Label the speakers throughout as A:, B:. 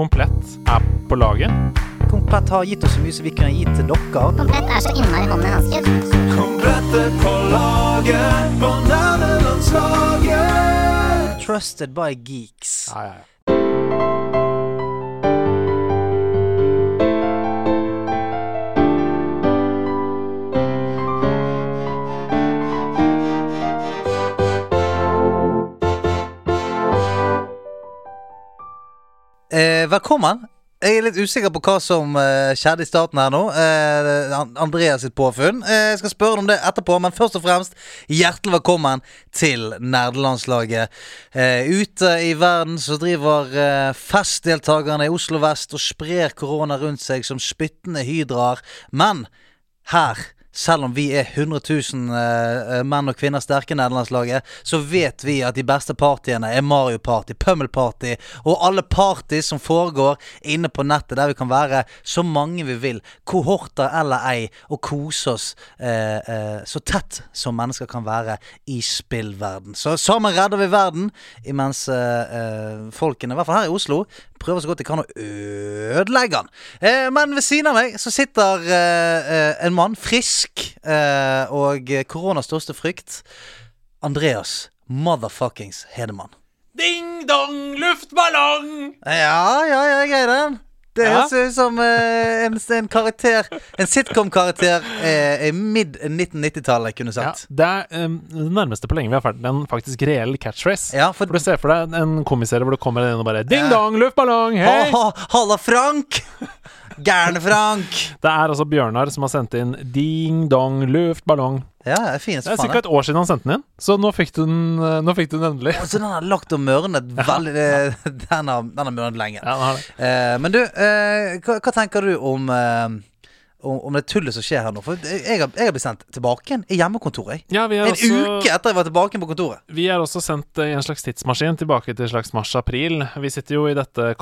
A: Komplett er på laget.
B: Komplett har gitt oss så mye som vi kunne gi til dere.
C: Komplett er så innmari hånd med hansker.
D: Komplette på laget på nerdelandslaget.
B: Trusted by geeks.
A: Ja, ja, ja.
B: Eh, velkommen. Jeg er litt usikker på hva som eh, skjedde i starten her nå. Eh, An- Andreas sitt påfunn. Eh, jeg skal spørre om det etterpå, men først og fremst hjertelig velkommen til nerdelandslaget. Eh, ute i verden så driver eh, festdeltakerne i Oslo vest og sprer korona rundt seg som spyttende hydraer. Men her selv om vi er 100 000 eh, menn og kvinner sterke i nederlandslaget, så vet vi at de beste partyene er Mario-party, Pummel-party og alle party som foregår inne på nettet, der vi kan være så mange vi vil, kohorter eller ei, og kose oss eh, eh, så tett som mennesker kan være i spillverden. Så sammen redder vi verden, imens eh, eh, folkene, i hvert fall her i Oslo, prøver så godt de kan å ødelegge den. Eh, men ved siden av meg så sitter eh, eh, en mann, frisk eh, og koronas største frykt, Andreas motherfuckings Hedemann.
A: Ding dong, luftballong!
B: Ja, ja, ja, jeg greier den. Det
A: Ja.
B: høres ut som eh, en, en karakter En sitcom-karakter eh, i mid-1990-tallet, kunne
A: Ja,
B: sagt.
A: det er um, det nærmeste på lenge vi har vært en faktisk reell catchphrase.
B: Ja, for
A: For du ser for deg en komiserie hvor det kommer en og bare Ding
B: Ja.
A: dong, luftballong, hei!
B: Ha- ha- Halla, Frank! Gærne-Frank.
A: Det er altså Bjørnar som har sendt inn Ding dong, luftballong.
B: Ja, det er fineste
A: Det er
B: faen.
A: ca. et år siden han sendte den inn, så nå fikk du den, eh, nå fikk du den endelig.
B: Altså, den har lagt og mørnet veldig eh, Den har, den har mørnet lenge.
A: Ja, den har det.
B: Eh, men du, eh, hva, hva tenker du om, eh, om, om det tullet som skjer her nå? For jeg har, jeg har blitt sendt tilbake igjen i hjemmekontoret. jeg.
A: Ja, altså- vi er
B: En
A: også-
B: uke etter jeg var tilbake igjen på kontoret.
A: Vi er også sendt eh, i en slags tidsmaskin tilbake til slags mars-april. Vi sitter jo i dette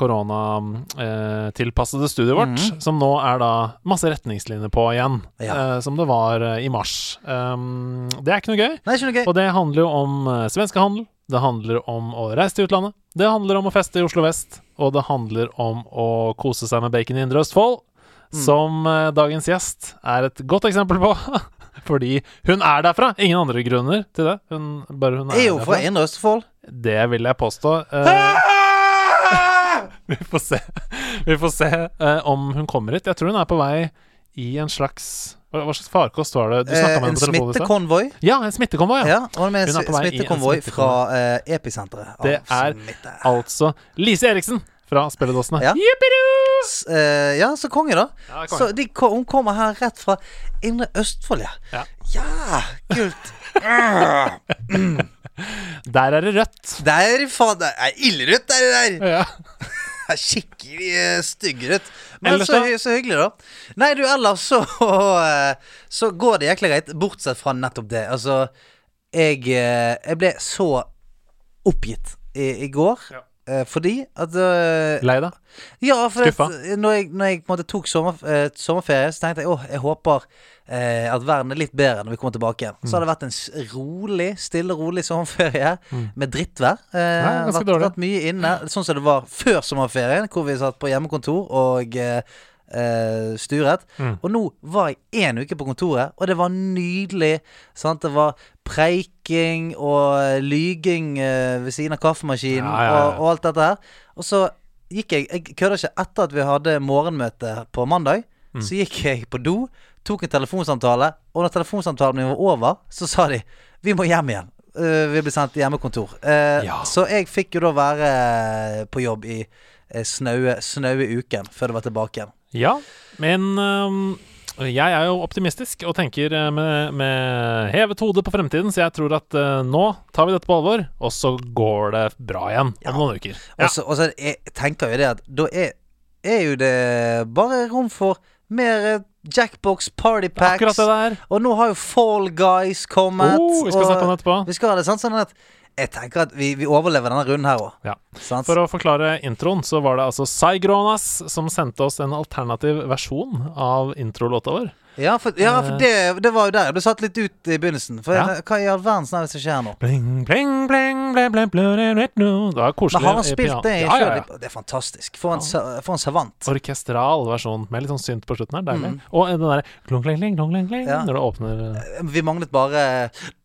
A: koronatilpassede studioet vårt, som nå er da masse retningslinjer på igjen,
B: Ja.
A: eh, som det var eh, i mars. Um, det er ikke noe gøy,
B: Nei, ikke noe gøy.
A: og det handler jo om eh, svenskehandel, det handler om å reise til utlandet, det handler om å feste i Oslo vest, og det handler om å kose seg med bacon i Indre Østfold,
B: Mm.
A: som eh, dagens gjest er et godt eksempel på. Fordi hun er derfra! Ingen andre grunner til det. Hun, bare hun er
B: Jeg er jo
A: derfra.
B: fra Indre Østfold.
A: Det vil jeg påstå. Eh, vi får se, vi får se eh, om hun kommer hit. Jeg tror hun er på vei i en slags Hva hva slags farkost var det? Du
B: Eh,
A: snakka med
B: en
A: henne på telefonen i stad.
B: smittekonvoi.
A: Ja, en smittekonvoi. Ja.
B: Ja, og med en
A: Hun er på vei i en
B: smittekonvoi
A: smittekonvoi.
B: fra eh, episenteret. av
A: Det er
B: smitte.
A: Altså Lise Eriksen fra Spelledåsene.
B: Ja.
A: Jippidu!
B: S- eh, ja, så konge, da.
A: Ja, konge.
B: så de, ko- hun kommer her rett fra Indre Østfold, ja.
A: Ja.
B: Ja, kult.
A: Der er det rødt.
B: Det er faen Det er Illerødt, det der.
A: Ja.
B: Det er Skikkelig eh, stygg ut. Men
A: Ellers
B: så,
A: da?
B: hy- så hyggelig, da. Nei, du, ellers så eh, Så går det jækla greit, bortsett fra nettopp det. Altså, jeg, eh, jeg ble så oppgitt i, i går. eh, Fordi at eh,
A: Lei deg?
B: Ja, for at,
A: Skuffa?
B: eh, når, jeg, når jeg på en måte tok sommer, eh, sommerferie, så tenkte jeg åh, jeg håper eh, at verden er litt bedre når vi kommer tilbake igjen.
A: Mm.
B: Så har det vært en s- rolig, stille og rolig sommerferie med drittvær. Eh,
A: Ja, Mm. ganske
B: vært,
A: dårlig.
B: vært mye inne, sånn som det var før sommerferien, hvor vi satt på hjemmekontor og eh, eh, sturet.
A: Mm.
B: Og nå var jeg én uke på kontoret, og det var nydelig. Sant? Det var preiking og lyging eh, ved siden av kaffemaskinen
A: Ja, ja, ja.
B: Og, og alt dette her. Og så gikk jeg Jeg kødder ikke. Etter at vi hadde morgenmøte på mandag,
A: Mm.
B: så gikk jeg på do, tok en telefonsamtale, og når telefonsamtalen min var over, så sa de vi må hjem igjen. Eh, vi blir sendt til hjemmekontor. Eh,
A: Ja.
B: Så jeg fikk jo da være på jobb i eh, snaue, snaue uken før det var tilbake igjen.
A: Ja. Men øhm, jeg er jo optimistisk og tenker eh, med, med hevet hode på fremtiden, så jeg tror at eh, nå tar vi dette på alvor, og så går det bra igjen om noen uker. Ja.
B: Og så, og så jeg tenker jo det at da er, er jo det bare rom for mer eh, Jackbox, Party
A: Akkurat
B: Packs
A: det der.
B: Og nå har jo Fall Guys kommet.
A: Oh, vi skal
B: og-
A: snakke om det etterpå.
B: Vi skal ha det, sant? Sånn at jeg tenker at vi, vi overlever denne runden her òg.
A: Ja.
B: Sant?
A: For å forklare introen, så var det altså Saigronas som sendte oss en alternativ versjon av introlåta vår.
B: Ja, for, ja, for det, det var jo der jeg ble satt litt ut i begynnelsen. For
A: Ja.
B: Hva i all verdens navn er det som skjer nå?
A: Bling, bling, bling, bling, bling, bling, bling, bling, bling. Det var koselig.
B: Men har han
A: i
B: spilt
A: piano-
B: det
A: Ja, ja, ja.
B: sjøl? Det er fantastisk. For en, sa- for en savant.
A: Orkestral versjon med litt sånn synt på slutten her. Deilig. Og den derre klung, kling, kling, klung, kling, kling,
B: Mm. Ja.
A: når det åpner eh,
B: Vi manglet bare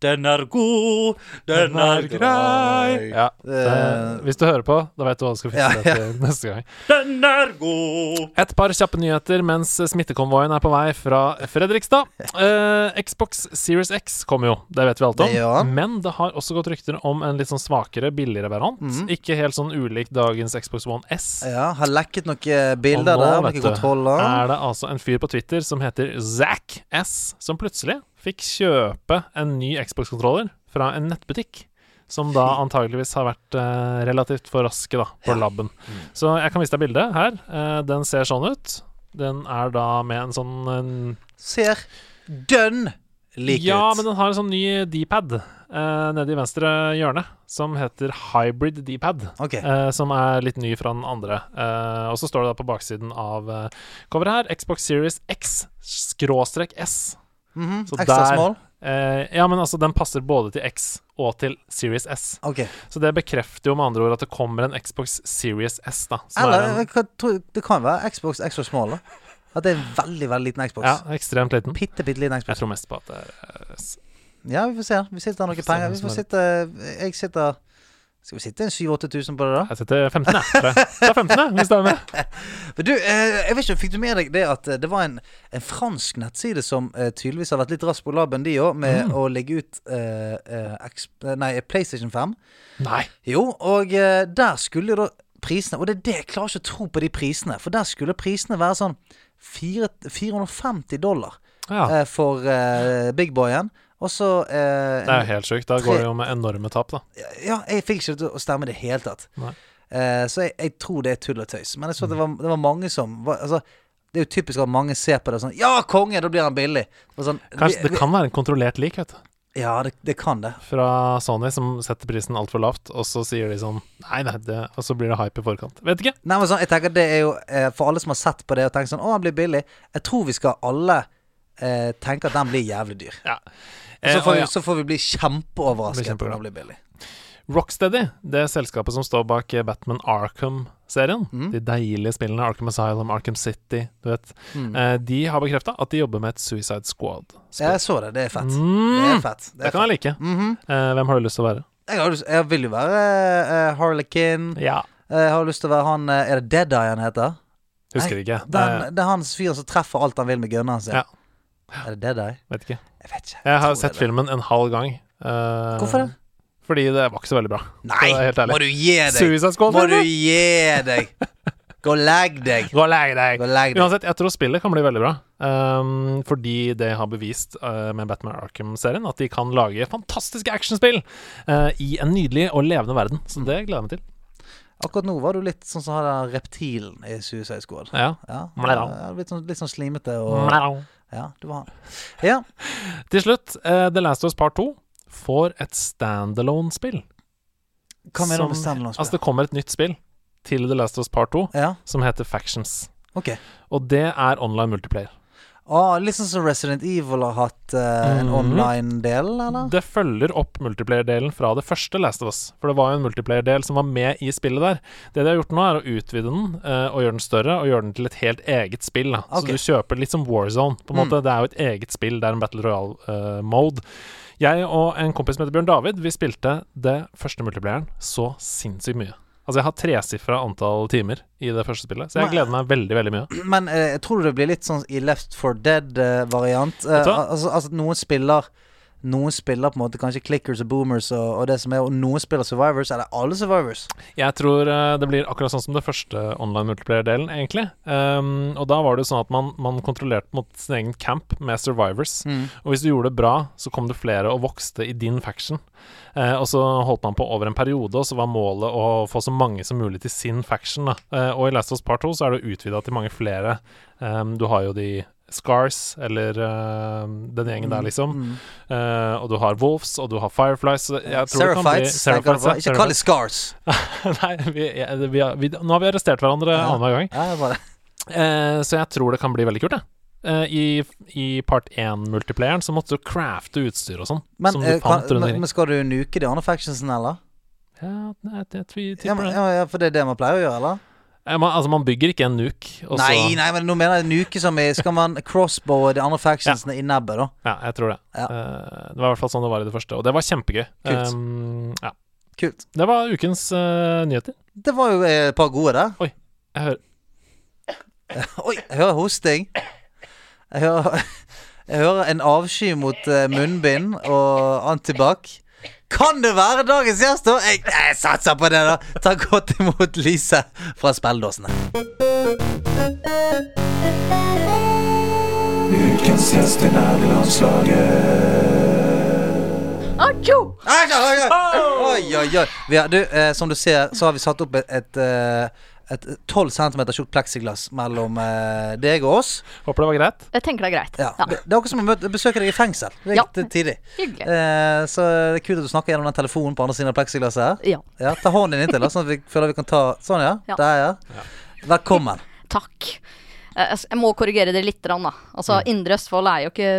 B: Den er god, den er grei.
A: Ja. det- Hvis du hører på, da vet du hva du skal fikse
B: Ja, ja.
A: til neste gang.
B: Den er god.
A: Et par kjappe nyheter mens smittekonvoien er på vei fra Fredrikstad. Eh, Xbox Series X kommer jo, det vet vi alt om.
B: Det gjør han.
A: Men det har også gått rykter om en litt sånn svakere, billigere variant.
B: Mm.
A: Ikke helt sånn ulik dagens Xbox One S.
B: Ja, har lekket noen
A: Og
B: bilder
A: nå,
B: der,
A: vet
B: noen
A: du,
B: kontroller.
A: er det altså en fyr på Twitter som heter Zack S, som plutselig fikk kjøpe en ny Xbox-kontroller fra en nettbutikk. Som da
B: Hmm.
A: antageligvis har vært eh, relativt for raske da, på labben.
B: Hmm.
A: Så jeg kan vise deg bildet her. Eh, den ser sånn ut. Den er da med en sånn en-
B: Ser dønn lik
A: Ja,
B: ut.
A: men den har en sånn ny D-pad eh, nede i venstre hjørne, som heter Hybrid D-pad.
B: Ok.
A: Eh, som er litt ny fra den andre. Eh, og så står det da på baksiden av eh, coveret her Xbox Series X skråstrek S.
B: Mhm,
A: så
B: Ekstra
A: der-
B: small.
A: Eh, ja, men altså, den passer både til X og til Series S.
B: Ok.
A: Så det bekrefter jo med andre ord at det kommer en Xbox Series S, da. Som
B: Eller
A: er en,
B: jeg kan tro- det kan være Xbox extra small. da. At det er en veldig, veldig liten Xbox.
A: ja, ekstremt liten.
B: Bitte, bitte liten
A: Jeg
B: Xbox.
A: tror mest på at det er eh, S.
B: Ja, vi får se. Vi sitter noen
A: får se
B: penger.
A: hvem
B: Vi
A: som
B: får
A: er det.
B: sitte Jeg sitter Skal vi sitte en 7000-8000 på det, da?
A: Jeg setter 15, jeg. tror jeg. Det er 15, jeg, hvis det er med.
B: Men du, eh, jeg vet ikke, fikk du med deg det at eh, det var en, en fransk nettside som eh, tydeligvis har vært litt rask på labben, de òg, med å legge ut eh, eh, X, eh, nei, PlayStation 5?
A: Nei.
B: Jo, og eh, der skulle jo da prisene Og det er det jeg klarer ikke å tro på de prisene, for der skulle prisene være sånn fire, 450 dollar
A: Ja.
B: eh, for eh, Big Boyen. Og så eh,
A: Det er jo helt sjukt. Da går det jo med enorme tap, da.
B: Ja, jeg fikk ikke det til å stemme i det hele tatt.
A: Nei. Mm.
B: Eh, så jeg, jeg tror det er tull og tøys. Men jeg så at det var, det var mange som var, altså, Det er jo typisk at mange ser på det sånn Ja, konge! Da blir han billig. Og sånn,
A: Kanskje,
B: vi-
A: det kan være en kontrollert lik, vet du.
B: vi- Ja, det, det kan det.
A: fra Sony som setter prisen altfor lavt, og så sier de sånn Nei, nei, det Og så blir det hype i forkant. Vet ikke.
B: Nei, men sånn, jeg tenker det er jo eh, For alle som har sett på det og tenkt sånn Å, han blir billig. Jeg tror vi skal alle eh, tenke at den blir jævlig dyr.
A: Ja.
B: Og så
A: Eh,
B: får,
A: og
B: vi-
A: ja.
B: så får vi bli kjempeoverrasket
A: Blir kjempeglad.
B: når den blir billig.
A: Rocksteady, det selskapet som står bak eh, Batman Arkham-serien,
B: Mm.
A: de deilige spillene Arkham Asylum, Arkham City, du vet, eh, de har bekrefta at de jobber med et Suicide Squad.
B: Ja,
A: spill
B: jeg så Mm. det. Det er fett. Det
A: Mm.
B: er fett. Det er
A: Det kan
B: fett. Mhm.
A: jeg like. eh, hvem har du lyst til å være?
B: Jeg, har, lyst- jeg vil jo være eh, Harlequin.
A: Ja.
B: Jeg har lyst til å være han eh, Er det Dead Eye han heter?
A: Husker
B: Nei,
A: ikke.
B: Den,
A: Eh,
B: det er han fyren som treffer alt han vil med gunneren sin.
A: Ja.
B: Er det Dead Eye?
A: vet ikke.
B: Jeg vet ikke.
A: Jeg har
B: tror
A: sett
B: det er det.
A: filmen en halv gang. eh,
B: Hvorfor det?
A: Fordi det var ikke så veldig bra.
B: Nei,
A: Så helt ærlig.
B: må du gi deg!
A: Suicide Squad,
B: Må du
A: eller?
B: gi deg! Gå og legg deg!
A: Gå og legg deg!
B: Gå og legg deg.
A: Uansett, jeg tror spillet kan bli veldig bra. Ehm, fordi det har bevist eh, med Batman Arkham-serien at de kan lage fantastiske actionspill eh, i en nydelig og levende verden. Så det gleder jeg meg til.
B: Akkurat nå var du litt sånn som han der reptilen i Suicide Squad.
A: Ja.
B: Ja,
A: Mlæra.
B: ja, litt, sånn, litt sånn slimete og
A: Mjau.
B: Ja, du var han. Ja.
A: Til slutt, eh, The Last of Us Part 2 får et standalone-spill.
B: Hva mener du med
A: Som- Altså,
B: standalone-spill?
A: det kommer et nytt spill til The Last of Us Part 2
B: Ja,
A: som heter Factions.
B: ok.
A: Og det er online multiplayer.
B: Ah, litt sånn som Resident Evil har hatt eh, en
A: Mhm.
B: online-del, eller?
A: Det følger opp multiplayer-delen fra det første Last of Us. For det var jo en multiplayer-del som var med i spillet der. Det de har gjort nå, er å utvide den, eh, og gjøre den større, og gjøre den til et helt eget spill. Da. Så
B: Ok.
A: du kjøper litt som War Zone. På en måte, Det er jo et eget spill. Det er en Battle Royale-mode. jeg og en kompis som heter Bjørn David, vi spilte det første multiplayeren så sinnssykt mye. Altså, jeg har tresifra antall timer i det første spillet, så jeg
B: Men-
A: gleder meg veldig, veldig mye.
B: Men eh, jeg tror det blir litt sånn i Left for Dead-variant.
A: Vet du hva?
B: altså, altså at noen spiller Noen spiller på en måte kanskje clickers og boomers og, og det som er, og noen spiller survivors. Eller alle survivors.
A: Jeg tror eh, det blir akkurat sånn som det første online multiplayer-delen, egentlig. Um, og da var det jo sånn at man, man kontrollerte mot sin egen camp med survivors. Og hvis du gjorde det bra, så kom det flere og vokste i din faction. Eh, og så holdt man på over en periode, og så var målet å få så mange som mulig til sin faction. Da. Eh, og i Last of Us Part 2 så er det utvida til mange flere. Um, du har jo de Scars, eller eh, den gjengen
B: Mm.
A: der, liksom. Eh, og du har Wolves, og du har Fireflies. Så jeg tror det kan bli
B: Seraphites. tenker du på?
A: Seraphites, ja,
B: Ikke kall det scars.
A: Nei, vi, ja, det- vi, har- vi, nå har vi arrestert hverandre annenhver gang.
B: Ja, det var det.
A: Eh, så jeg tror det kan bli veldig kult, jeg. eh, i, i part 1-multiplayeren så måtte du crafte utstyr og sånn.
B: Men,
A: som du
B: eh,
A: fant
B: kan,
A: rundt
B: men,
A: omkring.
B: men skal du nuke de andre factionsen, eller?
A: Ja, nei, jeg tror jeg tipper
B: Ja, men,
A: det.
B: ja, ja, for det er det man pleier å gjøre, eller?
A: Eh, Man, altså, man bygger ikke en nuke. Og så,
B: Nei, nei, men nå mener jeg nuke som i Skal man crossbowe de andre factionsene i nebbet, da?
A: Ja, jeg tror det.
B: Ja.
A: Eh, det var i hvert fall sånn det var i det første, og det var kjempegøy.
B: Kult.
A: Um, ja.
B: Kult.
A: Det var ukens eh, nyheter.
B: Det var jo eh, et par gode der.
A: Jeg hører
B: Oi, jeg hører hosting. Jeg hører, jeg hører en avsky mot eh, munnbind og antibac. Kan det være dagens gjest, da? Jeg, jeg satser på det, da. Ta godt imot Lise fra Spelledåsene.
D: Ukens gjest i nerdelandslaget.
B: Oi, oi, oi. Oi, oi, oi. Vi har, du, eh, som du ser, så har vi satt opp et, et eh, et 12 cm tjukt pleksiglass mellom eh, deg og oss.
A: Håper det var greit.
E: Jeg tenker det er greit.
B: Ja.
E: Ja.
B: Det det er dere som møter- besøker deg i fengsel. Det er
E: Ja.
B: litt tidlig.
E: Hyggelig.
B: Eh, så det er kult at du snakker gjennom den telefonen på andre siden av pleksiglasset her.
E: Ja.
B: Ja, ta hånden din inntil, da, sånn at vi føler vi kan ta Sånn, ja.
E: Ja.
B: Der, ja. Velkommen.
E: Takk. Eh, altså, Jeg må korrigere dere litt, grann, da. Altså, Indre Østfold er jo ikke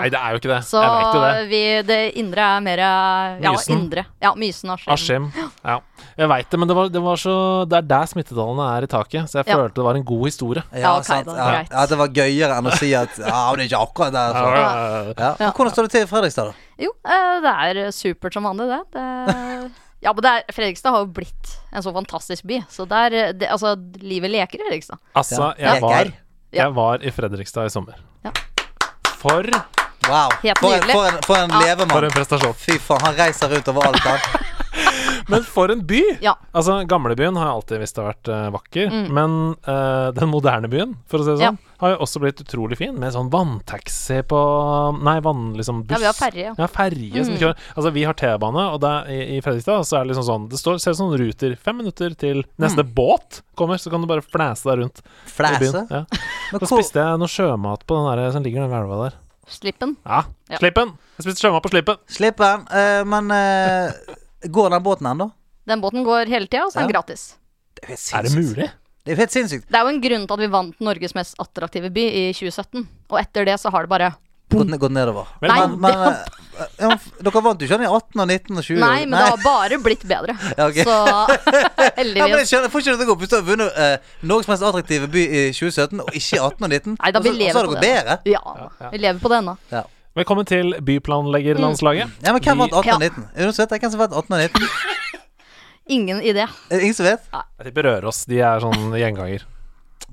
A: Mm. Nei, det er jo ikke det.
E: så
A: jeg vet jo det.
E: vi, det indre er mer eh, Ja,
A: Mysen.
E: indre. Ja, Mysen og Askim.
A: Askim. Ja. Jeg veit det, men det, var, det, var så, det er der smittetallene er i taket, så jeg
E: Ja.
A: følte det var en god historie.
E: Ja, ok, da,
B: Ja.
E: greit.
B: ja, det var gøyere enn å si at Ja, men det er ikke akkurat der. Så. Ja. Men Hvordan står det til i Fredrikstad, da?
E: Jo, eh, det er supert som vanlig, det. det ja, men det er, Fredrikstad har jo blitt en så fantastisk by. Så der, eh, det, altså, livet leker i Fredrikstad.
A: Altså,
B: Ja.
A: jeg var,
B: Leker.
A: jeg var i Fredrikstad i sommer.
E: Ja.
A: For
B: Wow.
E: Helt
B: For en,
E: nydelig.
B: for en, for en
A: For en
B: levemann.
A: prestasjon.
B: Fy faen, han reiser rundt overalt. Han.
A: Men for en by!
E: Ja.
A: Altså, Gamlebyen har jeg alltid visst har vært eh, vakker, men eh, den moderne byen, for å si det
E: Ja.
A: sånn, har jo også blitt utrolig fin, med sånn vanntaxi på Nei, vann, liksom buss.
E: Ja, vi har ferje, ja. Mm.
A: Ja, ferje som kjører. Altså, vi har T-bane, og der, i, i Fredrikstad så er det liksom sånn Det står, ser ut som ruter. Fem minutter til neste
E: Mm.
A: båt kommer, så kan du bare flæse deg rundt i byen.
B: Flæse.
A: Ja.
B: Men
A: Så
B: hvor-
A: spiste jeg noe sjømat på den der som ligger den elva der.
E: Slippen.
A: Ja,
E: Ja.
A: Slippen! Jeg spiste sjømat på Slippen.
B: Slipp den. Eh, men eh, går den båten ennå?
E: Den båten går hele tida, og så er den
B: Ja.
E: gratis.
B: Det er jo helt
A: Er det
B: sinnssykt.
A: mulig?
B: Det er jo helt sinnssykt.
E: Det er jo en grunn til at vi vant Norges mest attraktive by i 2017. Og etter det så har det bare
B: Gått, ned- gått nedover.
A: Vel,
E: Nei,
B: Men, men, eh, ja, men f- dere vant jo ikke den i 18 og 19 og 20?
E: Nei, men det har bare blitt bedre.
B: Ja, ok.
E: Så
B: Ja, men jeg
E: heldigvis.
B: skjønner, jeg får ikke dette til å gå opp hvis du har vunnet eh, Norges mest attraktive by i 2017, og ikke i 18 og 19.
E: Nei, da
B: Og så- og
E: vi
B: så
E: lever
B: altså, har
E: på
B: det gått
E: det. da.
B: bedre.
E: Ja, vi lever på det ennå.
B: Ja.
A: Velkommen til byplanleggerlandslaget.
E: Mm.
B: ja, men hvem vant 18 og
E: Ja.
B: 19? Er det noen som vet det? Hvem som vant 18 og 19?
E: Ingen idé.
B: Er det ingen som vet?
A: Jeg tipper Røros. De er sånn gjenganger.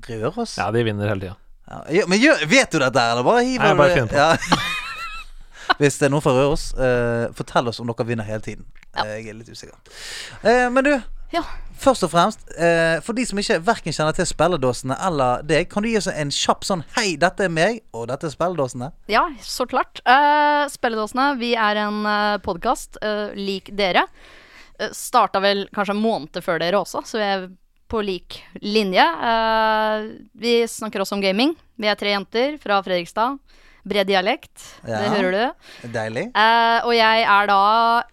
B: Røros?
A: Ja, de vinner hele tida.
B: Ja. gjør- Men gjør, vet du dette, her, eller bare hiver
A: Nei, jeg
B: du
A: bare
B: det-
A: finner på.
B: Ja. Hvis det er noen fra Røros, eh, fortell oss om dere vinner hele tiden. Eh, jeg er litt usikker. Eh, men du,
E: Ja.
B: først og fremst, eh, for de som ikke hverken kjenner til spilledåsene eller deg, kan du gi oss en kjapp sånn Hei, dette er meg, og dette er spilledåsene.
E: Ja, så klart. Uh, Spelledåsene, vi er en uh, podkast lik dere. Uh, Starta vel kanskje en måned før dere også, så vi er på lik linje. Eh, vi snakker også om gaming. Vi er tre jenter fra Fredrikstad. Bred dialekt, det
B: Ja.
E: hører du.
B: Deilig.
E: Eh, og jeg er da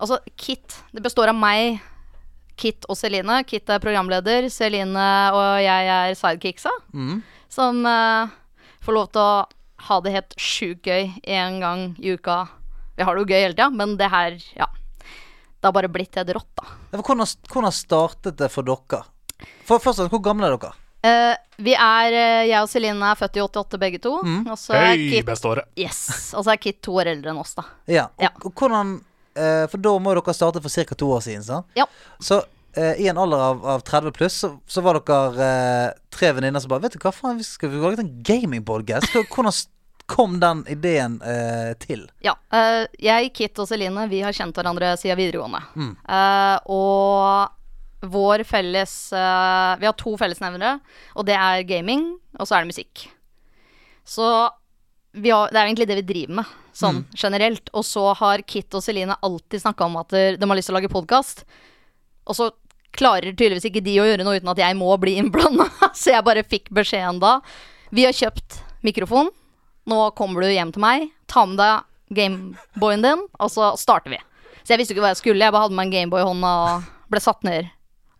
E: Altså, Kit. Det består av meg, Kit og Celine. Kit er programleder, Celine og jeg er sidekicksa. Som eh, får lov til å ha det helt sjukt gøy én gang i uka. Vi har det jo gøy hele tida, men det her, ja. Det har bare blitt helt rått, da.
B: Ja, for Hvordan, hvordan startet det for dere? For først og fremst, Hvor gamle er dere?
E: Eh, vi er, eh, Jeg og Celine er født i 88 begge to. Og så er
A: Høy
E: Kit,
A: beste året.
E: yes, og så er Kit to år eldre enn oss, da.
B: Ja, og,
E: Ja.
B: og hvordan eh, For da må dere starte for ca. to år siden, sant?
E: Ja.
B: Så eh, i en alder av, av 30 pluss, så, så var dere eh, tre venninner som bare Vet du hva, faen, vi skal vi lage en gamingpodcast? Hvordan s- kom den ideen eh, til?
E: Ja. eh, jeg, Kit og Celine, vi har kjent hverandre siden videregående. Eh, og vår felles eh, Vi har to fellesnevnere, og det er gaming, og så er det musikk. Så vi har, det er egentlig det vi driver med, sånn generelt. Og så har Kit og Celine alltid snakka om at de har lyst til å lage podkast. Og så klarer tydeligvis ikke de å gjøre noe uten at jeg må bli innblanda. Så jeg bare fikk beskjeden da. Vi har kjøpt mikrofon. Nå kommer du hjem til meg. Ta med deg Gameboyen din, og så starter vi. Så jeg visste ikke hva jeg skulle. Jeg bare hadde med meg en Gameboy i hånda og ble satt ned.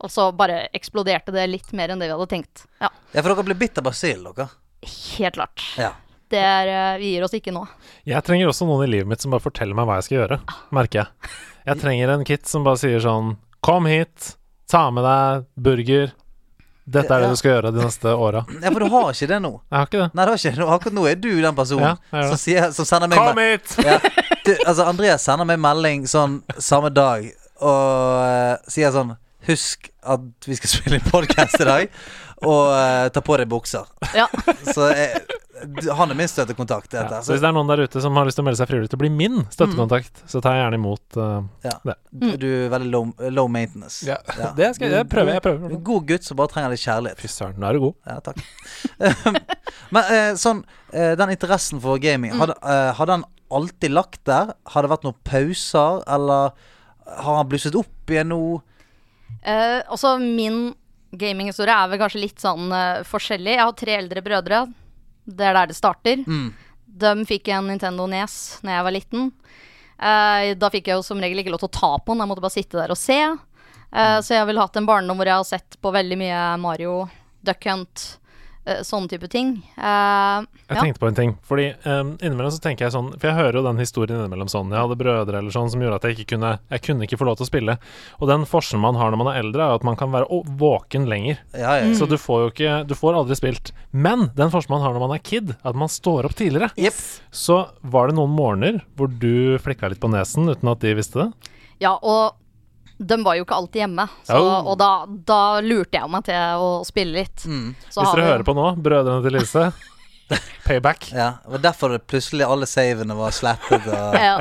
E: Og så bare eksploderte det litt mer enn det vi hadde tenkt. Ja.
B: Ja, for dere ble bitt av basillen, dere.
E: Helt klart.
B: Ja.
E: Det er, eh, vi gir oss ikke nå.
A: Jeg trenger også noen i livet mitt som bare forteller meg hva jeg skal gjøre, merker jeg. Jeg trenger en kit som bare sier sånn Kom hit, ta med deg burger. Dette er det du skal gjøre de neste åra.
B: ja, for du har ikke det nå.
A: Jeg har ikke det.
B: Nei, det har ikke det. Akkurat nå er du den
A: Ja,
B: personen
A: jeg er
B: som,
A: det.
B: sier, som sender meg
A: Kom hit!
B: Ja. Du, altså, Andreas sender meg melding sånn samme dag og eh, sier sånn Husk at vi skal spille podkast i dag, og eh, ta på deg bukser.
E: Ja.
B: Så jeg, du- han er min støttekontakt. Dette.
A: Ja, så
B: Så,
A: hvis det er noen der ute som har lyst til å melde seg frivillig til å bli min støttekontakt, så tar jeg gjerne imot eh,
B: du, du er veldig low, low maintenance. Ja.
A: Det skal jeg, jeg prøver. Jeg
B: Du er
A: prøver.
B: en god gutt som bare trenger litt kjærlighet.
A: Fy søren, nå er du god.
B: Ja, takk. Men eh, sånn, eh, den interessen for gaming,
E: Mm.
B: hadde, eh, hadde han alltid lagt der? Har det vært noen pauser, eller har han blusset opp igjen nå?
E: Eh, også min gaminghistorie er vel kanskje litt sånn eh, forskjellig. Jeg har tre eldre brødre. Det er der det starter.
A: Mm.
E: De fikk en Nintendo Nes når jeg var liten. Eh, da fikk jeg jo som regel ikke lov til å ta på den, jeg måtte bare sitte der og se.
A: Mm.
E: Eh, Så jeg har vel hatt en barndom hvor jeg har sett på veldig mye Mario, Duck Hunt, eh, sånne type ting. Eh,
A: Jeg
E: ja.
A: tenkte på en ting. Fordi um, innimellom så tenker jeg sånn For jeg hører jo den historien innimellom sånn. Jeg hadde brødre eller sånn som gjorde at jeg ikke kunne Jeg kunne ikke få lov til å spille. Og den forskjellen man har når man er eldre, er jo at man kan være å, våken lenger.
B: Ja, ja,
E: Mm.
B: ja.
A: Så du får jo ikke Du får aldri spilt. Men den forskjellen man har når man er kid, er at man står opp tidligere. Så var det noen morgener hvor du flikka litt på nesen uten at de visste det.
E: ja, og de var jo ikke alltid hjemme. Så,
A: Oh.
E: Og da, da lurte jeg meg til å spille litt. Så
A: Mm. Hvis
E: har
A: dere
E: vi-
A: hører på nå, brødrene til Lise, payback.
B: Ja, det var derfor det plutselig alle savene var slettet. Og,
E: Ja.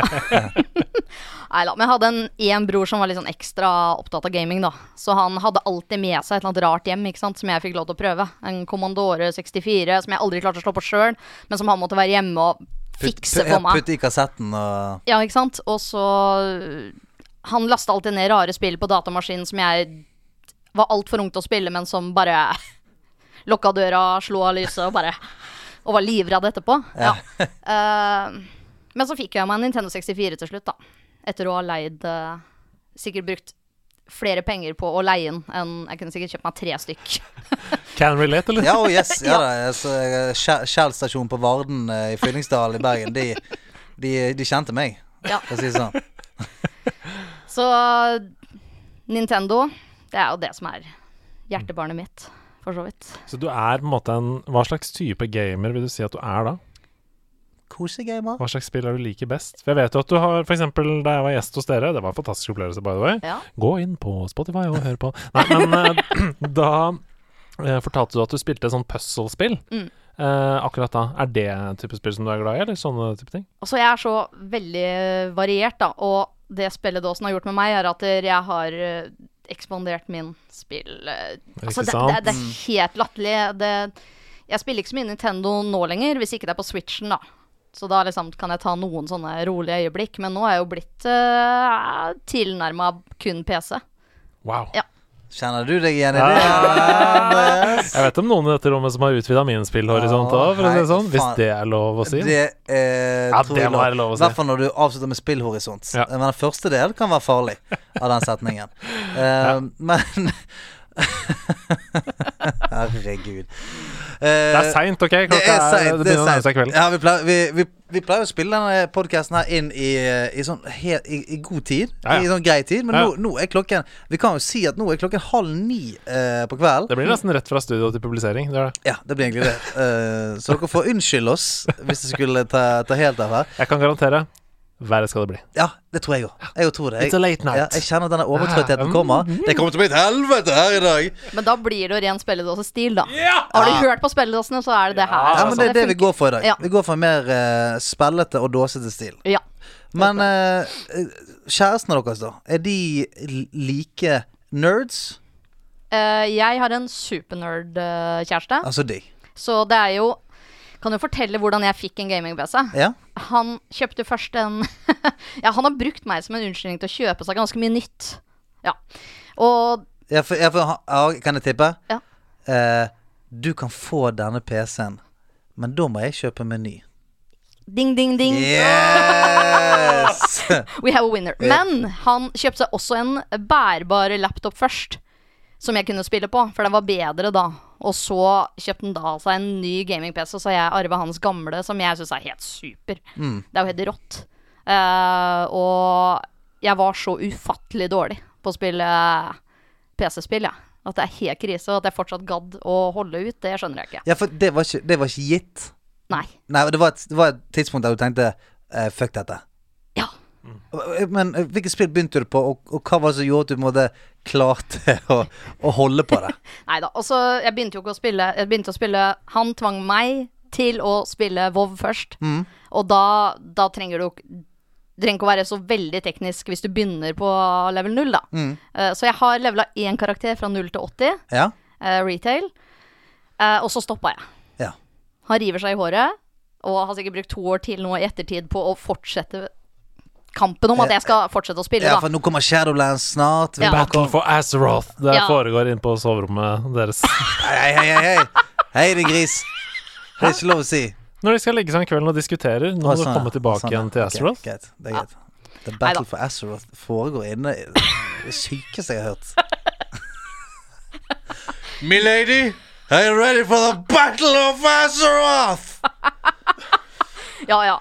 E: Nei da. Men jeg hadde en, en bror som var litt sånn ekstra opptatt av gaming, da. Så han hadde alltid med seg et eller annet rart hjem ikke sant, som jeg fikk lov til å prøve. En Commandore 64 som jeg aldri klarte å slå på sjøl, men som han måtte være hjemme og fikse
B: ja,
E: for meg.
B: putte i kassetten og
E: Ja, ikke sant? Og så Han lasta alltid ned rare spill på datamaskinen som jeg var altfor ung til å spille, men som bare lukka døra, slo av lyset og bare Og var livredd etterpå. Ja. Eh, men så fikk jeg meg en Nintendo 64 til slutt, da. Etter å ha leid eh, Sikkert brukt flere penger på å leie den enn Jeg kunne sikkert kjøpt meg tre stykk.
A: Can relate, eller?
B: Ja, oh yes. Ja, da, jeg så, eh, Skjæ- Skjell stasjon på Varden eh, i Fyllingsdalen i Bergen, de, de, de kjente meg,
E: Ja.
B: for å si det sånn.
E: Så Nintendo, det er jo det som er hjertebarnet mitt, for så vidt.
A: Så du er på en måte en Hva slags type gamer vil du si at du er da?
B: Kosegamer.
A: Hva slags spill er du liker best? For jeg vet jo at du har for eksempel da jeg var gjest hos dere, det var en fantastisk opplevelse, by the way.
E: Ja.
A: Gå inn på Spotify og hør på. Nei, men eh, da eh, fortalte du at du spilte et sånt puzzle-spill. Eh, akkurat da. Er det en type spill som du er glad i, eller sånne type ting?
E: Altså, jeg er så veldig variert, da. Og det spilledåsen har gjort med meg, er at jeg har eh, ekspandert min spill... eh, Altså, det,
A: sant?
E: det, det er helt latterlig. Det, jeg spiller ikke så mye Nintendo nå lenger, hvis ikke det er på Switchen, da. Så da liksom kan jeg ta noen sånne rolige øyeblikk. Men nå er jeg jo blitt uh, tilnærma kun PC.
A: Wow.
E: Ja.
B: Kjenner du deg igjen i det? Andreas?
A: Jeg vet om noen i dette rommet som har utvida min spillhorisont òg, for å si det sånn. Hvis det er lov å si.
B: Det eh,
A: Ja,
B: tror
A: det
B: jeg
A: må være lov å si.
B: I hvert fall når du avslutter med spillhorisont.
A: Ja.
B: Men den første del kan være farlig, av den setningen. Eh, Men Herregud. Eh,
A: Det er seint, OK? Klokka er,
B: seint,
A: det begynner å nærme
B: seint.
A: seg kvelden.
B: Ja, vi pleier, vi, vi, vi pleier å spille denne podkasten her inn i, i, sånn, he, i, i god tid.
A: Ja, ja.
B: I sånn grei tid. Men
A: Ja, ja.
B: Nå, nå er klokken Vi kan jo si at nå er klokken halv ni eh, på kvelden.
A: Det blir nesten rett fra studio til publisering. Det er det.
B: Ja, det blir egentlig det. Eh, så dere får unnskylde oss hvis det skulle ta, ta helt av her.
A: Jeg kan garantere. Verre skal det bli.
B: Ja, det tror jeg òg. Jeg tror det.
A: It's a
B: Jeg,
A: sånn late
B: ja,
A: night.
B: jeg kjenner at denne overtrøttheten
A: Ja,
B: kommer.
E: Mm,
B: Det kommer til å bli et helvete her i dag.
E: Men da blir det jo ren spilledåsestil, da. Har du hørt på spilledåsene, så er det det her.
B: Ja,
E: altså.
B: men det er det vi
E: funker.
B: går for i
E: Ja.
B: dag. Vi går for en mer eh, spellete og dåsete stil.
E: Ja.
B: Men eh, kjærestene deres, da? Er de l- like nerds?
E: Eh, jeg har en eh, supernerd-kjæreste.
B: Altså de.
E: Så det er jo Kan jo fortelle hvordan jeg fikk en gaming-PC.
B: Ja?
E: Han kjøpte først en Ja, han har brukt meg som en unnskyldning til å kjøpe seg ganske mye nytt. Ja. Og
B: Jeg får, jeg får, ha- ja, kan jeg tippe?
E: Ja.
B: Eh, du kan få denne PC-en, men da må jeg kjøpe meny.
E: ding, ding, ding.
B: Yes!
E: We have a winner. Men han kjøpte seg også en bærbar laptop først, som jeg kunne spille på, for den var bedre da. Og så kjøpte han da seg en ny gaming-PC, og så har jeg arva hans gamle, som jeg syns er helt super. Det er jo helt rått. Eh, og jeg var så ufattelig dårlig på å spille eh, PC-spill, jeg. At det er helt krise, og at jeg fortsatt gadd å holde ut, det skjønner jeg ikke.
B: Ja, for det var ikke, det var ikke gitt.
E: Nei.
B: Nei, og det var et, det var et tidspunkt der du tenkte eh, fuck dette.
E: Ja.
B: Men eh, hvilket spill begynte du på, og, og hva var det som gjorde at du måtte klarte å, å holde på det?
E: Nei da. Og så Jeg begynte jo ikke å spille Jeg begynte å spille Han tvang meg til å spille WoW først.
B: Mm.
E: Og da, da trenger du ikke- du trenger ikke å være så veldig teknisk hvis du begynner på level 0, da.
B: Mm.
E: Eh, så jeg har levela én karakter fra 0 til 80,
B: Ja?
E: eh, retail. Eh, og så stoppa jeg.
B: Ja.
E: Han river seg i håret, og har sikkert brukt to år til nå i ettertid på å fortsette kampen om at jeg skal fortsette å spille,
B: Eh, ja,
E: da.
B: for nå kommer Shadowlands snart. Vi
E: Ja.
B: bare
A: Battle
B: kom-
A: for Azeroth. Det
E: Ja.
A: foregår inne på soverommet deres.
B: Hei, hei, hei, hei. Hei, din gris. Det er ikke lov å si.
A: Når de skal legge seg om kvelden og diskuterer, nå må du
B: Å, sånn,
A: komme
B: ja.
A: tilbake
B: Sånn, ja.
A: igjen til
B: Ok,
A: Azeroth.
B: greit. Det er greit. The Battle
E: Neida.
B: for Azeroth foregår inne i det sykeste jeg har hørt. Milady, are you ready for the battle of Azeroth?
E: Ja, ja.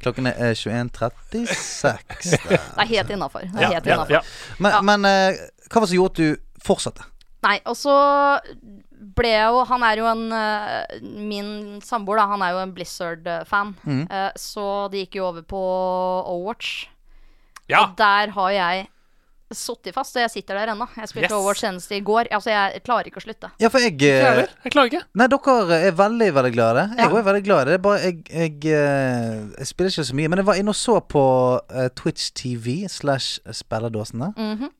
B: Klokken er eh, 21.36. der.
E: Det er helt innafor. Det er
A: Ja,
E: helt
A: ja,
E: innafor.
A: ja.
B: Men, men eh, hva var det som gjorde at du fortsatte?
E: Nei, og så ble jeg jo Han er jo en øh, Min samboer, da, han er jo en Blizzard-fan. Eh, så det gikk jo over på Overwatch.
A: ja.
E: Der har jeg sittet fast, og jeg sitter der ennå. Jeg spilte
A: Yes.
E: Overwatch senest i går. Altså, jeg klarer ikke å slutte.
B: Ja, for jeg eh,
A: Jeg klarer ikke.
B: Nei, dere er veldig, veldig glade. Jeg
E: Ja.
B: òg er veldig glad. i det. Det er bare jeg, jeg, eh, jeg spiller ikke så mye. Men jeg var inne og så på eh, Twitch TV slash spillerdåsene.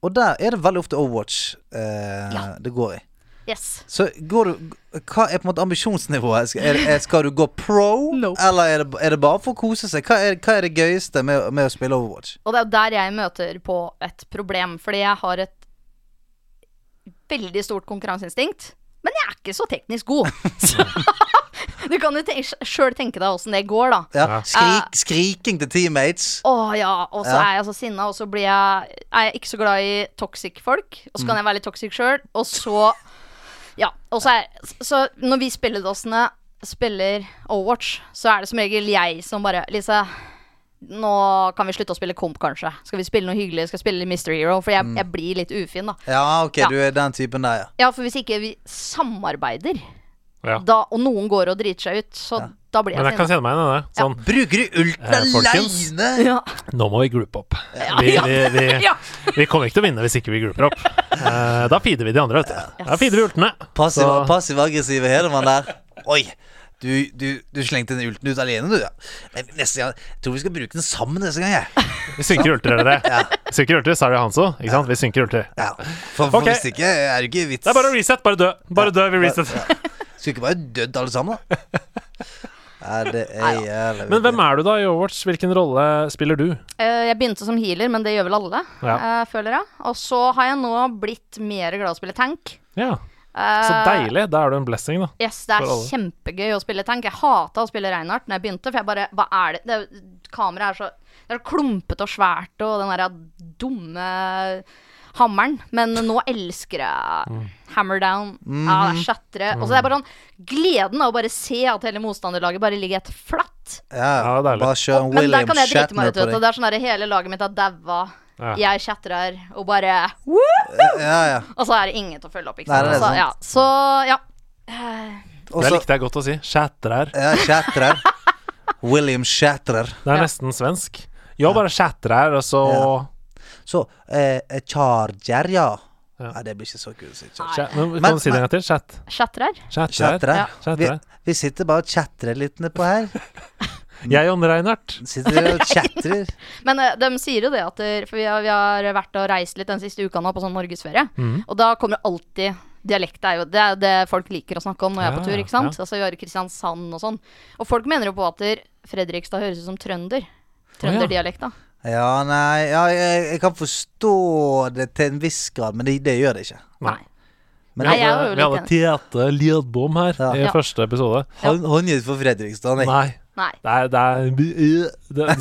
B: Og der er det veldig ofte Overwatch eh,
E: Mhm. Ja.
B: det går i.
E: Yes.
B: Så går du Hva er på en måte ambisjonsnivået? Skal, er, er, skal du gå pro,
E: No.
B: eller er det, er det bare for å kose seg? Hva er, hva er det gøyeste med, å- med å spille Overwatch?
E: Og det er jo der jeg møter på et problem, fordi jeg har et veldig stort konkurranseinstinkt. Men jeg er ikke så teknisk god. Så, du kan jo ten sjøl tenke deg åssen det går, da.
B: Ja.
E: Ah.
B: Skrik, skriking til teammates.
E: Å ja, og så
B: Ja.
E: er jeg så sinna, og så blir jeg, er jeg ikke så glad i toxic folk. Og så kan jeg være litt toxic sjøl, og så Ja. Og så er Så når vi spilledåsene spiller Overwatch, så er det som regel jeg som bare Lise, nå kan vi slutte å spille komp, kanskje. Skal vi spille noe hyggelig? Skal vi spille Mystery Hero? For jeg, jeg blir litt ufin, da.
B: Ja, ok,
E: Ja.
B: du er den typen der, ja.
E: Ja, for hvis ikke vi samarbeider,
A: Ja.
E: da, og noen går og driter seg ut, så da blir
A: Men
E: jeg
A: jeg kan
E: sinna.
A: kjenne meg igjen i det. Sånn,
B: Bruker du ulten
A: Eh, folkens.
B: aleine?
E: Ja.
A: nå må vi groupe opp. Vi, vi, vi,
E: Ja.
A: vi kommer ikke til å vinne hvis ikke vi grouper opp. Eh, da feeder vi de andre, vet du. Da feeder vi ultene.
B: Passiv,
A: Så-
B: passiv aggressiv Hedemann der. Oi. Du, du, du slengte den ulten ut alene, du. Ja. Men neste gang, jeg tror vi skal bruke den sammen neste gang, jeg.
A: Vi synker ulter, dere. Synker ulter, sa det Hanso. Ikke sant? Vi synker ulter.
B: Ja. For, for
A: Ok.
B: hvis ikke er det ikke vits.
A: Det er bare å reset. Bare dø. Bare dø, vi reset.
B: Skulle ikke bare dødd alle sammen, da? Nei, det er jævlig
A: Men hvem er du da i Overwatch? Hvilken rolle spiller du?
E: Eh, Jeg begynte som healer, men det gjør vel alle,
A: Ja.
E: eh, føler jeg. Og så har jeg nå blitt mer glad i å spille tank.
A: Ja,
E: Eh,
A: Så deilig. Da er du en blessing, da.
E: Yes, det er
A: for alle.
E: kjempegøy å spille tank. Jeg hata å spille Reinhardt når jeg begynte, for jeg bare Hva er det, det er- Kameraet er så Det er så klumpete og svært, og den derre dumme hammeren. Men nå elsker jeg
A: Mm.
E: hammer down. Ja,
B: Mhm.
E: det er shattere. Og så er det bare sånn Gleden av å bare se at hele motstanderlaget bare ligger helt flatt.
B: Ja,
A: Ja, det er deilig.
B: bare kjør en
E: Men der
B: William
E: kan jeg drite meg
B: Shatner på
E: ut, vet du.
B: deg.
E: Det er sånn derre hele laget mitt er daua.
A: Ja.
E: Jeg chatrer og bare
B: Ja, ja.
E: Og så er det ingen til å følge opp, ikke
B: Nei,
E: sant.
B: det er
E: så,
B: sant.
E: ja. så ja. Eh,
A: Det
B: Også,
A: likte jeg godt å si. Chatrer.
B: ja, Shatner. William Shatner.
A: Det er nesten svensk. Jo, bare chatrer, og så
B: Så eh, Charger, ja. Nei, det blir ikke så kult å si. Charger.
A: Chat- Men
B: Men-
A: Kan du si det en gang til? Chat.
E: Chatrer.
A: Chatrer.
B: Chatrer.
E: Ja.
B: Vi,
A: Chatrer.
B: vi sitter bare og chatrer litt nedpå her.
A: Jeg og Reinhardt.
B: Sitter vi og chatrer.
E: Men eh, de sier jo det, at eh, for vi har, vi har vært og reist litt den siste uka nå på sånn norgesferie.
A: Mm.
E: Og da kommer alltid Dialekt er jo det, er det folk liker å snakke om når jeg er
A: Ja,
E: på tur. ikke sant? Altså gjøre Kristiansand og sånn. Og folk mener jo på at der Fredrikstad høres ut som trønder. Trønderdialekt, da.
B: Ja, nei ja, jeg, jeg kan forstå det til en viss grad, men det, det gjør det ikke.
A: Nei.
B: Men
E: Nei,
A: vi
E: jeg var
A: hadde,
E: jo
A: vi hadde
E: litt enig.
A: Tete Lidbom her
B: Ja.
A: i
E: Ja.
A: første episode.
B: Han, han er for Fredrikstad, nei.
A: Nei.
E: Nei.
A: Det er, det er, det er, det er,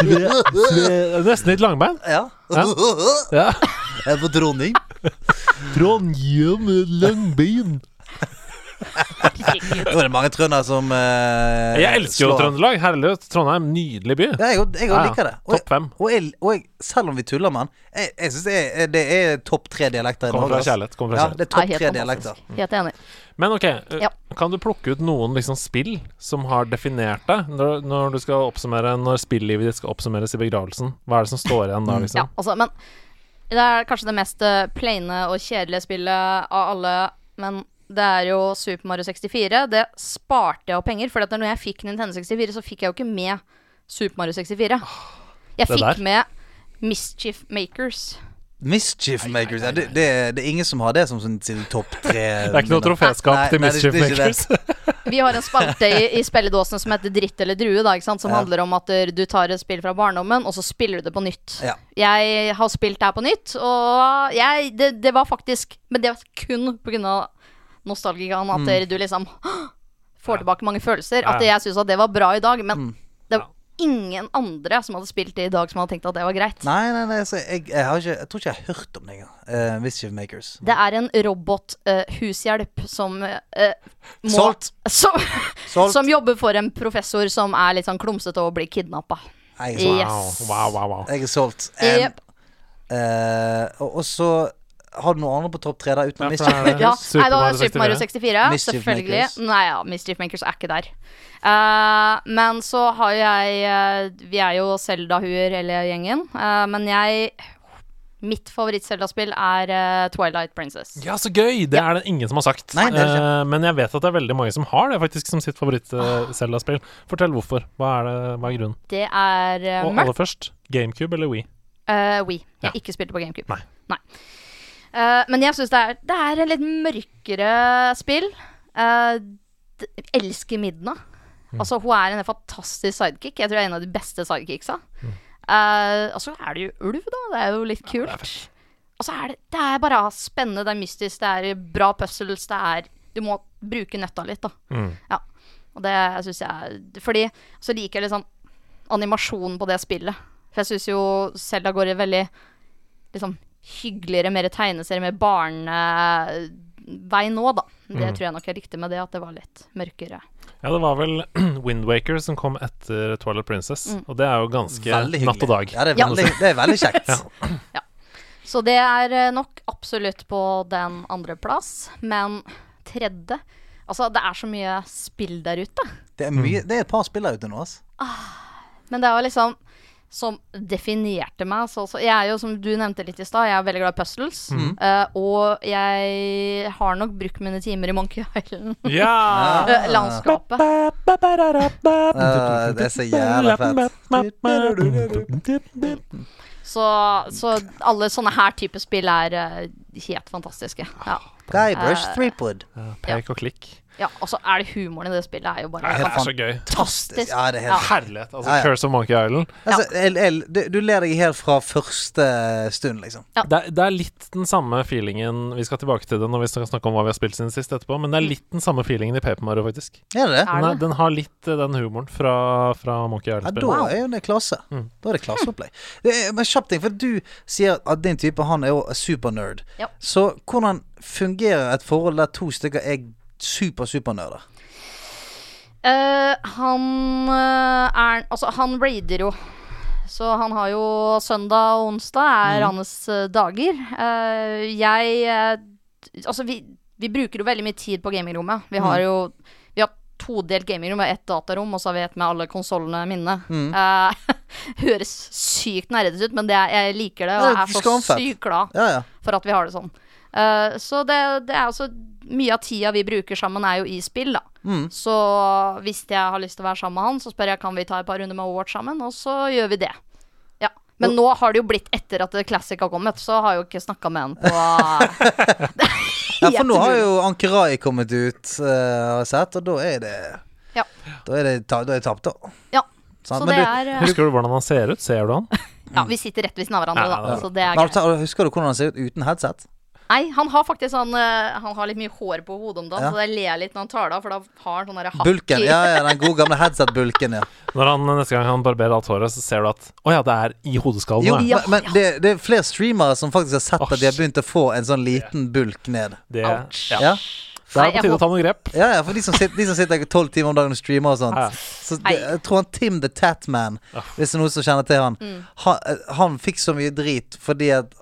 A: det er, det er Nesten litt langbein.
B: Ja.
A: Ja.
B: Jeg er Eh, på dronning.
A: Trondheim Langbein.
E: Herregud.
B: Nå er det mange trøndere som eh,
A: Jeg elsker jo
B: slår-
A: Trøndelag. Herlighet. Trondheim, nydelig by.
B: Ja, jeg òg jeg
A: Ja,
B: òg liker det. Og,
A: topp fem.
B: og, jeg, og jeg, selv om vi tuller med den, jeg, jeg syns det, er- det er topp tre dialekter i
A: Kommer
B: Norge.
A: fra
B: ass.
A: kjærlighet. Kommer fra
B: Ja,
A: kjærlighet.
B: det er topp
E: Nei,
B: tre
E: helt
B: dialekter.
E: fantastisk. Helt enig.
A: Men ok, eh,
E: Ja.
A: kan du plukke ut noen liksom spill som har definert deg? Når, når du skal oppsummere Når spillivet ditt skal oppsummeres i begravelsen, hva er det som står igjen da,
E: Ja,
A: liksom?
E: altså, men Det er kanskje det mest eh, plaine og kjedelige spillet av alle, men det er jo Super Mario 64. Det sparte jeg av penger, for at når jeg fikk Nintendo 64, så fikk jeg jo ikke med Super Mario 64.
A: det
E: Jeg fikk
A: der.
E: med Mischief Makers.
B: Mischief Makers. Ja, det, det, er- det er ingen som har det som sin sin topp tre.
A: Det er ikke noe troféskap
B: Nei,
A: til
B: nei, det-
A: Mischief
B: det er ikke
A: Makers.
E: Vi har en spalte i, i spilledåsene som heter Dritt eller drue, da, ikke sant? som
B: Ja.
E: handler om at eh, du tar et spill fra barndommen, og så spiller du det på nytt.
B: Ja.
E: Jeg har spilt det her på nytt, og jeg, det, det var faktisk Men det var kun pga. nostalgikaen
B: Mm.
E: at du liksom får tilbake mange følelser. At
A: Ja.
E: jeg syns at det var bra i dag, men
B: Mm.
E: det var ingen andre som hadde spilt det i dag, som hadde tenkt at det var greit.
B: Nei, nei, nei altså, jeg, jeg, har ikke, jeg tror ikke jeg har hørt om det engang. Eh, Mischief Makers.
E: Det er en robothushjelp som eh, må
B: Solgt.
E: Som,
B: Solgt.
E: som jobber for en professor som er litt sånn klumsete og blir kidnappa.
B: Jeg er solgt.
E: Yes.
A: Wow, wow, wow, wow.
B: Jeg er solgt. Em,
E: Jep.
B: eh, og, og så har du noe annet på topp tre, da,
A: Ja,
B: utenom
A: for
B: Mischief
A: det er-
B: Makers?
E: Ja,
A: Super
E: nei, det var
A: Mario
E: Super Mario 64.
B: Mischief
E: selvfølgelig.
B: Makers.
E: Nei, ja, Mischief Makers er ikke der. Eh, men så har jeg eh, Vi er jo Selda-huer, hele gjengen. Eh, men jeg Mitt favoritt-Selda-spill er eh, Twilight Princess.
A: Ja, så gøy! Det er det ingen som har sagt.
B: Nei, det er det ikke. Ah.
A: Eh, men jeg vet at det er veldig mange som har det faktisk som sitt favoritt-Selda-spill. Fortell hvorfor. Hva er, det, hva er grunnen?
E: Det er eh,
A: Og
E: mørkt.
A: aller først, GameCube eller Wii?
E: Uh, We.
A: Ja.
E: Jeg ikke spilte på GameCube.
A: Nei.
E: Eh, men jeg syns det, er- det er en litt mørkere spill. Eh, d- elsker Midna. Altså, hun er en fantastisk sidekick. Jeg tror jeg er en av de beste sidekicksa. Eh, og så er det jo ulv, da. Det er jo litt kult. og så er det, det er bare spennende, det er mystisk, det er bra puzzles, det er Du må bruke nøtta litt, da. Ja. Og det syns jeg Fordi så liker jeg litt sånn animasjonen på det spillet. For jeg syns jo Selda går i veldig liksom hyggeligere, mer tegneserie, mer barnevei nå, da. Det tror jeg nok jeg likte med det, at det var litt mørkere.
A: Ja, det var vel Windwaker som kom etter Twilight Princess,
B: Mm.
A: og det er jo ganske
B: Veldig
A: natt og
B: hyggelig.
A: dag.
B: Ja, det er
E: Ja.
B: veldig, det er veldig kjekt.
E: Så det er eh, nok absolutt på den andre plass, men tredje Altså, det er så mye spill der ute.
B: Det, er mye, det er et par spillere ute nå, altså.
E: Men det var liksom som definerte meg. Så, så jeg er jo, som du nevnte litt i stad, jeg er veldig glad i puzzles. eh, og jeg har nok brukt mine timer i Monkey Island.
B: Ah.
A: Ja!
E: eh, landskapet.
B: det er så jævla
A: fett.
E: Så, så alle sånne her type spill er eh, helt fantastiske. Ja.
B: Guybrush Threepwood.
A: Pek og klikk.
E: ja, Og så er det humoren i det spillet er jo bare
A: Nei, det er så gøy.
E: fantastisk.
B: Ja, det er helt
A: Herlighet. Altså,
B: Ja, ja.
A: Curse of Monkey Island.
B: altså, el, el, du, du ler deg helt fra første stund, liksom.
A: Det er, det er litt den samme feelingen Vi skal tilbake til det når vi skal snakke om hva vi har spilt siden sist etterpå, men det er litt den samme feelingen i Paper Mario, faktisk.
B: Er det det?
E: Mm. Er
A: Den, er,
E: det?
A: den har litt eh, den humoren fra, fra Monkey
B: Ja,
A: Island-spillet.
B: da er jo det klasse. Da er det klasseopplegg. Det er- Men kjapp ting, for du sier at din type, han er jo supernerd.
E: Ja.
B: Så hvordan fungerer et forhold der to stykker er super-supernerder?
E: Eh, han eh, er Altså, han raider jo. Så han har jo søndag og onsdag er hans eh, dager. Eh, jeg eh, Altså, vi, vi bruker jo veldig mye tid på gamingrommet. Vi har jo Vi har todelt gamingrom. Vi har ett datarom, og så har vi et med alle konsollene mine. Eh, høres sykt nerdete ut, men det er, jeg liker det. Og
B: Ja,
E: er så
B: skamfett.
E: sykt glad
B: Ja, ja.
E: for at vi har det sånn. Eh, så det, det er også Mye av tida vi bruker sammen, er jo i spill, da.
B: Mm.
E: Så hvis jeg har lyst til å være sammen med han, så spør jeg kan vi ta et par runder med Overwatch sammen, og så gjør vi det. Ja. Men nå har det jo blitt etter at Classic har kommet, så har jeg jo ikke snakka med han på
B: ja for nå har jo Ankerai kommet ut, eh, har jeg sett, og da er det
E: Ja.
B: Da er det, ta- da er det tapt, da.
E: ja.
B: Sant? Sånn,
E: Så
B: Men
E: det
B: du-
E: er eh,
A: Husker du hvordan han ser ut? Ser du han?
E: Ja, vi sitter rett ved siden av hverandre,
A: Ja, ja,
E: da,
A: ja.
E: så det er
B: Men har du
E: greit.
B: ta- Husker du hvordan han ser ut uten headset?
E: Nei, han har faktisk sånn eh, Han har litt mye hår på hodet om dagen,
B: Ja.
E: så jeg ler litt når han tar det av, for da har han sånn derre hakk
B: Bulken.
E: i-
B: Ja, ja, den gode gamle headset-bulken, ja.
A: Når han, neste gang han barberer alt håret, så ser du at Å ja, det er i hodeskallen.
B: Jo,
A: det.
B: men, men det, det er flere streamere som faktisk har sett
A: Åh,
B: at de har begynt å få en sånn liten bulk ned.
A: Det,
E: Ouch.
A: ja.
B: Ja,
A: det
E: Nei,
A: er på
E: jeg
A: tide å ta noen grep.
B: ja, ja for de som sitter, de som sitter tolv timer om dagen og streamer og
A: Ja.
B: sånt. Så det,
E: Nei.
B: jeg tror han Tim the Tatman,
A: Ja.
B: hvis det er noen som kjenner til han,
E: Mm.
B: han, eh, han fikk så mye drit fordi at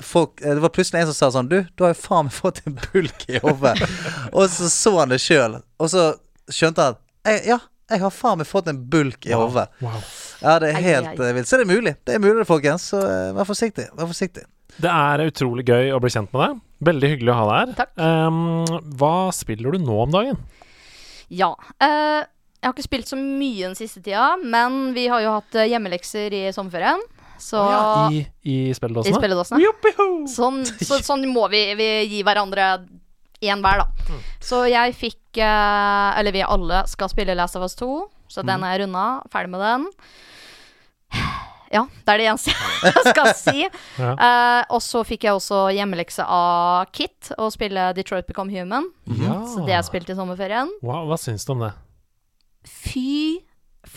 B: Folk, eh, det var plutselig en som sa sånn Du, du har jo faen meg fått en bulk i hodet. og så så han det sjøl, og så skjønte han at «Jeg- Ja, jeg har faen meg fått en bulk i hodet.
A: Wow.
B: Ja, det er
E: Ai,
B: helt
E: ai.
B: eh, vilt. Så det er mulig. Det er mulig, folkens. Så eh, vær forsiktig. Vær forsiktig.
A: Det er utrolig gøy å bli kjent med deg. Veldig hyggelig å ha deg her.
E: Takk.
A: Ehm, hva spiller du nå om dagen?
E: Ja. eh, jeg har ikke spilt så mye den siste tida, men vi har jo hatt eh, hjemmelekser i sommerferien. Så
A: I, i
E: I
A: spilledåsene?
E: spilledåsene. Sånn, så, sånn må vi, vi gi hverandre én hver, da.
A: Mm.
E: Så jeg fikk eh, Eller vi alle skal spille Last of Us 2, så
A: Mm.
E: den er runda. Ferdig med den. Ja, det er det eneste jeg skal si.
A: Ja.
E: Eh, og så fikk jeg også hjemmelekse av Kit å spille Detroit Become Human.
A: Ja.
E: Mm-hmm. Så det har jeg spilt i sommerferien.
A: Wow, hva syns du om det?
E: Fy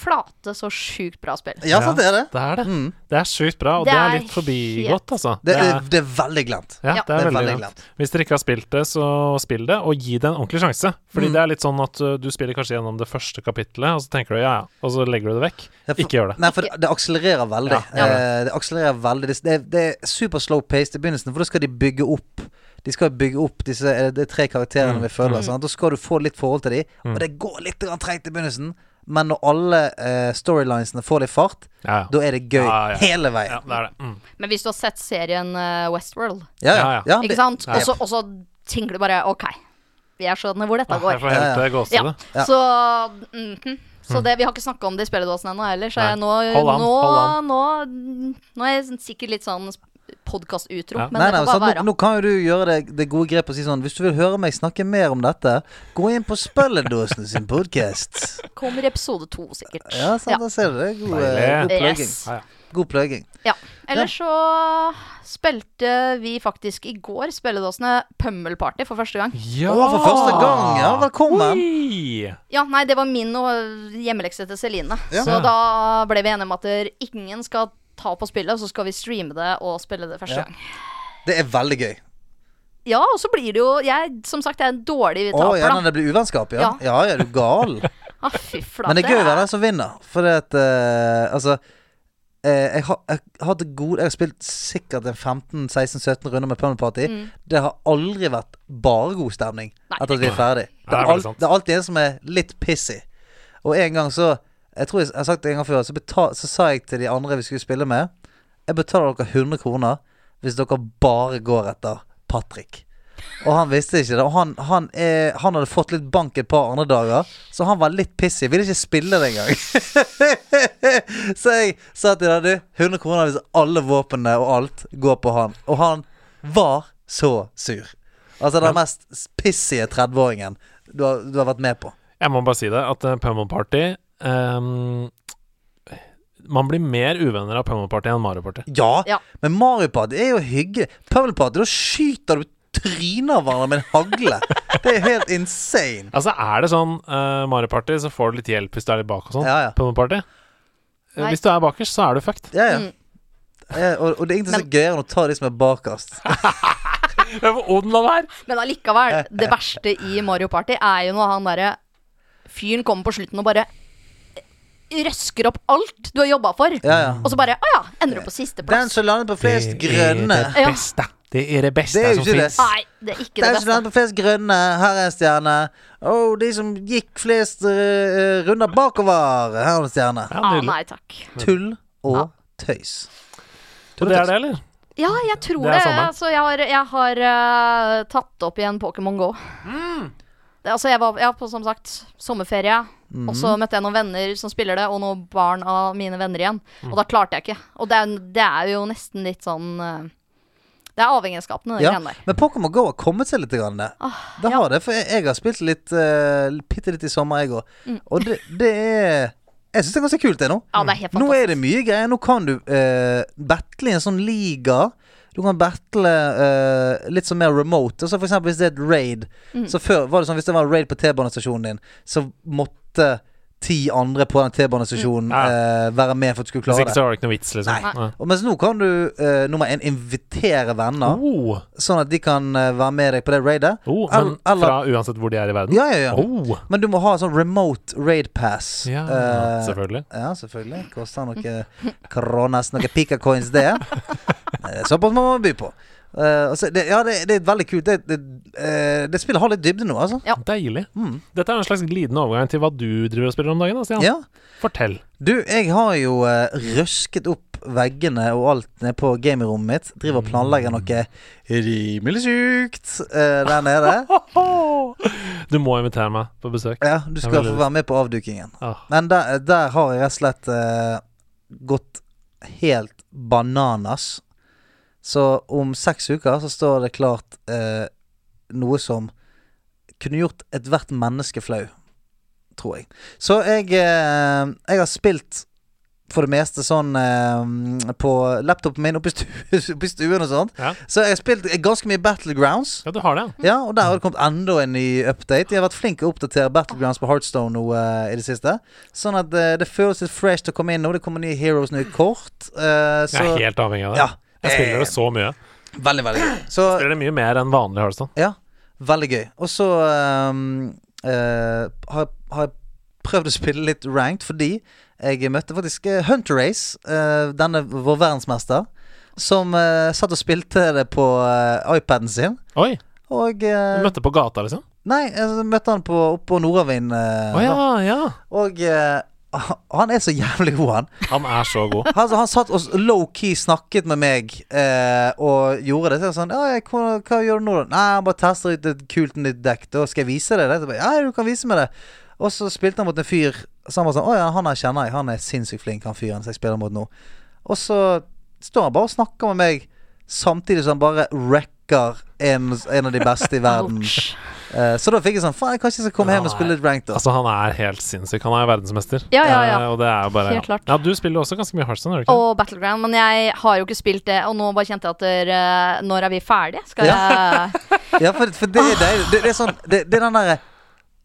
E: flate, så sjukt bra spill.
B: Ja, sant det er det.
A: Det er det.
B: Mm.
A: Det er sjukt bra, og det
E: Det
A: er
E: er
A: litt forbigått, altså.
B: Det, er, det er veldig glemt.
A: Ja,
E: Ja.
A: det er veldig glemt. Hvis dere ikke har spilt det, så spill det, og gi det en ordentlig sjanse. Fordi
B: Mm.
A: det er litt sånn at uh, du spiller kanskje gjennom det første kapitlet, og så tenker du ja, ja, og så legger du det vekk.
B: Ja, for-
A: Ikke gjør det.
B: Nei, for det, det akselererer
A: Ja,
B: veldig.
A: ja.
B: Eh, det akselererer veldig Det, det, er- det er super slow paced i begynnelsen, for da skal de bygge opp De skal bygge opp disse eh, de tre karakterene
A: Mm.
B: vi følger.
E: Mm.
B: Sant? Da skal du få litt forhold til dem, og det går litt grann tregt i begynnelsen. Men når alle eh, storylinesene får litt fart,
A: Ja, ja.
B: da er det gøy
A: Ja, ja.
B: hele
A: ja
B: veien.
A: det er det. Mm.
E: Men hvis du har sett serien eh, Westworld,
B: Ja, ja.
A: Ja, ja.
B: ja,
E: ikke sant?
A: ja.
E: Og så- Og så tenker du bare OK, jeg skjønner hvor dette
A: Åh, jeg
E: går.
A: får helt
B: Ja,
A: ja,
E: Ja,
A: gåsehud.
B: Ja.
E: Så mhm. Så det, vi har ikke snakka om det i spilledåsen ennå heller, så jeg,
A: Nei.
E: nå,
A: Hold an,
E: nå,
A: hold
E: nå, nå er jeg sånn sikkert litt sånn podkast-utro,
A: Ja.
E: men
B: nei, nei,
E: det får
B: sant?
E: bare være.
B: Nå, nå kan jo du gjøre det, det gode grepet og si sånn Hvis du vil høre meg snakke mer om dette, gå inn på Spelledåsen sin podkast.
E: Kommer episode to, sikkert.
B: Ja, sant, da ser du det. God, eh,
A: Deilig.
B: god pløgging.
E: Yes.
A: Ja, ja.
B: God pløgging.
E: Ja. Ellers så spilte vi faktisk i går spilledåsene Pømmelparty for første gang.
A: Ja! Ah.
B: Å, for første gang! Ja, velkommen.
A: Oi!
E: Ja, nei, det var min og hjemmelekse til Celine.
B: Ja.
E: Så da ble vi enige om at der- ingen skal ta på spillet, og så skal vi streame det og spille det første
B: Ja.
E: gang.
B: Det er veldig gøy.
E: Ja, og så blir det jo jeg, Som sagt, jeg er en dårlig
B: Å,
E: taper,
B: ja,
E: da.
B: når det blir uvennskap, ja. Ja, ja, du er gal.
E: Ah, fy flate.
B: Men det er gøy å være den som vinner, for det at eh, Altså eh, jeg, har, jeg har til gode Jeg har spilt sikkert en 15-16-17 runder med Pummel Party. Det har aldri vært bare god stemning
E: Nei.
B: etter at vi er ferdig.
A: Det
B: Det
A: er
B: er,
A: veldig
B: alt,
A: sant.
B: det er alltid en som er litt pissy. Og en gang så Jeg tror jeg, jeg har sagt det en gang før, så, betal, så sa jeg til de andre vi skulle spille med Jeg betaler dere 100 kroner hvis dere bare går etter Patrick. Og han visste ikke det. Og han, han, eh, han hadde fått litt bank et par andre dager, så han var litt pissig. Ville ikke spille det engang. så jeg sa til ham du, 100 kroner hvis alle våpnene og alt går på han. Og han var så sur. Altså den mest pissige 30-åringen du, har- du har vært med på.
A: Jeg må bare si det, at uh, Pummel Party ehm, Man blir mer uvenner av Pummel Party enn Mario Party.
B: Ja,
E: Ja.
B: men Mario Party er jo hyggelig. Pummel Party, da skyter du trynet av hverandre med en hagle. Det er helt insane.
A: Altså, er det sånn eh, Mario Party, så får du litt hjelp hvis du er litt bak og sånn.
B: Ja, ja.
A: Pummel Party eh,
E: Nei.
A: Hvis du er bakerst, så er du fucked.
B: Ja, ja. Eh, og, og det er ingenting som er gøyere enn å ta de som er bakerst.
A: Odenland her!
E: Men allikevel, det verste i Mario Party er jo når han derre fyren kommer på slutten og bare røsker opp alt du har jobba for,
B: Ja, ja.
E: og så bare Å ja, ender du på
B: Den
E: sisteplass.
B: som lander på flest grønne
E: Ja.
A: beste. Det er det beste
B: Det er jo ikke det.
A: finnes.
E: Nei, det er ikke det
B: Den som
E: beste.
B: lander på flest grønne, her er en stjerne. Og de som gikk flest eh, runder bakover, her er en stjerne.
A: Ja,
E: Ah,
A: nydelig.
E: nei takk.
B: Tull og tøys.
A: Så det er det, eller?
E: Ja, jeg tror
A: Det er
E: det.
A: samme.
E: Altså, jeg har, jeg har eh, tatt opp igjen Pokémon Go.
B: Mm.
E: Det, altså, jeg var ja, på som sagt sommerferie,
B: Mhm.
E: og så møtte jeg noen venner som spiller det, og noen barn av mine venner igjen.
B: Mm.
E: Og da klarte jeg ikke. Og det er, det er jo nesten litt sånn eh, Det er avhengighetsskapende, de
B: Ja,
E: greiene der.
B: men Pokémon Go har kommet seg litt. Grann, det. det har det, for jeg, jeg har spilt litt uh, bitte litt i sommer, jeg òg. Og det, det er Jeg syns det er ganske kult, det nå.
E: Ja, det er helt
B: Nå
E: fantastisk.
B: er det mye greier. Nå kan du eh, battle i en sånn liga. Du kan battle eh, litt sånn mer remote. Altså for eksempel hvis det er et raid. Så før var det sånn Hvis det var raid på T-banestasjonen din, så måtte ti andre på den T-banestasjonen
A: Mm. Ja.
B: eh, være med for at du skulle
A: Hvis
B: klare
A: ikke så
B: det.
A: var det ikke noe vits, liksom.
B: Nei. Og mens nå kan du eh, nummer én invitere venner,
A: Oh,
B: sånn at de kan eh, være med deg på det raidet.
A: oh,
B: Al-
A: men
B: eller-
A: fra uansett hvor de er i verden?
B: Ja, ja, ja.
A: Oh,
B: Men du må ha sånn remote raid pass.
A: ja,
B: Eh,
A: selvfølgelig.
B: Ja, selvfølgelig. Koster noen kronas, noen pikacoins, det. Eh, Såpass må man by på. Eh, altså, det, ja, det, det er veldig kult. Det, det, eh, det spillet har litt dybde nå, altså.
A: Deilig.
B: Mm.
A: Dette er en slags glidende overgang til hva du driver og spiller om dagen, da, Stian.
B: Ja.
A: Fortell.
B: Du, jeg har jo eh, røsket opp veggene og alt nede på gamingrommet mitt. Driver og
A: Mm.
B: planlegger noe rimelig sykt eh, der nede.
A: Du må invitere meg på besøk.
B: Ja, du skal
A: veldig
B: få
A: lyst.
B: være med på avdukingen.
A: Ah.
B: Men der, der har jeg rett og slett eh, gått helt bananas. Så om seks uker så står det klart eh, noe som kunne gjort ethvert menneske flau. Tror jeg. Så jeg, eh, jeg har spilt for det meste sånn eh, på laptopen min oppe i, stu oppe i stuen og sånt.
A: Ja.
B: Så jeg har spilt ganske mye Battlegrounds.
A: ja, du har det.
B: Ja, og der har det kommet enda en ny update. De har vært flinke å oppdatere Battlegrounds på Heartstone nå eh, i det siste. Sånn at eh, det føles litt fresh til å komme inn nå. Det kommer nye Heroes nå i kort. eh, så
A: Jeg er helt avhengig av det.
B: Ja.
A: Jeg spiller
B: Eh,
A: det så mye.
B: Veldig, veldig gøy. Så
A: Jeg spiller det sånn. mye mer enn vanlig Hearthstone.
B: ja, veldig gøy. Og så eh, eh, har, har jeg prøvd å spille litt ranked fordi jeg møtte faktisk eh, Hunter Race, eh, denne vår verdensmester, som eh, satt og spilte det på eh, iPaden sin.
A: Oi!
B: Og eh,
A: Du møtte på gata, liksom?
B: Nei, jeg møtte han på, oppe på Nordavind. eh,
A: Å ja, ja.
B: Og eh, han er så jævlig god, han.
A: Han er så god.
B: Altså, han satt og low-key snakket med meg eh, og gjorde det. Så jeg sånn «Ja, jeg, hva, 'Hva gjør du nå?' da?» 'Nei, jeg bare tester ut et kult nytt dekk. Da skal jeg vise deg det?' Så jeg bare, 'Ja, du kan vise meg det.' Og så spilte han mot en fyr. Så han var sånn 'Å ja, han her kjenner jeg. Han er sinnssykt flink, han fyren som jeg spiller mot nå.' Og så står han bare og snakker med meg, samtidig som han bare wrecker en, en av de beste i verden.
E: Ouch.
B: Eh, så da fikk jeg sånn Faen, jeg kanskje skal komme hjem og spille litt ranked, da.
A: Altså, han er helt sinnssyk. Han er jo verdensmester.
E: Ja, ja, ja.
A: Eh, og det er jo bare
E: Helt klart.
A: Ja, du spiller jo også ganske mye Hearthstone, gjør du ikke?
E: Og Battleground, men jeg har jo ikke spilt det. Og nå bare kjente jeg at dere, eh, Når er vi ferdige? Skal jeg
B: Ja, for, for det er deilig. Det, det er sånn Det, det er den derre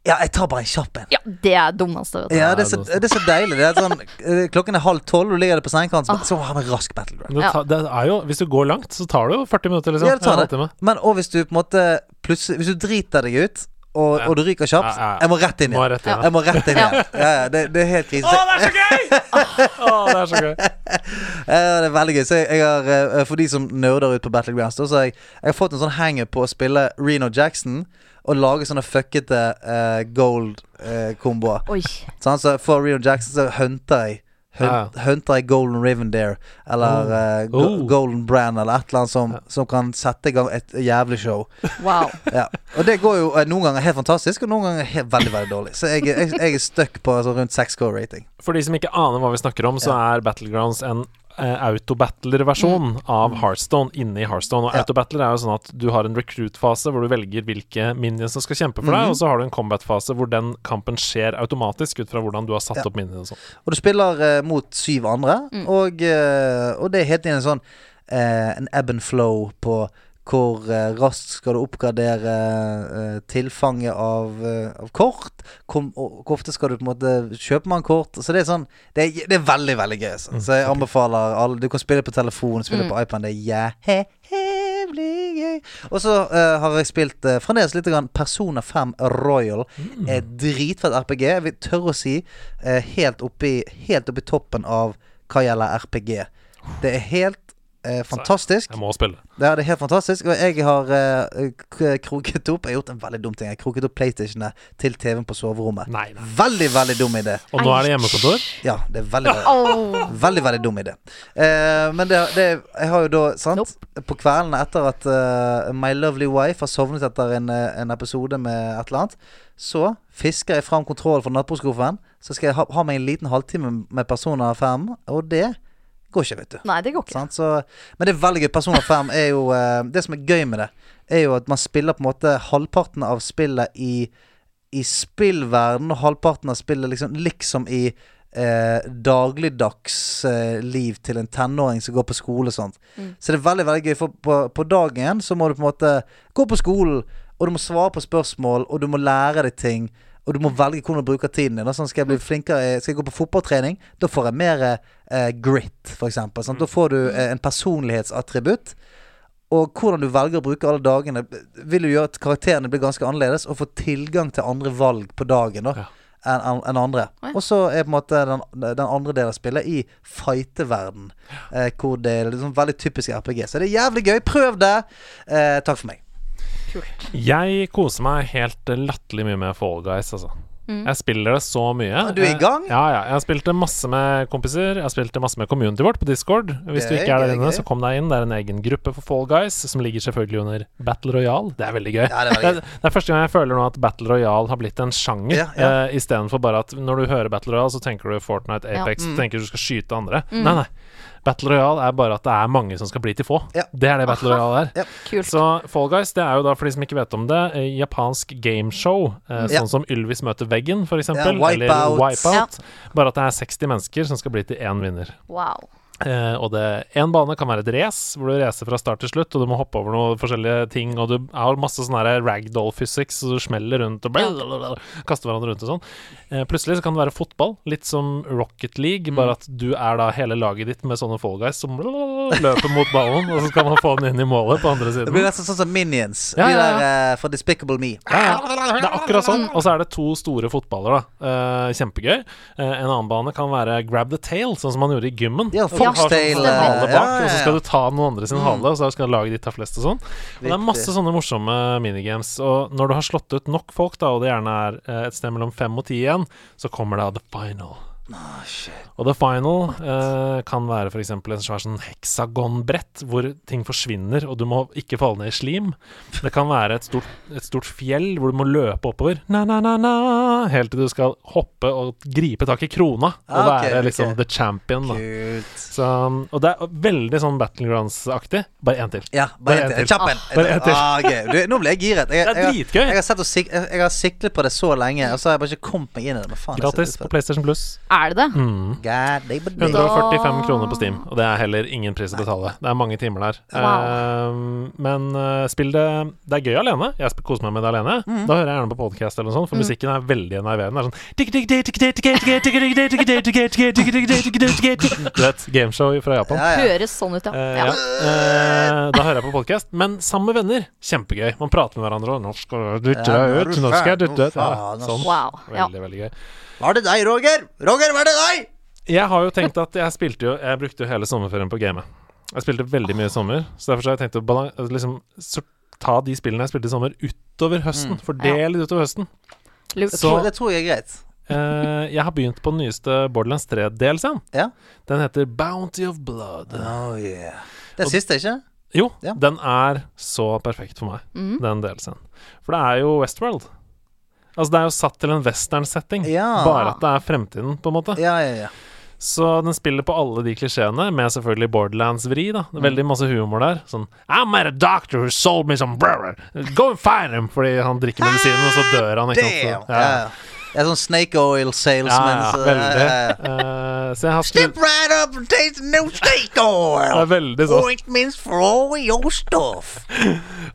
B: Ja, jeg tar bare en kjapp en.
E: Ja, det er dummeste, vet du.
B: Ja, det er, så, det er så deilig. Det er sånn, eh, klokken er halv tolv, du ligger der på sengekanten, så
A: Ah.
B: bare- så har vi rask battleground.
A: Men Det,
E: Ja.
A: tar, det er jo, hvis du går langt, så tar det jo 40 minutter, liksom.
B: Ja, det tar
A: En
B: det.
A: halvtime.
B: Men og hvis du på en måte plutselig Hvis du driter deg ut, og, og du ryker
A: Ja,
B: kjapt,
A: ja, ja.
B: jeg må rett inn
A: Må
B: igjen.
A: rett inn, ja.
B: Jeg må rett inn igjen. Ja, ja, det, det er helt krise.
A: Å, det er så gøy! Å, det er så gøy.
B: Ja, det er veldig gøy. Så jeg, jeg har, eh, for de som nerder ut på Battlegrounds, da, så har jeg, jeg har fått en sånn hangup på å spille Reno Jackson og lage sånne fuckete eh, gold-komboer.
E: Oi.
B: Sånn, så for Reno Jackson så hunter jeg hun- Hunter jeg Golden Rivendare eller eh, Go
A: Oh.
B: Golden Brand eller et eller annet som, som kan sette i gang et jævlig show.
E: Wow.
B: Ja. Og det går jo eh, noen ganger helt fantastisk, og noen ganger helt, veldig veldig dårlig. Så jeg, jeg, jeg er stuck på altså, rundt 6K-rating.
A: For de som ikke aner hva vi snakker om, så er Battlegrounds en eh, autobattler-versjon av Heartstone inni Heartstone. Og
B: Mm. Ja.
A: autobattler er jo sånn at du har en recruit-fase hvor du velger hvilke minions som skal kjempe for
B: Mm.
A: deg, og så har du en combat-fase hvor den kampen skjer automatisk ut fra hvordan du har satt
B: Ja.
A: opp minions og sånn.
B: Og du spiller eh, mot syv andre, og, eh, og det er helt inn en sånn eh, En ebb and flow på hvor eh, raskt skal du oppgradere eh, tilfanget av, eh, av kort? Kom, og, hvor ofte skal du på en måte kjøpe man kort? Så det er sånn Det er, det er veldig, veldig gøy. altså. Så, så jeg anbefaler alle Du kan spille på telefon, spille på iPad. Det er jævlig gøy. Og så eh, har jeg spilt uh, fremdeles litt grann Persona 5 Royal. Eh, dritfett RPG. Jeg vil tørre å si eh, helt, oppi, helt oppi toppen av hva gjelder RPG. Det er helt eh, fantastisk.
A: Jeg må spille.
B: Ja, det er helt fantastisk. Og jeg har eh, k- kroket opp Jeg har gjort en veldig dum ting. Jeg har kroket opp PlayStationene til TV-en på soverommet.
A: Nei, nei.
B: Veldig, veldig dum idé.
A: Og nå er det hjemmekontor.
B: Ja, det er veldig, veldig
E: Oh.
B: Veldig, veldig dum idé. Eh, men det, det Jeg har jo da, sant På kveldene etter at eh, my lovely wife har sovnet etter en, eh, en episode med et eller annet, så fisker jeg fram kontrollen fra nattbordskuffen. Så skal jeg ha, ha meg en liten halvtime med Persona 5, og det går ikke, vet du.
E: Nei, det går ikke.
B: Sant? Så, men det er veldig gøy. Persona 5 er jo eh, Det som er gøy med det, er jo at man spiller på en måte halvparten av spillet i I spillverden, og halvparten av spillet liksom, liksom i eh, dagligdags eh, liv til en tenåring som går på skole og sånt.
E: Mm.
B: Så det er veldig veldig gøy, for på, på dagen så må du på en måte gå på skolen, og du må svare på spørsmål, og du må lære deg ting. Og du må velge hvordan du bruker tiden din. da. Sånn, skal jeg bli
A: Mm.
B: flinkere Skal jeg gå på fotballtrening? Da får jeg mer eh, grit, f.eks. Sånn.
A: Mm.
B: Da får du eh, en personlighetsattributt. Og hvordan du velger å bruke alle dagene, vil jo gjøre at karakterene blir ganske annerledes, og får tilgang til andre valg på dagen da
A: Ja.
B: enn enn andre.
E: Å ja.
B: Og så er på en måte den, den andre delen av spillet i fighteverden, eh, hvor det er liksom veldig typisk RPG. Så det er jævlig gøy. Prøv det! Eh, takk for meg.
E: Kult.
A: Jeg koser meg helt latterlig mye med Fall Guys, altså. Jeg spiller det så mye.
B: du er i gang?
A: Ja, ja. Jeg har spilt det masse med kompiser. Jeg har spilt det masse med community vårt på Discord. Hvis du
B: Gøy,
A: ikke er der
B: gøy,
A: inne,
B: gøy.
A: så kom deg inn. Det er en egen gruppe for Fall Guys, som ligger selvfølgelig under Battle Royale. Det er veldig gøy.
B: Ja, det er veldig gøy.
A: det, er første gang jeg føler nå at Battle Royale har blitt en sjanger,
B: Ja, ja.
A: eh, istedenfor bare at når du hører Battle Royale, så tenker du Fortnite,
B: Mm.
E: Ja. Mm.
A: Apex, du tenker du skal skyte andre. Nei, nei. Battle Royale er bare at det er mange som skal bli til få.
B: Ja.
A: Det er det Battle Royale er.
B: Ja.
E: Kult.
A: Så Fall Guys, det er jo da for de som ikke vet om det, eh, japansk gameshow. Eh,
B: Mm. Ja.
A: Sånn som Ylvis møter veggen, for eksempel.
B: Ja, Wipeout.
A: Eller Wipeout. Bare at det er 60 mennesker som skal bli til én vinner.
E: Wow.
A: Eh, og det én bane kan være et race, hvor du racer fra start til slutt, og du må hoppe over noen forskjellige ting, og du har masse sånn her ragdoll physics, så du smeller rundt og blablabla, kaster hverandre rundt og sånn. Eh, plutselig så kan det være fotball, litt som Rocket League, bare at du er da hele laget ditt med sånne fall guys som blablabla, løper mot ballen, og så skal man få den inn i målet på andre
B: Det
A: siden.
B: blir nesten sånn som Minions.
A: Ja,
B: De
A: ja,
B: der eh, fra Despicable Me.
A: Ja, ja. Det er akkurat sånn. Og så er det to store fotballer, da. Eh, kjempegøy. Eh, en annen bane kan være grab the tail, sånn som man gjorde i gymmen.
B: Ja,
A: Folk har sånn
B: foxtail,
A: hale
B: eh,
A: bak,
B: ja, ja,
A: Og så
B: ja. Mm.
A: skal du ta noen andre sin hale, og så skal laget ditt ta flest og sånn. Og det er masse sånne morsomme minigames. Og når du har slått ut nok folk, da, og det gjerne er eh, et sted mellom fem og ti igjen, så kommer da the final. Og the final eh, kan være f.eks. en svær sånn heksagonbrett hvor ting forsvinner, og du må ikke falle ned i slim. Det kan være et stort, et stort fjell hvor du må løpe oppover na, na, na, na, helt til du skal hoppe og gripe tak i krona og
B: Ah, ok,
A: være liksom
B: ok.
A: the champion. Da.
B: Kult.
A: Så, og det er veldig sånn Battlegrounds-aktig. Bare én til.
B: Ja, bare en til. Kjapp en.
A: Bare en til.
B: Ah, gøy. Du, nå ble jeg giret. Jeg,
A: Det er
B: jeg,
A: dritgøy.
B: jeg, har sett og sik jeg, jeg har siklet på det så lenge, og så har jeg bare ikke kommet meg inn i det. Men faen, jeg
A: Gratis
B: sitter
A: på
B: for-
A: PlayStation Plus. Mm.
E: Er det det?
B: God damn it.
A: 145
E: Da-
A: kroner på Steam, og det er heller ingen pris å betale. Det er mange timer der. Ehm, men eh, spill det Det er gøy alene. Jeg sp- koser meg med det alene.
B: Mm.
A: Da hører jeg gjerne på podkast eller noe sånt, for musikken er sånn veldig enerverende. Det er sånn Du vet, gameshow fra Japan.
B: Ja, ja.
E: Høres sånn ut,
A: Eh,
E: ja.
A: ja.
E: ja.
A: Eh, da hører jeg på podkast. Men sammen med venner, kjempegøy. Man prater med hverandre og 'Nå skal jeg dytte
B: Ja, nå er
A: deg
B: du
A: ut', 'Nå skal jeg
B: faen,
A: dytte
B: nå
A: deg ut'. Ja,
B: faen, ass.
A: sånn.
E: Wow. Ja.
A: Veldig, veldig gøy.
B: Var det deg, Roger? Roger, var det deg?
A: Jeg har jo tenkt at jeg spilte jo Jeg brukte jo hele sommerferien på å game. Jeg spilte veldig mye i sommer, så derfor så har jeg tenkt å balan- at liksom, så ta de spillene jeg spilte i sommer, utover
B: Mm.
A: høsten. Fordel litt utover høsten.
E: Lurt.
A: Så-
B: Det tror jeg er greit.
A: Eh, jeg har begynt på den nyeste Borderlands 3-delscenen.
B: Ja.
A: Den heter Bounty of Blood.
B: Oh, yeah. Det er siste, ikke?
A: Jo,
B: Ja. Mm.
A: den er så perfekt for meg, den delscenen. For det er jo Westworld. Altså, det er jo satt til en western-setting,
B: Ja.
A: bare at det er fremtiden, på en måte.
B: Ja, ja, ja.
A: Så den spiller på alle de klisjeene, med selvfølgelig Borderlands-vri. da Det er
B: Mm.
A: Veldig masse humor der. Sånn I met a doctor who sold me some brother. Go and find him! Fordi han drikker medisinen, og så dør han. Ikke
B: Ah, Damn!
A: sant? Så-
B: Ja. Ja. Det er sånn snake oil
A: ja,
B: salesman.
A: ja,
B: så-
A: veldig.
B: ja, ja.
A: Eh, så jeg har
B: Step
A: skrevet
B: right up and taste the new snake
A: det er
B: oil!
A: veldig sånn.
B: Ointments for all your stuff.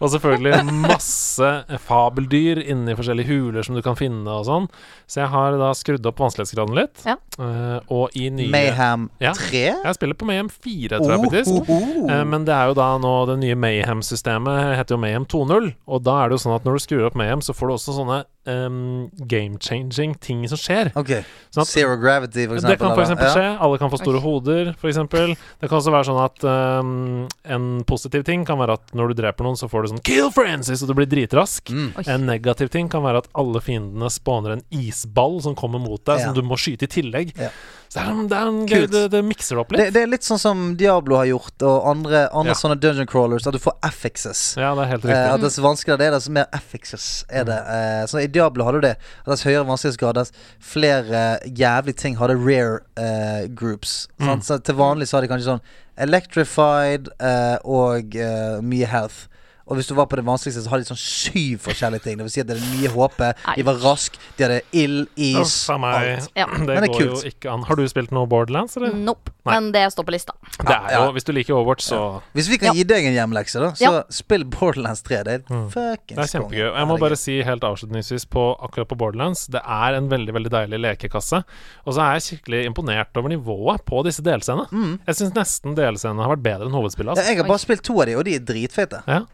A: Og selvfølgelig masse fabeldyr inni forskjellige huler som du kan finne og sånn. Så jeg har da skrudd opp vanskelighetsgraden litt.
E: Ja.
A: Eh, og i nye
B: Mayhem
A: Ja.
B: 3?
A: Jeg spiller på Mayhem 4, tror jeg faktisk.
B: Ohoho.
A: Eh, Men det er jo da nå det nye Mayhem-systemet heter jo Mayhem 2.0. Og da er det jo sånn at når du skrur opp Mayhem, så får du også sånne ehm, game-changing ting som skjer.
B: Ok.
A: Sånn at-
B: Zero Gravity, for eksempel.
A: det kan for
B: eller?
A: eksempel
B: Ja.
A: skje. Alle kan få store hoder, for eksempel. Det kan også være sånn at ehm, en positiv ting kan være at når du dreper noen, så får du sånn Kill Francis, og du blir
B: Mm.
A: dritrask.
E: Oi.
A: En negativ ting kan være at alle fiendene spawner en isball som kommer mot deg,
B: Ja.
A: som du må skyte i tillegg.
B: Ja.
A: Så det er, en- det er en gøy
B: Kult.
A: det, det mikser det opp litt.
B: Det, det er litt sånn som Diablo har gjort, og andre, andre
A: Ja.
B: sånne dungeon crawlers, at du får affixes.
A: Ja, det er helt
B: Eh,
A: riktig. Mm.
B: at dess vanskeligere det er, dess mer effixes er det. Eh, så I Diablo hadde du det. At dess høyere vanskelighetsgrad, dess flere eh, jævlige ting hadde rare eh, groups.
A: Mm.
B: Sant? Så til vanlig så har de kanskje sånn electrified eh, og eh, mye health. Og hvis du var på det vanskeligste, så hadde de sånn syv forskjellige ting. Det vil si at det er mye håpe, de var rask, de hadde ild, is,
A: Uff a meg.
B: alt.
E: Ja.
A: Det
B: Men det er
A: går
B: kult.
A: jo ikke an. Har du spilt noe Borderlands, eller?
B: Mm.
E: Nope.
A: Nei.
E: Men det står på lista.
A: Det er jo,
B: ja.
A: Hvis du liker Overwatch, så
B: Hvis vi kan gi deg en hjemlekse, da, så
E: Ja.
B: spill Borderlands 3. Det er
A: Mm.
B: fuckings
A: Det er kjempegøy.
B: konge.
A: Og jeg må
B: Herregud.
A: bare si helt avslutningsvis på akkurat på Borderlands Det er en veldig veldig deilig lekekasse. Og så er jeg skikkelig imponert over nivået på disse delscenene. Jeg syns nesten delscenene har vært bedre enn hovedspillet.
B: Mm. ja,
A: Altså.
B: Jeg har bare spilt to av de, og de er dritfete.
A: Ja.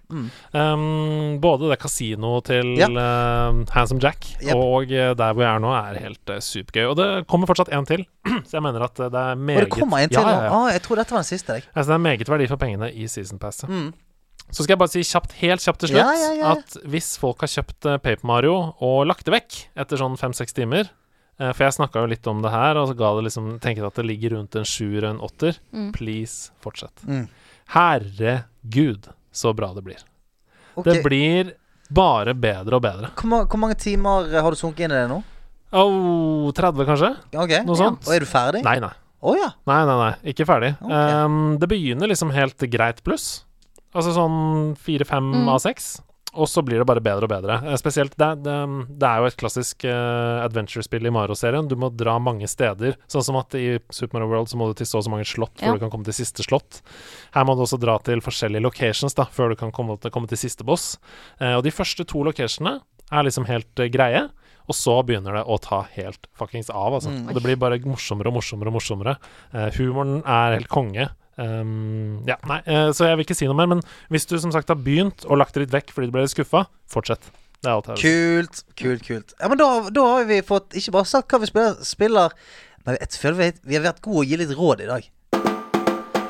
A: Um, både det kasinoet til
B: Ja.
A: eh, Handsome Jack
B: Jep.
A: og eh, der hvor jeg er nå, er helt eh, supergøy. Og det kommer fortsatt en til, så jeg mener at eh, det er
B: Og
A: meget
B: det kommer en til.
A: Ja, ja,
B: nå.
A: ja.
B: Ah, jeg tror dette var den siste. Jeg. Mm.
A: Altså, det er meget verdi for pengene i season passet. Så skal jeg bare si kjapt, helt kjapt til slutt
B: Ja, ja, ja, ja.
A: at hvis folk har kjøpt eh, Paper Mario og lagt det vekk etter sånn fem-seks timer eh, For jeg snakka jo litt om det her, og så ga det liksom tenker jeg at det ligger rundt en sjuer og en åtter. Please, fortsett.
B: Mm.
A: Herregud, så bra det blir.
B: Ok.
A: Det blir bare bedre og bedre.
B: Hvor, ma- hvor mange timer eh, har du sunket inn i det nå?
A: Au, 30 kanskje?
B: Ok,
A: Noe sånt.
B: Og er du ferdig?
A: Nei, nei.
B: Å ja.
A: Nei, nei, nei, ikke ferdig.
B: Ok.
A: Ehm, det begynner liksom helt greit pluss. Altså sånn fire-fem
E: Mm.
A: av seks. Og så blir det bare bedre og bedre. Eh, Spesielt det, det, det er jo et klassisk eh, adventure-spill i Mario-serien. Du må dra mange steder. Sånn som at i Super Mario World så må du til så og så mange slott før
E: Ja.
A: du kan komme til siste slott. Her må du også dra til forskjellige locations da før du kan komme til, komme til siste boss. Eh, og de første to locationene er liksom helt eh, greie. Og så begynner det å ta helt fuckings av, altså.
E: Mm.
A: Og det blir bare morsommere og morsommere og morsommere. Eh, humoren er helt konge. Um, ja, nei, eh, så jeg vil ikke si noe mer, men hvis du som sagt har begynt og lagt det litt vekk fordi du ble litt skuffa, fortsett. Det er alt jeg vil si.
B: Kult, kult, kult. Ja, men da, da har vi fått ikke bare sagt hva vi spiller, spiller men jeg føler vi, vi har vært gode å gi litt råd i dag.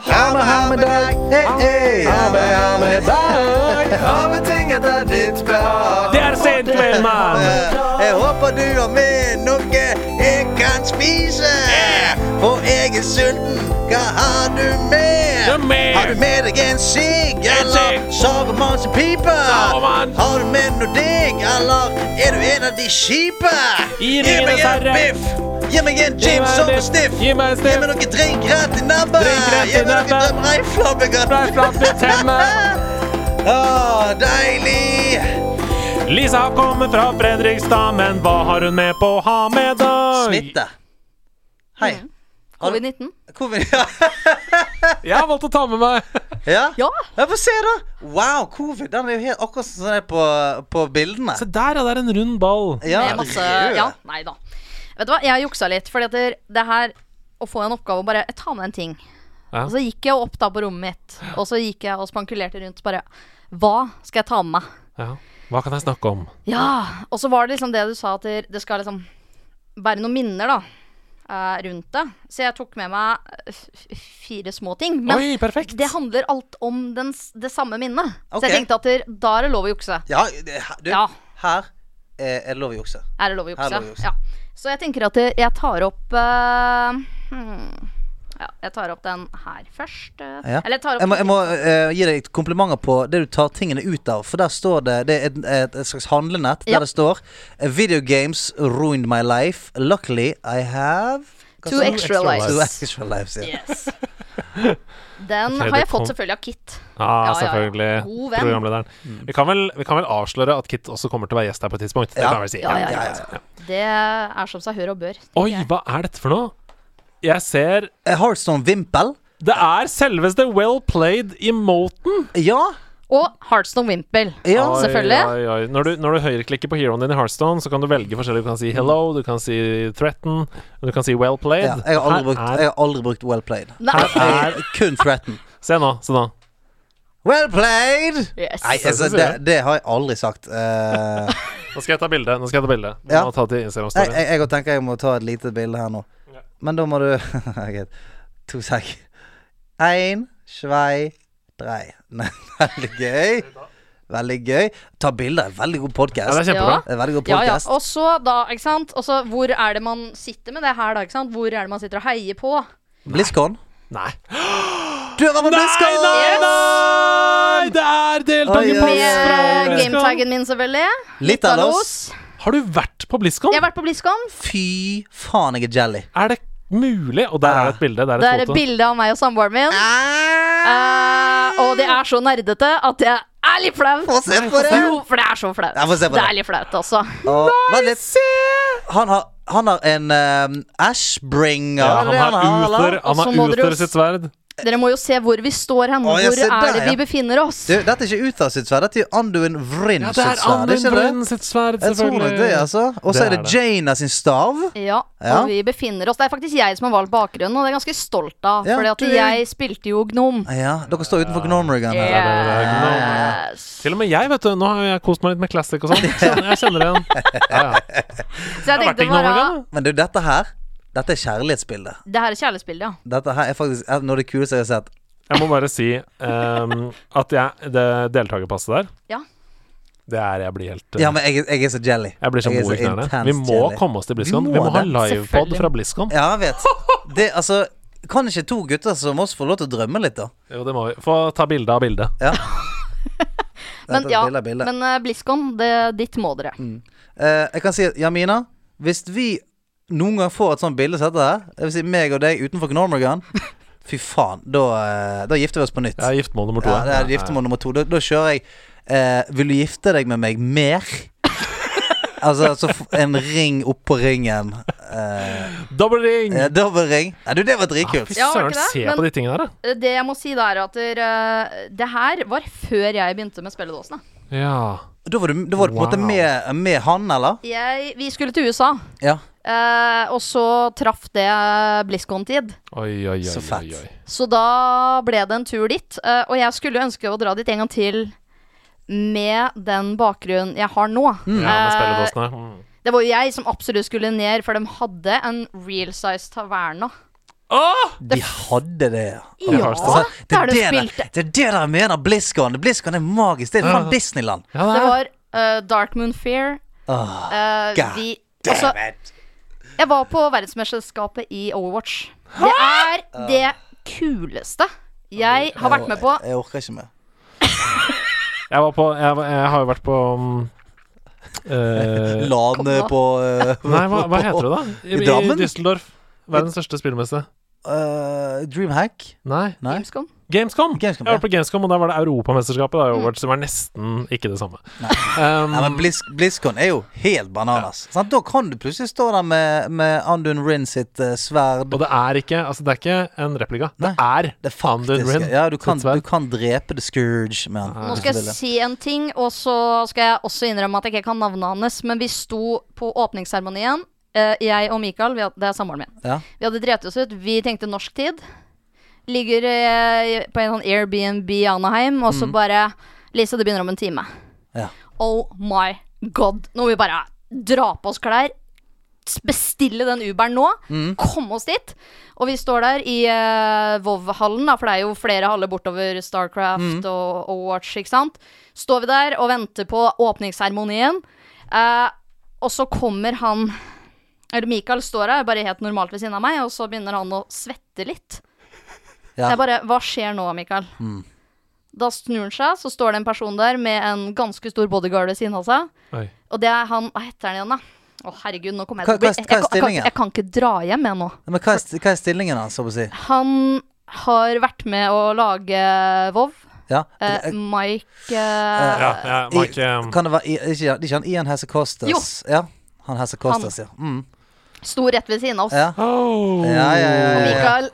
B: Ha med, ha med deg. Hey, hey. Ha med, ha med deg. Ha med ting etter ditt behag.
A: Det er sent kveld, mann!
B: Eh, Jeg håper du har med noe jeg kan spise. For jeg er sulten. Hva har du med?
A: med.
B: Har du med deg en sigg eller
A: sigg.
B: savremannspipe?
A: Saruman.
B: Har du med noe digg, eller er du en av de kjipe?
A: Gi ringen og
B: meg en
A: sarre.
B: biff. Gi meg en gin
A: meg en
B: som
A: biff.
B: sniff.
A: Gi meg en sniff.
B: meg noe drink rett i nebbet.
A: Drink rett i
B: Gi meg noe
A: nebbet. Breiflatt i tennene.
B: Å, deilig.
A: Lisa kommer fra Fredrikstad, men hva har hun med på å ha med dag?
B: Smitte. Hei. Har du-
E: Covid-19.
B: Covid ja.
A: Jeg har valgt å ta med meg
B: ja.
E: Ja!
B: Ja, Få se, da. Wow, covid. Den er jo helt akkurat sånn som den er på, på bildene.
A: Se der, ja. Det er en rund ball.
B: Ja,
E: med masse
B: rød.
E: Ja, nei da. Vet du hva, jeg juksa litt. Fordi at det- det her å få en oppgave og bare jeg tar med en ting.
A: Ja.
E: Og så gikk jeg opp da på rommet mitt, og så gikk jeg og spankulerte rundt bare Hva skal jeg ta med meg?
A: Ja. Hva kan jeg snakke om?
E: Ja! Og så var det liksom det du sa, at det- det skal liksom være noen minner, da. eh, Rundt det. Så jeg tok med meg eh, f- fire små ting. Men
A: Oi, perfekt.
E: det handler alt om den, s- det samme minnet. Så jeg
B: Ok.
E: tenkte at det- da er det lov å jukse.
B: Ja, det- her- du,
E: Ja.
B: her er er det lov å jukse.
E: Er det lov å
B: Er det
E: jukse?
B: lov å jukse?
E: Ja. Så jeg tenker at eh, jeg tar opp eh, hmm, Ja, jeg tar opp den her først. eh.
B: Ja.
E: Eller jeg tar opp
B: Jeg må, jeg må eh, gi deg komplimenter på det du tar tingene ut av. For der står det Det er et, et, et slags handlenett der
E: Ja.
B: det står eh, Video games ruined my life. Luckily I have Hva
E: Two
B: står det?
E: extra
A: extra
E: lives.
B: Two extra lives, ja.
E: Yes. Den
A: Ok,
E: har jeg
A: det kom-
E: fått selvfølgelig av Kit.
A: Ah,
E: Ja, ja, ja.
A: selvfølgelig.
E: God venn.
A: Programlederen.
B: Mm.
A: Vi, kan vel, vi kan vel avsløre at Kit også kommer til å være gjest her på et tidspunkt. Det
B: Ja.
A: kan jeg vel si.
E: Ja, ja,
B: ja,
E: Det er som seg hør og bør.
A: Oi, hva er dette for noe? Jeg ser
B: Eh, Hearthstone Vimpel.
A: Det er selveste Well Played emoten!
B: Ja.
E: Og Heartstone Wimpel,
B: Ja.
A: Oi,
E: selvfølgelig.
A: Oi, oi. Når, du, når du høyreklikker på heroen din i Hearthstone, så kan du velge forskjellig. Du kan si hello, du kan si threaten, du kan si well played.
B: ja. Jeg, har aldri brukt,
A: Her
B: jeg har aldri brukt Well Played.
E: Nei.
A: Her
B: Jeg, kun Threaten.
A: er Se nå, se nå.
B: Well played!
E: Yes.
B: Nei, altså,
A: synes
B: det,
A: jeg.
B: det har jeg aldri sagt. Eh,
A: Nå skal jeg ta bilde. Nå skal jeg ta bilde.
B: Ja.
A: Nå ta til Instagram
B: Jeg,
A: story.
B: jeg, jeg tenker jeg må ta et lite bilde her nå. Men da må du Greit. To sek. Ein, svei, drei. Nei, Veldig gøy. Veldig gøy. Ta bilder. er Veldig god
A: Ja, det
B: podkast.
A: er kjempebra.
B: Veldig god
E: Ja, ja.
B: podcast
E: Og så, da, ikke sant Og så, hvor er det man sitter med det her, da? ikke sant? Hvor er det man sitter og heier på?
B: BlizzCon.
A: Nei.
B: Du har vært på
A: Nei,
B: BlizzCon!
A: nei, nei! Det er
B: Oi, oi,
A: deltakerpass
B: oi.
A: fra
E: Med eh,
A: BlizzCon.
E: gametagen min, selvfølgelig.
B: Litalos.
A: Har du vært på BlizzCon?
E: Jeg har vært på BlizzCon.
B: Fy faen, jeg er jelly.
A: Er det mulig? Og der er det et bilde. Der er
E: Det er
A: et
E: et
A: foto.
B: Ah.
A: Ah!
E: bilde av meg og samboeren min. Eh, og det er så nerdete at jeg er litt flaut.
B: Få se på det.
E: Jo, for det er så flaut.
B: Ja, få se på
E: det
B: det.
E: er litt flaut, altså.
B: Og, vent litt. Han har, han har en um, Ashbringer.
A: Ja,
B: eller
A: han har
B: eller?
A: Uther, han
E: Og så
A: har
E: må dere jo
A: Uther sitt sverd.
E: Dere må jo se hvor vi står hen.
B: Å,
E: Hvor
B: jeg ser
E: er det
B: der, ja.
E: vi befinner oss?
B: Du, dette er ikke Uther sitt sverd, dette er Anduin Vrin
A: Ja, det
B: sitt
A: er
B: sverd.
A: Anden
B: ikke det?
A: Brun sitt sverd,
B: Jeg tror nok
A: selvfølgelig.
B: det, altså. Og så
A: Det
B: er
A: er
B: det
A: det.
B: Jana sin stav.
E: Ja, og
B: Ja.
E: vi befinner oss Det er faktisk jeg som har valgt bakgrunnen, og det er jeg ganske stolt av.
B: Ja,
E: fordi at
B: du-
E: jeg spilte jo Gnom.
B: Ja, dere står utenfor Gnomrigan her.
A: det er det, Gnom,
E: Yes.
A: Til og med jeg, vet du. Nå har jeg kost meg litt med classic og sånn. Sånn, Jeg kjenner det igjen. Ja, ja. Jeg
E: Så jeg
A: har vært i
E: tenkte bare
A: Norge, da.
B: Men du, dette her Dette er kjærlighetsbildet.
E: Det her er kjærlighetsbildet, ja.
B: Dette her er faktisk noe av det kuleste jeg har sett.
A: Jeg må bare si ehm, at jeg, det deltakerpasset der,
E: Ja.
A: det er Jeg blir helt eh,
B: Ja, men jeg, er- jeg er så jelly.
A: Jeg blir så
B: er
A: god i knærne.
B: intenst
A: Vi må
B: jelly.
A: komme oss til BlizzCon.
B: Vi
A: Vi
B: må
A: må ha
B: det.
A: livepod
E: Selvfølgelig.
A: fra BlizzCon.
B: Ja, jeg vet. Det, altså Kan ikke to gutter som oss få lov til å drømme litt, da?
A: Jo, det må vi. Få ta bilde av bildet.
B: Ja.
E: Men,
B: Dette
E: ja,
B: bildet er bildet.
E: men eh, BlizzCon, det, ditt må dere.
B: Eh, jeg kan si at Jamina, hvis vi noen gang får et sånt bilde som dette her, det vil si meg og deg utenfor Gnomrigan Fy faen, da, eh, da gifter vi oss på nytt.
A: Jeg er giftermål nummer to.
B: Ja, det er giftermål nummer to. Da, da kjører jeg eh, Vil du gifte deg med meg mer? altså så f- en ring oppå ringen. Eh,
A: Dobbelring!
B: eh, Dobbelring. Nei, du, det var
A: Ah,
B: dritkult.
A: Fy
E: Ja, var
A: søren,
E: det ikke det?
A: se
E: Men-
A: på de tingene der, da.
E: Eh, Det jeg må si, da, er at eh, det her var før jeg begynte med spilledåsene.
A: Ja.
B: Da var du, da var du på en måte
A: Wow.
B: med, med han, eller?
E: Jeg, vi skulle til USA,
B: Ja.
E: eh, og så traff det BlizzCon-tid.
A: Oi, oi, oi.
B: Så fett.
A: oi, oi.
E: Så da ble det en tur dit. eh, og jeg skulle ønske å dra dit en gang til med den bakgrunnen jeg har nå.
B: Mm.
A: Ja, med
E: Eh,
A: spilledåsene. Mm.
E: det var jo jeg som absolutt skulle ned, for de hadde en real size taverna.
B: De hadde det.
E: Ja,
A: har
B: Altså, det,
E: der
B: er
E: de
B: det, dere-
E: spilte.
B: det er det dere mener BlizzCon. BlizzCon er magisk. Det er faen Disneyland. Ah.
A: Ja, det
E: Det
A: er.
E: var eh, Dark Moon Fair.
B: Åh,
E: eh,
B: God
E: vi, altså,
B: damn it.
E: jeg var på verdensmesterskapet i Overwatch. Det er det kuleste jeg har vært med på.
B: Jeg, jeg orker ikke mer.
A: Jeg, var på, jeg, var- jeg har jo vært på mm, eh,
B: Lane
E: Kom nå.
B: på eh,
A: Nei, hva, hva heter det, da? I,
B: I
A: i
B: Drammen?
A: Düsseldorf. Verdens største spillmesse.
B: eh, Dreamhack?
A: Nei.
B: Nei.
E: Gamescom.
A: Gamescom!
B: Gamescom,
A: jeg
B: ja.
A: var på Gamescom, og der var det Europamesterskapet. Da, i
E: Mm.
A: Overwatch, Som er nesten ikke det samme. Um,
B: Nei, men Blizz, BlizzCon er jo helt bananas. Sant? Da kan du plutselig stå der med, med Andun Rin sitt eh, sverd.
A: og det er ikke Altså, det er ikke en replika. Det er
B: Det
A: Founded
B: faktiske.
A: Rin.
B: Ja, du kan,
A: sitt sverd.
B: du kan drepe The Scourge med han.
E: Nå skal jeg si en ting, og så skal jeg også innrømme at jeg ikke kan navnet hans. Men vi sto på åpningsseremonien. eh, Jeg og Mikael, vi had- det er samboeren min.
B: Ja.
E: Vi hadde drept oss ut. Vi tenkte norsk tid. Ligger eh, på en sånn Airbnb i Anaheim, og så
B: Mm.
E: bare Lise, det begynner om en time.
B: Ja.
E: Oh my god. Nå må vi bare dra på oss klær. s- Bestille den Uberen nå. Komme oss dit. Og vi står der i uh, Vov-hallen, da, for det er jo flere haller bortover Starcraft og Overwatch, ikke sant. Står vi der og venter på åpningsseremonien, eh, og så kommer han eller Michael står her, bare helt normalt ved siden av meg, og så begynner han å svette litt.
B: Ja.
E: Jeg bare Hva skjer nå, Michael? Da snur han seg, så står det en person der med en ganske stor bodyguard ved siden av seg.
A: Oi.
E: Og det er han Hva heter han igjen, da? Å, herregud, nå kommer jeg
B: Hva-
E: til å bli
B: hva er- hva er
E: jeg, kan- jeg, kan-
B: stillingen?
E: jeg kan ikke dra hjem, jeg nå.
B: Men hva er, st- hva er stillingen hans, så å si?
E: Han har vært med å lage Vov.
B: Ja.
E: Eh, Mike eh,
A: Ja, ja, Mike um,
E: Mm.
B: I, kan det være i, ikke, ikke han Ian Hesse Costas?
E: Jo.
B: Ja. Han Hesse Costas, ja. Mm.
E: sto rett ved siden av oss.
B: ja.
A: oh.
B: Ja, ja, ja,
E: Og
B: ja, ja.
E: Mikael,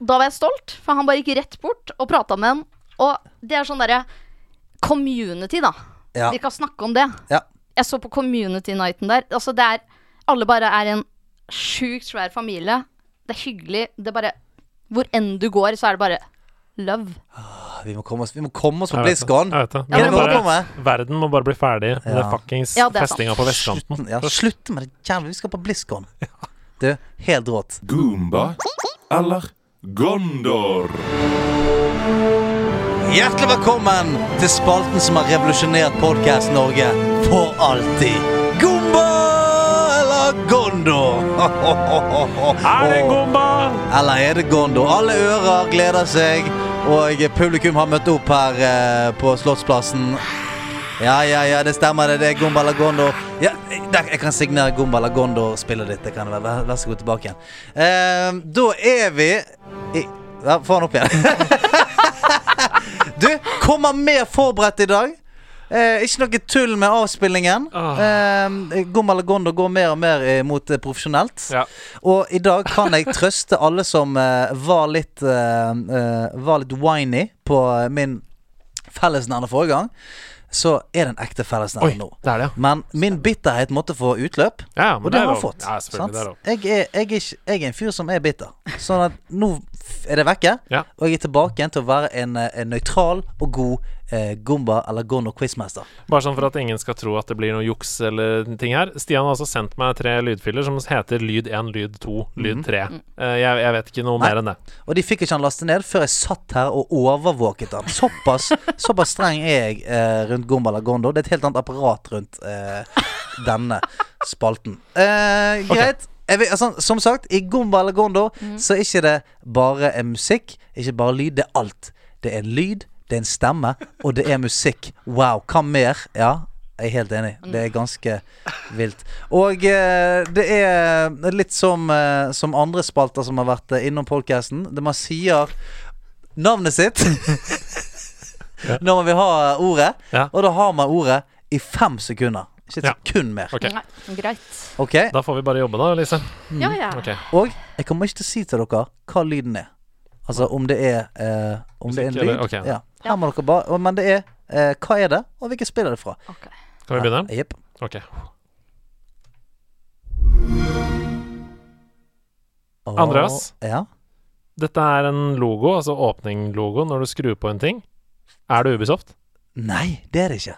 E: da var jeg stolt, for han bare gikk rett bort og prata med han. Og det er sånn derre community, da.
B: Ja.
E: Vi kan snakke om det.
B: Ja.
E: Jeg så på community nighten der. Altså, det er Alle bare er en sjukt svær familie. Det er hyggelig. Det er bare Hvor enn du går, så er det bare love.
B: Vi må komme oss, vi må komme oss på
A: Jeg vet det,
B: BlizzCon.
A: Jeg vet det.
E: Ja,
A: Vi
E: men
A: må
E: hva
A: bare,
B: kommer?
A: verden må bare bli ferdig med det
B: Ja.
A: fuckings
E: Ja, det er sant.
A: festinga på vestkanten.
B: Ja, slutt med det jævla. Vi skal på BlizzCon. Du, helt rått.
D: Goomba eller Gondor.
B: Hjertelig velkommen til spalten som har revolusjonert Podcast Norge for alltid. Gomba eller Gondo?
A: Er det Gomba?
B: Eller er det Gondo? Alle ører gleder seg, og publikum har møtt opp her eh, på Slottsplassen. Ja, ja, ja, det stemmer det. Det er Gomba eller Gondo. Ja, der, jeg kan signere Gomba eller Gondo-spillet ditt. Det kan det være. Vær, vær så god tilbake igjen. Eh, da er vi i ja, Få han opp igjen. du, kommer mer forberedt i dag. Eh, ikke noe tull med avspillingen.
A: Ah.
B: Eh, Gommal og Gondo går mer og mer eh, mot eh, profesjonelt.
A: Ja.
B: Og i dag kan jeg trøste alle som eh, var litt eh, eh, Var litt whiny på eh, min fellesnevner forrige gang. Så er det en ekte
A: Oi,
B: fellesnevner nå.
A: det er det, ja.
B: Men min bitterhet måtte få utløp.
A: ja men
B: Og det har
A: er lov.
B: jeg fått.
A: Ja, selvfølgelig,
B: sant?
A: det er lov.
B: Jeg, er, jeg, er ikke, jeg er en fyr som er bitter. Sånn at nå f- er det vekke,
A: Ja.
B: og jeg er tilbake igjen til å være en, eh, en nøytral og god eh, Gomba eller Gono quizmester.
A: Bare sånn for at ingen skal tro at det blir noe juks eller ting her. Stian har altså sendt meg tre lydfiler som heter lyd 1, lyd 2,
B: Mhm.
A: lyd 3.
E: Mm.
A: Eh, jeg, jeg vet ikke noe mer enn det.
B: Og de fikk ikke han laste ned før jeg satt her og overvåket han. Såpass, såpass streng er jeg eh, rundt Gomba eller Gondo. Det er et helt annet apparat rundt eh, denne spalten. Eh, greit. Jeg vil, altså, som sagt, i Gomba eller Gondo så er ikke det bare en musikk, ikke bare lyd. Det er alt. Det er en lyd, det er en stemme, og det er musikk. Wow. Hva mer? Ja. Jeg er helt enig. Det er ganske vilt. Og eh, det er litt som, eh, som andre spalter som har vært eh, innom podcasten. Det man sier navnet sitt når man vil ha eh, ordet,
A: Ja.
B: og da har man ordet i fem sekunder. Ikke et
A: Ja.
B: sekund mer.
A: Ok,
E: Nei, greit.
B: Ok,
A: Da får vi bare jobbe, da, Lise.
E: Ja, ja.
A: Ok.
B: Og jeg kommer ikke til å si til dere hva lyden er. Altså om det er eh, Om det er en
A: Musikk, eller-
B: lyd.
A: ok.
B: Ja. Her må dere bare Men det er eh, Hva er det, og hvilket spill er det fra?
E: Ok.
A: Kan vi begynne?
B: Jepp.
A: Ok.
B: Og-
A: Andreas?
B: Ja.
A: Dette er en logo, altså åpninglogo, når du skrur på en ting. Er det Ubisoft?
B: Nei, det er det ikke.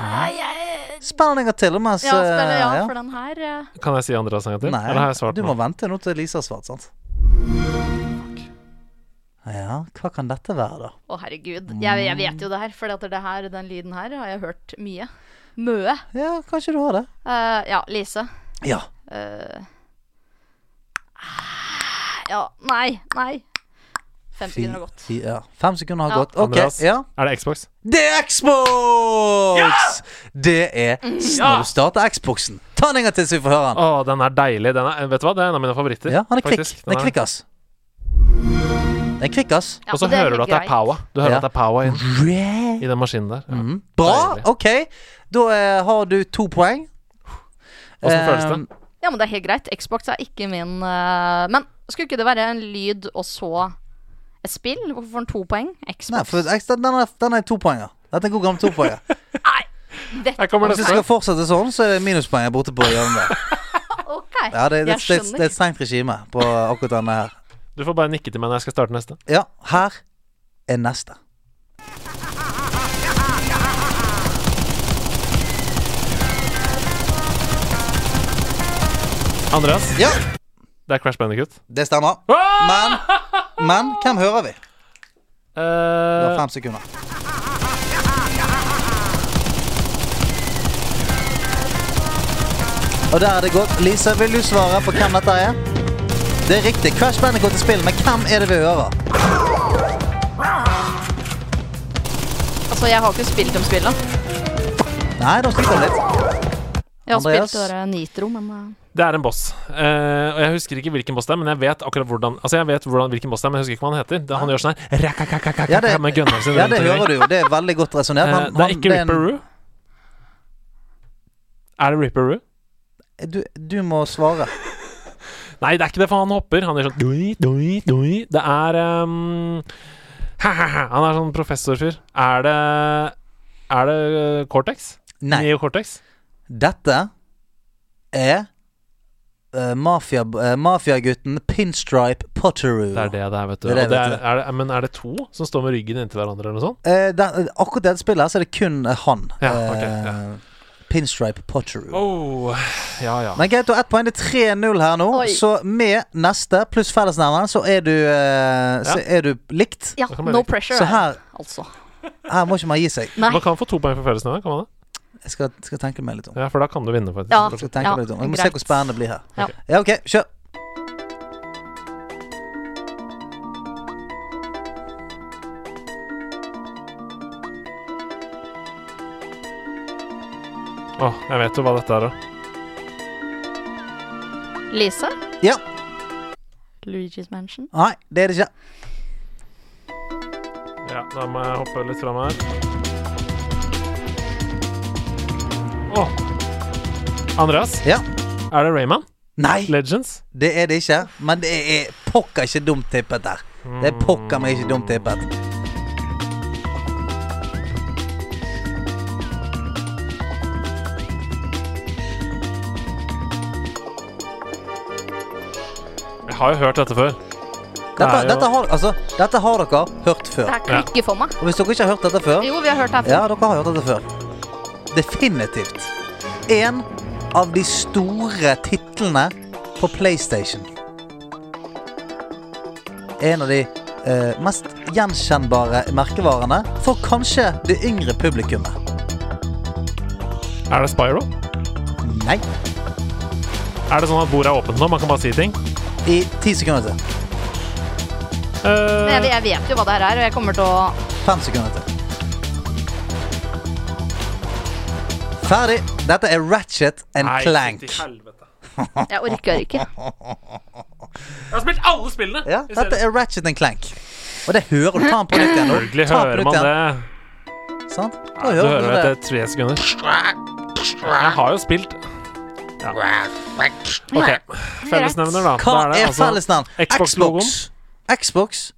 E: Nei, jeg
B: Spill den en gang til. og Mens,
E: Ja, spiller
B: eh,
E: ja, for den her eh,
A: Kan jeg si Andreas en gang til? Eller har jeg
B: Nei,
A: svart
B: du må
A: nå?
B: vente nå til Lisa har svart, sant? Ja, hva kan dette være, da?
E: Å, herregud. Jeg, jeg vet jo det her, for det her, den lyden her har jeg hørt mye. Møe.
B: Ja, kanskje du har det.
E: Eh, ja, Lise.
B: Ja.
E: Eh, Ah, ja, nei, nei. Fem
B: Fy-
E: sekunder har gått.
B: fy- ja. Fem sekunder har
E: Ja.
B: gått. Ok,
A: Andreas?
B: ja.
A: Er det Xbox?
B: Det er Xbox! Det er Når du starter Xboxen. Ta den en gang til, så vi får høre den.
A: Å, den er deilig. Den er, vet du hva, Ah, det er en av mine favoritter.
B: Ja, han er kvikk.
A: faktisk.
B: Den er kvikk, ass. Den er kvikk, ass.
E: Ja,
A: Og så
E: det er
A: hører du at
E: helt
A: det er
E: greit.
A: power. Du hører
B: Ja. Mm.
A: at det er power i,
B: Red.
A: i den maskinen der. Ja.
B: Bra.
A: Deilig.
B: Ok, da eh, har du to poeng. Eh,
A: Åssen føles
B: Ehm,
A: det?
E: Ja, men det er helt greit. Xbox er ikke min eh, Men skulle ikke det være en lyd og så et spill? Hvorfor får den to poeng? Xbox?
B: Nei, for ex- den er, den er topoenger. Dette er en god gammel topoenger.
E: Vet-
A: Her kommer
B: Hvis du
A: neste.
B: skal fortsette sånn, så er det minuspoeng jeg er borte på hjørnet.
E: Ok,
B: Ja, det, det, det,
E: jeg
B: det er
E: skjønner.
B: et strengt regime på akkurat denne her.
A: Du får bare nikke til meg når jeg skal starte neste.
B: Ja, her er neste.
A: Andreas,
B: Ja,
A: det er Crash Bandicut.
B: det stemmer.
A: Ah!
B: Men, men hvem hører vi? Du har
A: Eh,
B: fem sekunder. Og der er det godt. Lisa, vil du svare på hvem dette er? Det er riktig. Crash Bandicoot går til spill, men hvem er det vi hører?
E: Altså, jeg har ikke spilt de spillene.
B: Nei, da sliter jeg litt.
E: Jeg har
B: Andreas?
E: spilt det der Nitro, men eh,
A: det er en boss. Eh, og jeg husker ikke hvilken boss det er, men jeg vet akkurat hvordan Altså jeg vet hvordan, hvilken boss det er, men jeg husker ikke hva han heter. Det, han gjør sånn her
B: Ja, det,
A: med gunneren sin
B: ja,
A: rundt
B: det
A: omkring.
B: hører du jo. Det er veldig godt resonnert.
A: Eh,
B: Han-
A: det
B: han-
A: er ikke
B: det er en-
A: Ripperoo. Er det Ripperoo?
B: Du, du må svare.
A: Nei, det er ikke det, for han hopper. Han gjør sånn doi, doi, doi. Det er ehm, ha-ha-ha. Han er sånn professorfyr. Er det Er det eh, Cortex?
B: Nei.
A: Neocortex?
B: Dette er eh, mafia- eh, mafiagutten Pinstripe Potteroo.
A: Det er det det er, vet du.
B: Det er det,
A: Og det
B: vet
A: er,
B: du.
A: er det, men er det to som står med ryggen inntil hverandre, eller noe sånt?
B: Eh, der, akkurat dette spillet her så er det kun eh, han.
A: Ja, ok,
B: Eh,
A: ja.
B: Pinstripe Potteroo.
A: Oh, ja, ja.
B: Men greit, du har ett poeng. Det er 3-0 her nå.
E: Oi.
B: Så med neste pluss fellesnevneren, så er du, eh, så er du likt.
E: Ja,
A: Da kan man
E: no
A: like-
E: pressure,
B: Så her,
E: altså.
B: her må ikke man gi seg.
E: Nei.
A: Man kan få to poeng for fellesnevner, kan man det?
B: Jeg skal, skal tenke meg litt om.
A: Ja, for da kan du vinne, faktisk.
E: Ja.
B: Jeg skal tenke
E: Ja,
B: meg litt om. Jeg må se
E: greit.
B: hvor spennende det blir her.
E: Ja.
B: Ja, ok, kjør.
A: Åh, jeg vet jo hva dette er, da.
E: Lise?
B: Ja.
E: Luigi's Mansion?
B: Nei, det er det ikke.
A: Ja. Da må jeg hoppe litt fram her. Å! Andreas,
B: Ja.
A: er det Rayman?
B: Nei,
A: Legends?
B: det er det ikke. Men det er pokker ikke dumt tippet der. Det er pokker meg ikke dumt tippet.
A: Jeg har jo hørt dette før.
B: Dette,
A: Det er jo-
B: dette, har, altså, dette har dere hørt før.
E: Det her klikker for meg.
B: Og hvis dere ikke har hørt dette før
E: Jo, vi har hørt det her før.
B: Ja, dere har hørt dette før. Definitivt. En av de store titlene på PlayStation. En av de eh, mest gjenkjennbare merkevarene for kanskje det yngre publikummet.
A: Er det Spyro?
B: Nei.
A: Er det sånn at bordet er åpent nå? Man kan bare si ting?
B: I ti sekunder til.
E: Men
A: Eh,
E: Jeg, jeg vet jo hva det her er, og jeg kommer til å
B: Fem sekunder til. Ferdig. Dette er Ratchet and
A: nei,
B: Clank.
A: fytti helvete.
E: Jeg orker ikke.
A: Jeg har spilt alle spillene!
B: Ja,
A: i
B: dette
A: serien.
B: er Ratchet and Clank. Og det hører du. Ta den på nytt igjen. nå.
A: Selvfølgelig
B: Ta den på
A: hører
B: nytt
A: man det.
B: igjen, Sant? Da
A: Du
B: hører
A: hører
B: du
A: det
B: det.
A: etter tre sekunder. Jeg har jo spilt ja. OK. Fellesnevner, da.
B: Hva
A: Da det
B: er
A: altså
B: fellesnavn?
A: Xbox-logoen.
B: Xbox, Xbox,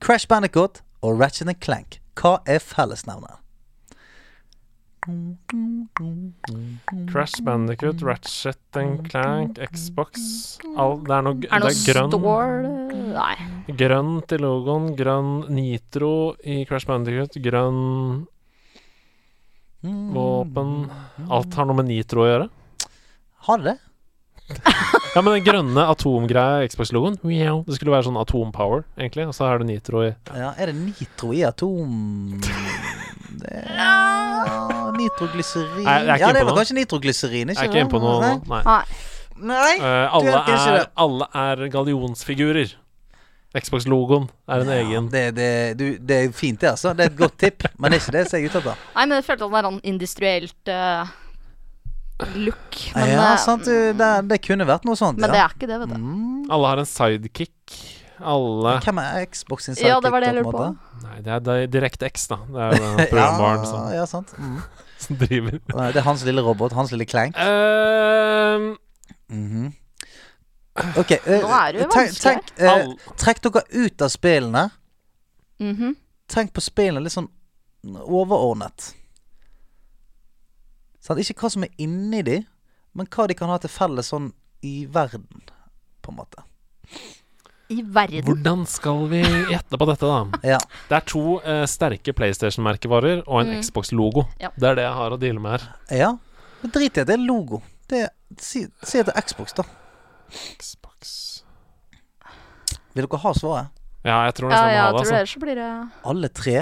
B: Crash Bandicoot og Ratchet and Clank. Hva er fellesnavnet?
A: Crash Bandicoot, Ratchet and Clank, Xbox All, Det er noe, det
E: Er det noe
A: er grønn,
E: stål Nei.
A: grønt i logoen, grønn nitro i Crash Bandicoot, grønn
B: Hmm.
A: våpen Alt har noe med nitro å gjøre.
B: Har det det?
A: Ja, men den grønne atomgreia i Xbox-logoen Mjau. Det skulle være sånn atompower, egentlig, og så er det nitro i
B: Ja, er det nitro i atom... Det er, ja, nitroglyserin
A: Nei, jeg er ikke
B: Ja, det
A: inne på
B: er vel
A: noe.
B: kanskje nitroglyserin?
A: Jeg er ikke inne på noe nå.
B: Nei.
A: Nei.
E: Nei.
B: Nei.
A: Eh,
B: Du
A: alle,
B: er ikke
A: er,
B: det.
A: alle er gallionsfigurer. Xbox-logoen er en
B: Ja,
A: egen
B: det, det, du, det er fint, det, altså. Det er et godt tipp, men det er ikke det som jeg er ute etter.
E: Nei, men jeg følte at det var en industrielt eh, look. Men,
B: ja,
E: eh,
B: sant, du, det, det kunne vært noe sånt.
E: men det
B: ja. Mm,
E: er ikke det, vet du.
A: Alle har en sidekick. Alle
B: Hvem er Xbox sin
E: Ja, det var det jeg
B: sidekick,
E: lurte
B: på en
E: på.
B: måte?
A: Nei, det er, det er DirectX, da. Det er jo den programvaren
B: Ja,
A: som,
B: ja, sant. Mm.
A: som driver
B: Nei, Det er hans lille robot. Hans lille klank.
A: Ehm,
B: Mhm. OK. eh,
E: Nå er det jo
B: tenk,
E: vanskelig.
B: tenk, eh,
A: All-
B: trekk dere ut av spillene.
E: Mhm.
B: Tenk på spillene litt sånn overordnet. Sant? Ikke hva som er inni de, men hva de kan ha til felles sånn i verden, på en måte.
E: I verden.
A: Hvordan skal vi gjette på dette, da?
B: Ja.
A: Det er to eh, sterke PlayStation-merkevarer og en Xbox-logo.
E: Mm. Ja.
A: Det er det jeg har å deale med her.
B: ja. Men drit i at det er logo. Det er, si, si at det er Xbox, da.
A: Xbox
B: Vil dere ha svaret?
A: Ja, jeg tror
E: Ja,
A: nesten jeg må
E: ja, jeg
A: ha
E: tror
A: det.
E: det,
A: altså.
E: ellers så blir det
B: Alle tre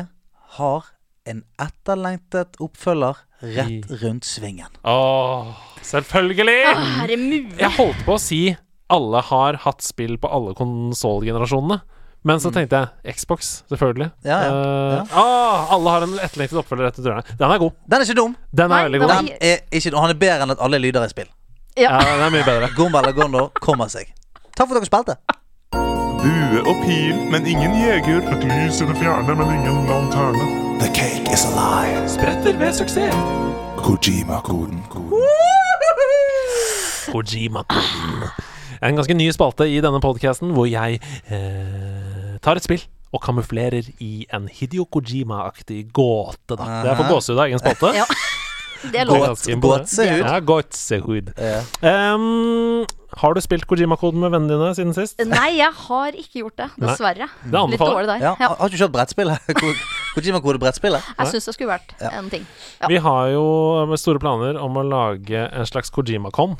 B: har en etterlengtet oppfølger rett rundt svingen.
A: Altså. Åh, selvfølgelig!
E: Åh, Er det mulig?
A: Jeg holdt på å si alle har hatt spill på alle konsollgenerasjonene. Men så tenkte jeg Xbox, selvfølgelig.
B: Ja, ja,
A: Eh,
B: ja.
A: ah, alle har en etterlengtet oppfølger etter dørene. Den er god.
B: Den er ikke dum.
A: Den er
E: Nei,
A: veldig
E: den
A: god.
E: er-
B: Den er ikke dum. Han er bedre enn at alle lyder i spill.
A: Ja,
E: Ja.
A: den er mye bedre.
B: Gomba eller Gondor kommer seg. Takk for at dere spilte.
D: Bue og pil, men ingen jeger.
F: Et lys i det fjerne, men ingen lanterne.
G: The cake is alive.
A: Spretter ved suksess.
G: Kojima-koden.
A: Kojima. En ganske ny spalte i denne podkasten hvor jeg eh, tar et spill og kamuflerer i en Hidio Kojima-aktig gåte. Da. Det er for gåsehud av egen spalte.
E: Ja. Det er
A: Gå-
E: lov.
A: ganske
B: Gåt- Gåtsehud.
A: Ja, gåsehud.
B: Ja.
A: Ehm, har du spilt Kojima-koden med vennene dine siden sist?
E: Nei, jeg har ikke gjort det,
A: Nei.
E: dessverre.
A: Det
E: Litt
A: anbefaler
E: dårlig der.
B: Ja.
E: Ja.
B: Har har ikke du kjørt brettspillet? Ko- Kojima-kode brettspillet?
E: Jeg syns det skulle vært en ting. Ja.
A: Vi har jo med store planer om å lage en slags Kojima-kon.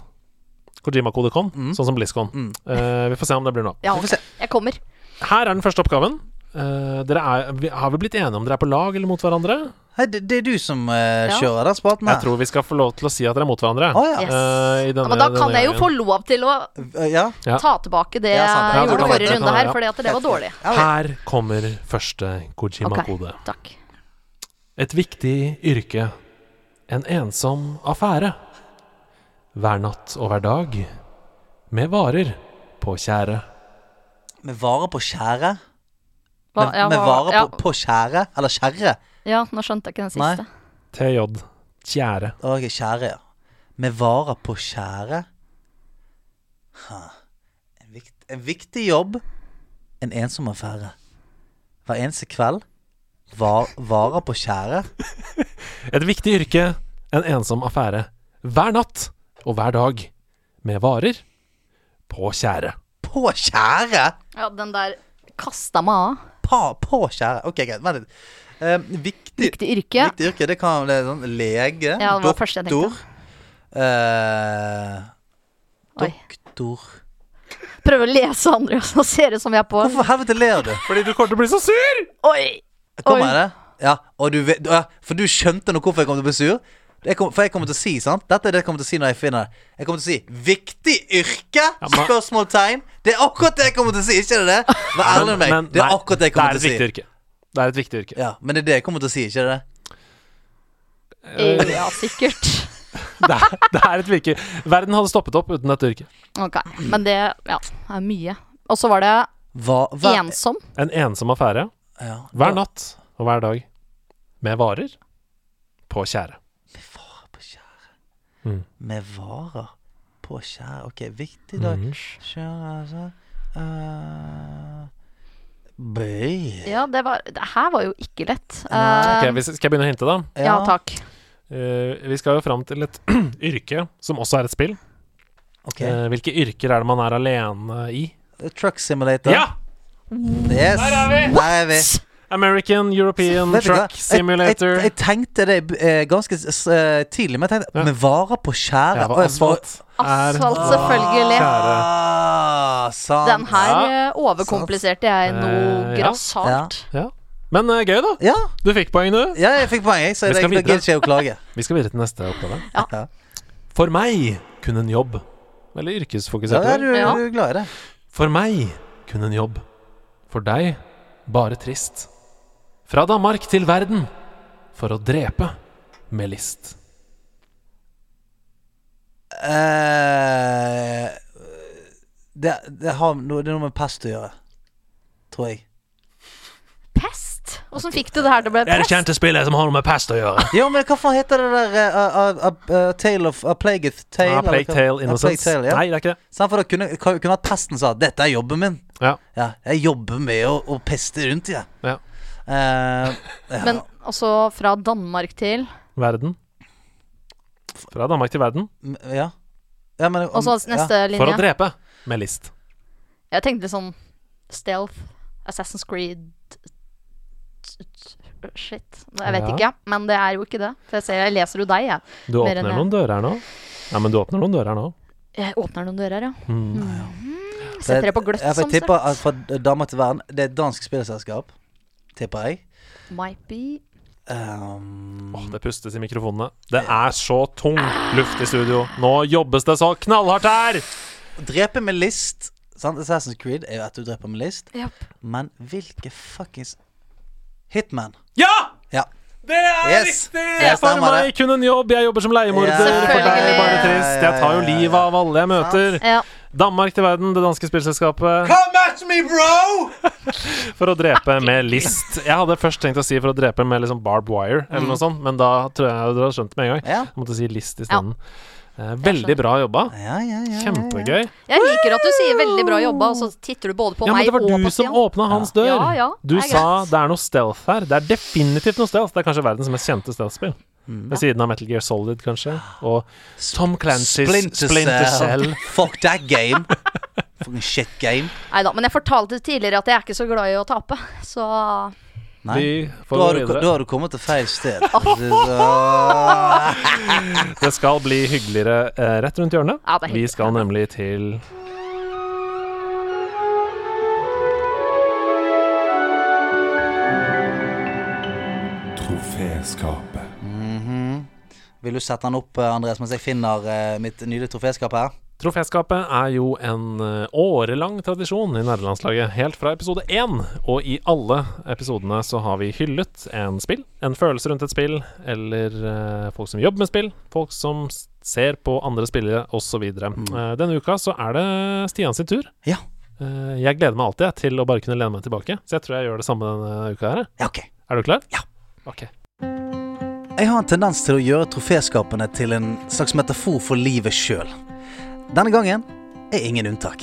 A: Kojima-kodekon, sånn som BlizzCon. Eh, vi får se om det blir noe.
E: Ja,
B: Vi får se.
E: ok. Jeg kommer.
A: Her er den første oppgaven. Eh, dere er, vi- har vi blitt enige om dere er på lag eller mot hverandre?
B: Hei, det, det er du som eh,
E: Ja.
B: kjører den spalten
A: Jeg
B: her.
A: tror vi skal få lov til å si at dere er mot hverandre.
B: Å, ja.
A: Eh,
E: Yes.
A: i
E: Ja,
A: denne-
E: men da
A: denne
E: kan jeg jo
A: gangen.
E: få lov til å
B: Eh, ja.
A: Ja.
E: ta tilbake det
B: Ja, sant. Ja,
E: jeg
B: det
E: gjorde
B: kan
E: forrige
A: være.
E: runde
A: Ja.
E: her, fordi at det var dårlig.
A: Her kommer første Kojima-kode.
E: Takk.
A: Et viktig yrke. En ensom affære. Hver natt og hver dag. Med varer på tjære.
B: Med vare på skjæret.
E: Hva- ja,
B: med
E: hva-
B: varer
E: ja.
B: på, på skjære? Eller skjære?
E: Ja, nå skjønte jeg ikke den
B: Nei.
E: siste.
A: TJ. Tjære.
B: Ok, skjære, ja. Med varer på skjære? Ha. En, vikt, en viktig jobb. En ensom affære. Hver eneste kveld. Var, varer på skjære?
A: Et viktig yrke, en ensom affære. Hver natt og hver dag. Med varer på tjære.
B: På skjære?!
E: Ja, den der kasta meg av.
B: Pa, på skjære. Ok, greit. Vent litt. Eh, viktig,
E: Viktig yrke.
B: viktig yrke, det kan være sånn lege,
E: Ja, det var det første jeg
B: doktor eh,
E: Oi.
B: Doktor
E: Prøver å lese andre, og så ser det ut som jeg er på.
B: Hvorfor helvete ler du?
A: Fordi du kommer til å bli så sur!
E: Oi!
B: Kommer
E: Oi.
B: jeg det? Ja, og du vet, ja, for du skjønte nå hvorfor jeg kommer til å bli sur? Jeg kom, for jeg kommer til å si, sant? Dette er det jeg kommer til å si når jeg finner det. Jeg kommer til å si 'viktig yrke'?
A: men-
B: Spørsmålstegn. Det er akkurat det jeg kommer til å si, ikke er det det? Vær ærlig med meg. Det er akkurat det jeg kommer
A: det er et
B: til å si.
A: viktig yrke. Det er et viktig yrke.
B: Ja, Men det er det jeg kommer til å si, ikke er det det?
A: Eh,
E: Ja, sikkert.
A: det, er, det er et virke. Verden hadde stoppet opp uten dette yrket.
E: Ok, men det ja, er mye. Og så var det
B: Hva, hva-
E: ensom.
A: En ensom affære
B: Ja.
A: hver natt og hver dag. Med varer på tjære.
B: På skjæret.
A: Mm.
B: Med varer på skjæret. Ok, viktig dag.
A: Mhm.
B: Skjæret, altså. Eh, Bøy.
E: Ja, det var Det her var jo ikke lett.
B: Nei.
A: Ok,
E: Eh,
A: hvis- skal jeg begynne å hinte, da?
E: ja, takk.
A: Eh, vi skal jo fram til et yrke som også er et spill.
B: Ok. Eh,
A: Eh, hvilke yrker er det man er alene i?
B: Truck simulator. Yes. Der er vi! Der er vi.
A: American European
B: Vet du hva?
A: Truck Simulator.
B: Jeg, jeg, jeg tenkte det eh, ganske s- eh, tidlig, men jeg tenkte
A: Ja.
B: Med varer på skjæret
A: ja, hva
B: og-
A: asfalt er
E: Asfalt, selvfølgelig.
A: Kjære.
B: Ah, sant.
E: Den her
A: Ja.
E: eh, overkompliserte jeg noe
A: Eh, ja.
E: grassat.
A: Ja. Men eh, gøy, da.
B: Ja,
A: Du fikk poeng, du.
B: ja, jeg fikk poeng, jeg, så
A: Vi
B: det
A: skal
B: da
A: videre.
B: gidder ikke jeg å klage.
A: Vi skal videre til neste oppgave.
B: Ja.
A: For meg kunne en jobb Veldig
B: Ja,
A: yrkesfokusert.
B: er du,
E: Ja.
B: du er glad i det.
A: For meg kun en jobb. For deg bare trist. Fra Danmark til verden for å drepe med list.
B: Eh, det, det, har noe, det er noe med pest å gjøre, tror jeg.
E: Pest? Åssen fikk du det her til å bli pest?
A: spillet som har noe med pest å gjøre.
B: Ja, men hva faen heter det der eh, A, a, a, a Tale of A Plagueth Tale?
A: Ah,
B: eller
A: Plague
B: hva-
A: Tale
B: A Plague
A: Innocence.
B: Tale, ja.
A: Nei, det er ikke det.
B: Sant, for da kunne, kunne hatt pesten sa 'Dette er jobben min'.
A: Ja.
B: Ja, jeg jobber med å, å peste rundt, jeg.
A: Ja.
B: Eh,
E: Men altså, fra Danmark til
A: Verden. Fra Danmark til verden
B: m- ja. ja, men
E: Og så neste
A: for å
E: linje.
A: drepe med list.
E: Jeg tenkte litt sånn stealth, Assassin's Creed Shit. Jeg vet
A: Ja.
E: ikke, men det er jo ikke det. For jeg, ser, jeg leser jo deg, jeg.
A: Du
E: Mer enn
A: åpner
E: det.
A: noen dører her nå. Ja, men du åpner noen dører her nå.
E: Jeg åpner noen dører, ja.
A: Mm.
E: Jeg Setter det på gløtt, sånn
B: ja, for
E: som
B: Jeg tipper at
E: sagt.
B: fra Dama til verden Det er et dansk spillselskap, tipper jeg.
E: Might be
B: Um,
A: Åh, det pustes i mikrofonene. Det er så tung luft i studio. Nå jobbes det så knallhardt her!
B: drepe med list. Sant? Assassin's Creed er jo at du dreper med list.
E: Japp.
B: Men hvilke fuckings Hitman.
A: Ja!
B: Ja.
A: Det er
B: Yes,
A: riktig!
B: det
A: for
B: stemmer
A: meg kun en jobb. Jeg jobber som leiemorder.
B: Ja.
A: For deg
E: Selvfølgelig.
A: bare trist. Jeg tar jo livet av alle jeg møter.
E: Ja.
A: Danmark til verden, det danske spillselskapet.
B: Come at me, bro!
A: For å drepe med list. Jeg hadde først tenkt å si for å drepe med liksom barbed wire, eller noe sånt, men da tror jeg dere hadde skjønt det med en gang.
B: Mm. Ja,
A: Jeg måtte si list isteden. Eh, Veldig bra jobba.
B: ja, ja. ja, ja, ja.
A: Kjempegøy.
E: Jeg liker at du sier veldig bra jobba, og så titter du både på
A: Ja, men
E: meg
A: det
E: og
A: var
E: på
A: du
E: Stian.
A: som åpna hans dør.
E: Ja, ja,
A: Du
E: det er
A: sa det er noe stealth her. Det er definitivt noe stealth. Det er kanskje verdens mest kjente stealth-spill.
B: Mm.
A: Ved siden av Metal Gear Solid, kanskje. Og Tom Clancy's
B: Splinter
A: Splinter,
B: Cell.
A: Cell.
B: Fuck that game. Fucking shit game.
E: Neida, men jeg fortalte tidligere at jeg er ikke så glad i å tape, så
B: Nei.
A: Vi
B: Da
A: får gå
B: har, du, da
A: videre.
B: har du kommet til feil sted. uh, Så-
A: Det skal bli hyggeligere eh, rett rundt hjørnet.
E: Ja, det er hyggelig.
A: Vi skal nemlig til
G: Troféskapet.
B: Vil du sette den opp, eh, Andreas, mens jeg finner eh, mitt nydelige troféskap her?
A: Troféskapet er jo en eh, årelang tradisjon i nederlandslaget, helt fra episode én. Og i alle episodene så har vi hyllet en spill, en følelse rundt et spill, eller eh, folk som jobber med spill, folk som Eh, s- ser på andre spillere, osv. Mm. denne uka så er det Stian sin tur.
B: Ja.
A: Eh, Jeg gleder meg alltid jeg, til å bare kunne lene meg tilbake, så jeg tror jeg gjør det samme denne uka her. jeg.
B: Ja, ok.
A: Er du klar?
B: Ja.
A: Ok.
B: Jeg har en tendens til å gjøre troféskapene til en slags metafor for livet sjøl. Denne gangen er ingen unntak.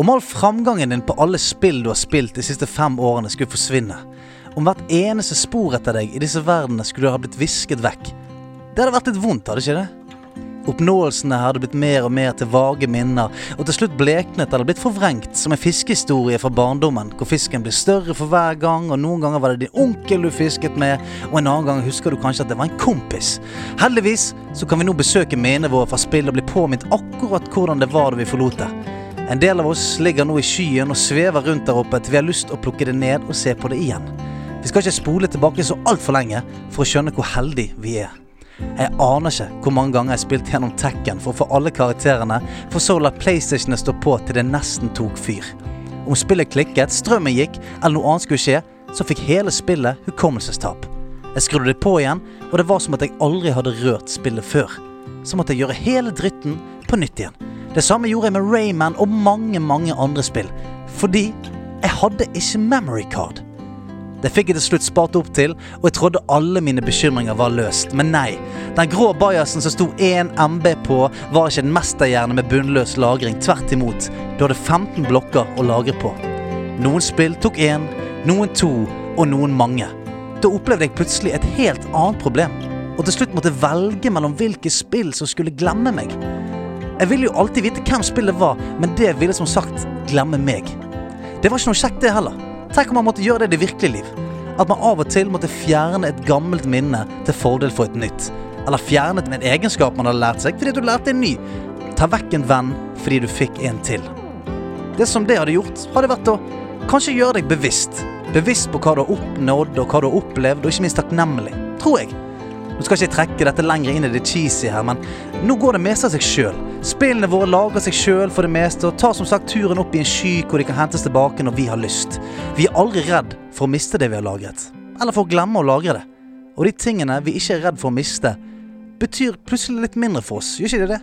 B: Om all framgangen din på alle spill du har spilt de siste fem årene skulle forsvinne, om hvert eneste spor etter deg i disse verdenene skulle ha blitt visket vekk, det hadde vært litt vondt, hadde ikke det? Oppnåelsene hadde blitt mer og mer til vage minner, og til slutt bleknet eller blitt forvrengt som en fiskehistorie fra barndommen, hvor fisken blir større for hver gang, og noen ganger var det din onkel du fisket med, og en annen gang husker du kanskje at det var en kompis. Heldigvis så kan vi nå besøke minnene våre fra spill og bli påminnet akkurat hvordan det var da vi forlot det. En del av oss ligger nå i skyen og svever rundt der oppe til vi har lyst til å plukke det ned og se på det igjen. Vi skal ikke spole tilbake så altfor lenge for å skjønne hvor heldige vi er. Jeg aner ikke hvor mange ganger jeg spilte gjennom Tekken for å få alle karakterene, for så å la PlayStationene stå på til det nesten tok fyr. Om spillet klikket, strømmen gikk, eller noe annet skulle skje, så fikk hele spillet hukommelsestap. Jeg skrudde det på igjen, og det var som at jeg aldri hadde rørt spillet før. Så måtte jeg gjøre hele dritten på nytt igjen. Det samme gjorde jeg med Rayman og mange, mange andre spill. Fordi jeg hadde ikke memory card. Det fikk jeg til slutt spart opp til, og jeg trodde alle mine bekymringer var løst. Men nei. Den grå bajasen som sto 1 MB på, var ikke en mesterhjerne med bunnløs lagring. Tvert imot. Du hadde 15 blokker å lagre på. Noen spill tok én, noen to og noen mange. Da opplevde jeg plutselig et helt annet problem, og til slutt måtte velge mellom hvilke spill som skulle glemme meg. Jeg ville jo alltid vite hvem spillet var, men det ville som sagt glemme meg. Det var ikke noe kjekt, det heller. Tenk om man måtte gjøre det i det virkelige liv. At man av og til måtte fjerne et gammelt minne til fordel for et nytt. Eller fjernet en egenskap man hadde lært seg fordi du lærte en ny. Ta vekk en venn fordi du fikk en til. Det som det hadde gjort, hadde vært å kanskje gjøre deg bevisst. Bevisst på hva du har oppnådd, og hva du har opplevd, og ikke minst takknemlig. Tror jeg. Nå skal ikke jeg trekke dette lenger inn i det cheesy her, men nå går det meste av seg sjøl. Spillene våre lager seg sjøl for det meste, og tar som sagt turen opp i en sky hvor de kan hentes tilbake når vi har lyst. Vi er aldri redd for å miste det vi har lagret, eller for å glemme å lagre det. Og de tingene vi ikke er redd for å miste, betyr plutselig litt mindre for oss, gjør ikke det det?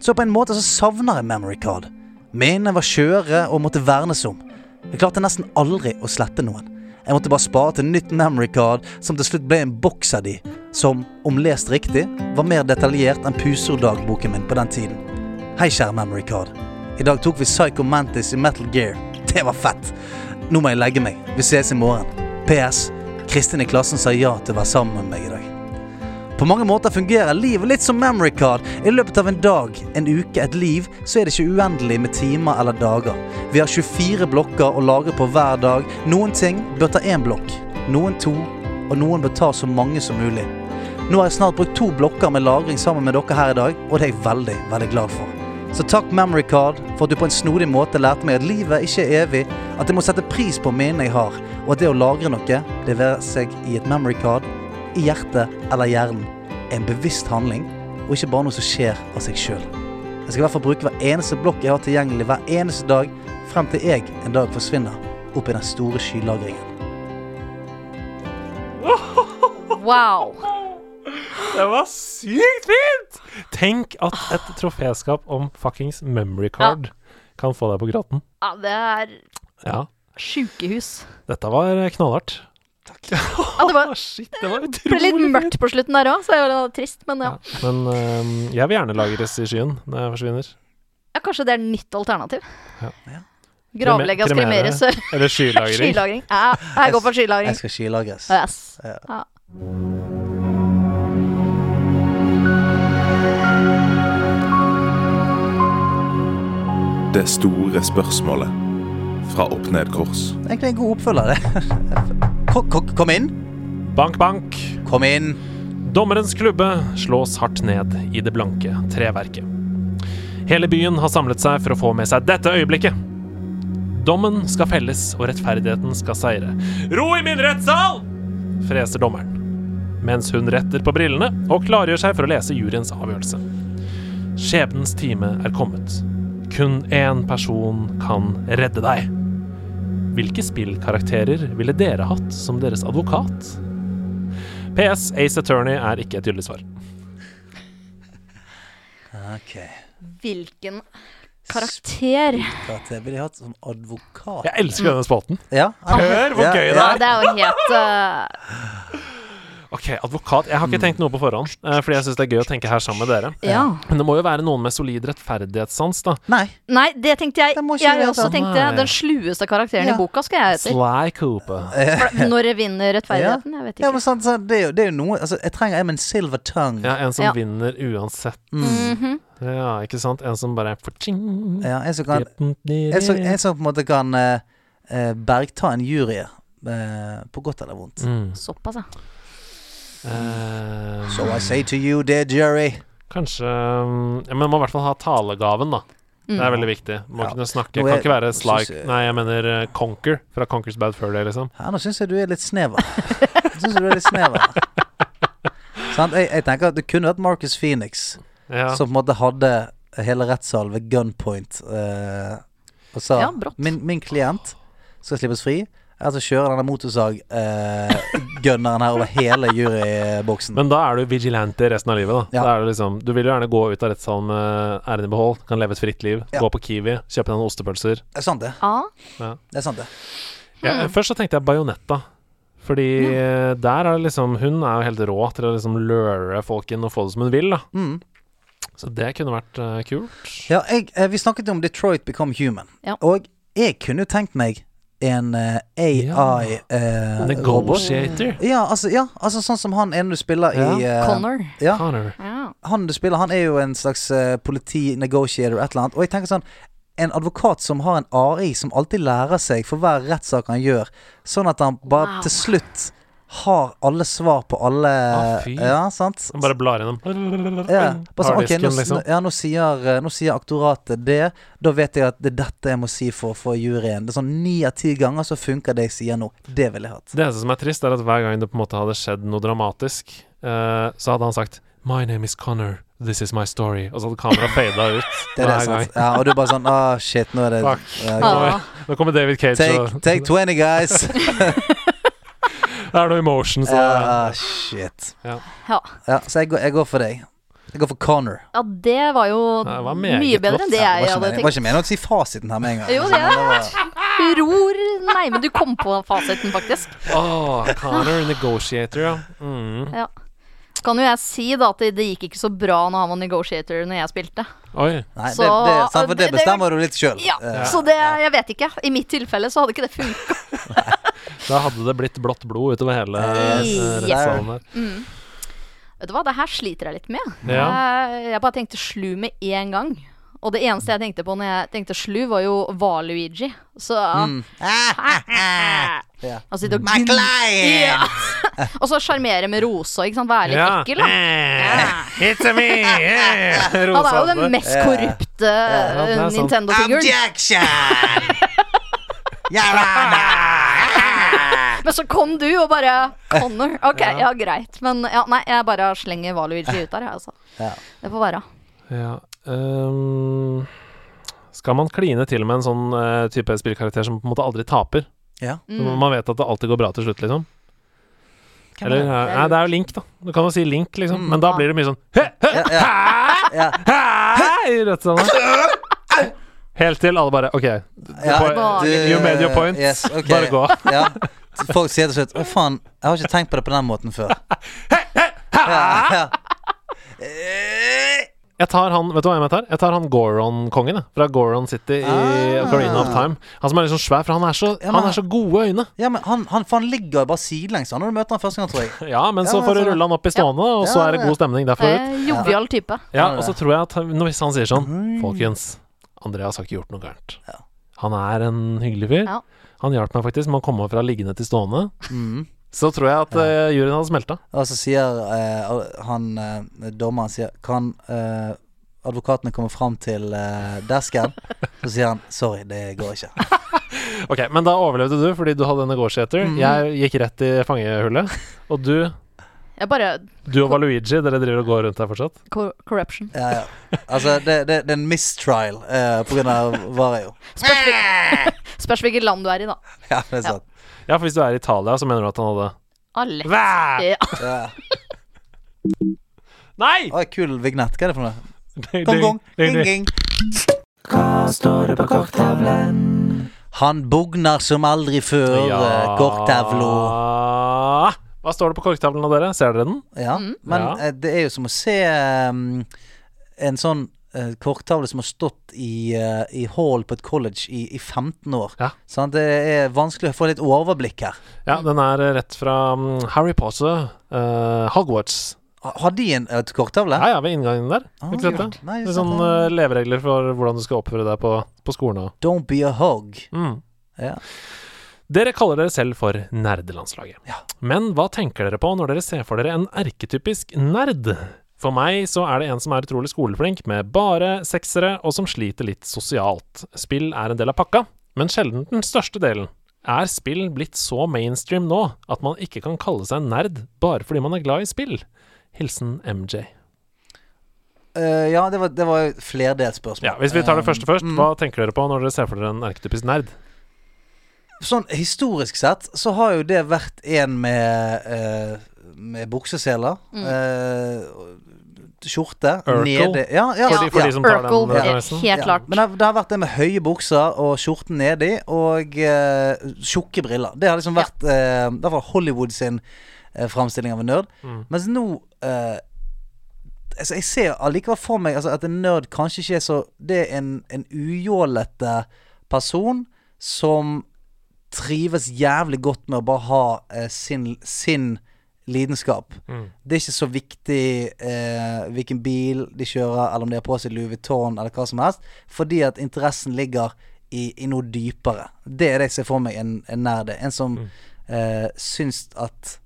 B: Så på en måte så savner jeg memory card. Minnene var skjøre og måtte vernes om. Jeg klarte nesten aldri å slette noen. Jeg måtte bare spare til nytt memory card, som til slutt ble en boks av de, som, om lest riktig, var mer detaljert enn pusorddagboken min på den tiden. Hei, kjære memory card. I dag tok vi Psycho Mantis i Metal Gear. Det var fett! Nå må jeg legge meg. Vi ses i morgen. PS. Kristin i klassen sa ja til å være sammen med meg i dag. På mange måter fungerer livet litt som memory card. I løpet av en dag, en uke, et liv, så er det ikke uendelig med timer eller dager. Vi har 24 blokker å lagre på hver dag. Noen ting bør ta én blokk, noen to, og noen bør ta så mange som mulig. Nå har jeg snart brukt to blokker med lagring sammen med dere her i dag, og det er jeg veldig, veldig glad for. Så takk memory card for at du på en snodig måte lærte meg at livet ikke er evig, at jeg må sette pris på minnene jeg har, og at det å lagre noe, det være seg i et memory card, i hjertet eller hjernen, er en bevisst handling, og ikke bare noe som skjer av seg sjøl. Jeg skal i hvert fall bruke hver eneste blokk jeg har tilgjengelig hver eneste dag, frem til jeg en dag forsvinner opp i den store skylagringen.
E: Wow.
A: Det var sykt fint! Tenk at et troféskap om fuckings memory card kan få deg på graten.
E: Ja, det er
A: Ja.
E: sjukehus.
A: Dette var eh, knallhardt.
E: Ja, det var,
A: Å, Ah, shit, det var
E: ble
A: utrolig
E: litt mørkt på slutten der òg, så det var trist, men ja.
A: Ja. Men øhm, jeg vil gjerne lagres i skyen når jeg forsvinner.
E: ja. Kanskje det er nytt alternativ?
A: Ja.
E: Gravlegges,
A: Kremere.
E: kremeres og
A: Eller skylagring.
E: skylagring. Ja, jeg går for skylagring.
B: Jeg skal skylagres.
E: Yes.
B: Ja.
E: Ja.
G: Det store spørsmålet fra opp ned kors.
B: Egentlig en god oppfølger, det. Ko- ko- Kom inn!
A: Bank, bank.
B: Kom inn!
A: Dommerens klubbe slås hardt ned i det blanke treverket. Hele byen har samlet seg for å få med seg dette øyeblikket. Dommen skal felles, og rettferdigheten skal seire. Ro i min rettssal! freser dommeren, mens hun retter på brillene og klargjør seg for å lese juryens avgjørelse. Skjebnens time er kommet. Kun én person kan redde deg. Hvilke spillkarakterer ville dere hatt som deres advokat? PS Ace Attorney er ikke et gyldig svar.
B: Ok.
E: Hvilken Karakter.
B: Karakter ville jeg hatt som advokat.
A: Jeg elsker denne spalten.
B: Ja,
A: Hør hvor gøy det
E: Ja,
A: er!
E: det er jo helt eh,
A: Ok, advokat. Jeg har
B: Mm.
A: ikke tenkt noe på forhånd, eh, fordi jeg syns det er gøy å tenke her sammen med dere.
E: Ja.
A: Men det må jo være noen med solid rettferdighetssans, da.
B: Nei.
E: Nei, det tenkte jeg.
B: Det må ikke
E: Jeg
B: være
E: også
B: sånn.
E: tenkte Den slueste karakteren
B: Ja.
E: i boka skal jeg etter.
A: Sly Cooper.
E: For Når vinner rettferdigheten? Jeg vet
B: Ja, men
E: ikke.
B: sant, sant, det, er jo, det er jo noe altså, Jeg trenger en med en silver tongue.
A: Ja, en som
E: Ja. Mhm.
A: vinner uansett.
B: Mm.
A: Ja, ikke sant? En som bare Fortjing.
B: Ja, en som kan En som, en som på en måte kan eh, eh, bergta en jury, eh, på godt eller vondt.
A: Mm.
E: Såpass, ja.
A: Eh,
B: So I say to you, dear jury
A: Kanskje mm, ja, Men må i hvert fall ha talegaven, da. Det
E: Mm.
A: er veldig viktig. Må
B: Ja.
A: kunne snakke.
B: Nå
A: Kan
B: er-
A: ikke være
B: synes
A: Sly
B: jeg-
A: Nei, jeg mener eh, Conker fra Conkers Bad Fur Day, liksom.
B: Ja, nå syns jeg du er litt snever. Nå synes jeg du er litt snever. Sant? Jeg, jeg tenker at det kunne vært Marcus Phoenix
A: Ja.
B: som på en måte hadde hele rettssalen ved gunpoint eh, og sa
E: Ja, brått.
B: min, min klient skal slippes fri. Eller så kjører denne motorsag-gunneren her over hele juryboksen.
A: Men da er du vigilante resten av livet, da.
B: Ja.
A: da er du, liksom, du vil jo gjerne gå ut av rettssalen med æren i behold, kan leve et fritt liv,
B: Ja.
A: gå på Kiwi, kjøpe deg noen ostepølser.
B: Det er sant, det.
E: A.
B: det, er sant det.
A: Ja, først så tenkte jeg Bajonetta. Fordi eh, der er det liksom Hun er jo helt rå til å liksom lure folk inn og få det som hun vil, da.
B: Mm.
A: Så det kunne vært eh, kult.
B: Ja, jeg, eh, vi snakket om Detroit Become Human.
E: Ja.
B: Og jeg kunne jo tenkt meg en eh, AI-robot.
A: Negotiator.
B: Ja. altså, ja, altså sånn som han ene du spiller i eh,
E: Connor.
B: Ja,
A: Connor.
E: Ja.
B: han du spiller, han er jo en slags eh, politi-negotiator et eller annet. Og jeg tenker sånn En advokat som har en AI som alltid lærer seg for hver rettssak han gjør, sånn at han bare
E: Wow.
B: til slutt har alle svar på alle
A: Ah, fy.
B: Ja, sant?
A: Han bare blar gjennom.
B: Ja. Bare sånn, ok,
A: Harddisken,
B: nå,
A: liksom.
B: ja, nå, sier, eh, nå sier aktoratet det. Da vet jeg at det er dette jeg må si for å få juryen. Det er sånn Ni av ti ganger så funker det jeg sier nå. Det ville jeg hatt.
A: Det eneste som er trist, er at hver gang det på en måte hadde skjedd noe dramatisk, eh, så hadde han sagt My name is Connor. This is my story. Og så hadde kameraet fada ut.
B: Det er det, sant? Ja, og du er bare sånn Ah, shit, nå er det
A: Fuck.
B: Ja, ok.
A: Nå,
E: Ah.
A: nå kommer David Cage
B: Take,
A: og
B: take 20, guys.
A: Det er noe emotion, så
B: Ah, shit.
E: Ja.
B: Ja, så jeg går, jeg går for deg. Jeg går for Connor.
E: ja, det var jo
A: Ja, det var meget
E: mye bedre enn det
B: Ja, det var ikke
E: jeg hadde
B: meningen- det var
E: tenkt.
B: ikke meningen å si fasiten her med en gang.
E: Jo, det
B: Men var-
E: Ror Nei, men du kom på fasiten, faktisk.
A: Åh, Connor Negotiator, ja. Mm.
E: Ja. Kan jo jeg si da at det, det gikk ikke så bra når han var negotiator når jeg spilte.
A: Oi.
B: Nei, det,
E: Så-
B: det, sant, for det
E: det- det-
B: bestemmer du litt Eh. sjøl.
E: Ja, Så det Jeg vet ikke. I mitt tilfelle så hadde ikke det funka.
A: Da hadde det blitt blått blod utover hele eh,
E: Yes.
A: rettssalen der.
E: Vet du hva, det her sliter jeg litt med.
A: Ja.
E: Jeg, jeg bare tenkte slu med én gang. Og det eneste jeg tenkte på når jeg tenkte slu, var jo Valuigi. Så
A: Mm.
B: Ja.
E: Altså, det, Ja. Og så sjarmere med rosa, ikke sant. Være litt
A: Ja.
E: ekkel, da.
A: Eh, It's a me! eh,
E: Han er jo
A: rosa.
E: den mest korrupte
A: Ja, det er sånn. sant.
E: Nintendo-figuren.
B: Objection!
E: Men så kom du og bare Connor. Ok, ja, greit. Men ja, nei, jeg bare slenger Valuigi ut der, jeg, altså.
B: Ja.
E: Det får være.
A: Ja. ehm, skal man kline til med en sånn eh, type spillkarakter som på en måte aldri taper?
B: Ja.
A: Så Man vet at det alltid går bra til slutt, liksom. Eller, eh, nei, det er jo Link, da. Du kan jo si Link,
B: Mm.
A: liksom. Men da blir det mye sånn «Hø, hø,
B: Ja.
A: hæ?» i rettsalen. Helt til alle bare OK,
B: Ja,
A: point- you made your point.
B: Yes, ok.
A: Bare gå.
B: Ja. Folk sier til slutt Å, faen, jeg har ikke tenkt på det på den måten før. Ja, ja.
A: Jeg tar han, vet du hva jeg tar? Jeg tar han Goron-kongen, jeg, fra Goron City i
B: Ah.
A: Ocarina of Time. Han som er litt sånn svær, for han er så,
B: Ja, men-
A: han er så gode øyne.
B: Ja, men han, han, for han ligger bare sidelengs han, når du møter han første gang, tror jeg.
A: Ja, men
B: Ja,
A: så
B: men
A: får du
B: så-
A: rulle han opp i stående, og så
B: Ja,
A: er det
B: ja.
A: god stemning derfra ut.
E: Eh, Jovial type.
A: Ja, og så tror jeg at han- hvis han sier sånn Folkens, Andreas har ikke gjort noe gærent. Han er en hyggelig fyr.
E: Ja.
A: Han hjalp meg faktisk med å komme fra liggende til stående. Så tror jeg at eh, juryen hadde smelta.
B: Og så sier eh, han eh, dommeren sier Kan eh, advokatene komme fram til eh, desken? Så sier han sorry, det går ikke.
A: Ok, men da overlevde du fordi du hadde negotiator. Jeg gikk rett i fangehullet. Og du,
E: Jeg bare
A: du og Valuigi, dere driver og går rundt her fortsatt?
E: cor Corruption.
B: Ja, ja. Altså, det, det, det er en mistrial eh, på grunn av Vario.
E: Spørs, hvil- Spørs hvilket land du er i, da.
B: Ja, det er sant.
A: Ja, for hvis du er i Italia, så mener du at han hadde
E: Alle.
A: Væ!
E: Ja.
B: Ja.
A: Nei!
B: Å, kul vignett. Hva er det for noe?
A: Ding,
B: Gong-gong.
A: ding, ding.
B: Ding-ding.
H: står det på korktavlen?
B: Han bugner som aldri før. Ja. Korktavlo.
A: Hva står det på korktavlen av dere? Ser dere den?
B: Ja. Men
A: Ja.
B: eh, det er jo som å se um, en sånn eh, korktavle som har stått i, eh, i hall på et college i, i 15 år.
A: Ja.
B: Sant? det er vanskelig å få litt overblikk her.
A: Ja, den er eh, rett fra mm, Harry Potter, eh, Hogwarts.
B: Ha- Har de en et korktavle?
A: Ja, ja, ved inngangen der.
B: Ah,
A: Ikke sant
B: kult.
A: det?
B: Nei,
A: Litt
B: sant
A: sånn eh, leveregler for hvordan du skal oppføre deg på, på skolen og
B: Don't be a hog.
A: mm.
B: Ja.
A: Dere kaller dere selv for nerdelandslaget.
B: Ja.
A: Men hva tenker dere på når dere ser for dere en erketypisk nerd? For meg så er det en som er utrolig skoleflink, med bare seksere, og som sliter litt sosialt. Spill er en del av pakka, men sjelden den største delen. Er spill blitt så mainstream nå at man ikke kan kalle seg en nerd bare fordi man er glad i spill? Hilsen MJ.
B: Eh, ja, det var, det var jo flerdelt spørsmål.
A: Ja, Hvis vi tar det første først,
B: Mm.
A: hva tenker dere på når dere ser for dere en erketypisk nerd?
B: Sånn historisk sett så har jo det vært en med eh, Med bukseseler. eh, skjorte.
A: Urkel.
B: Nede. Ja, ja,
A: For,
B: ja,
A: de, for de som tar den
E: Urkel,
A: eh,
E: he-
A: referansen?
E: helt
B: ja.
E: klart.
B: Men det, har- det har vært det med høye bukser og skjorten nedi, og eh, tjukke briller. Det har liksom vært eh, i hvert fall Hollywood sin eh, framstilling av en nerd. Mens nå eh, altså Jeg ser allikevel for meg altså, at en nerd kanskje ikke er så Det er en, en ujålete person som trives jævlig godt med å bare ha eh, sin, sin lidenskap. Det er ikke så viktig eh, hvilken bil de kjører, eller om de har på seg Louis Vuitton, eller hva som helst, fordi at interessen ligger i, i noe dypere. Det er det jeg ser for meg en, en nerd er. En som eh, syns at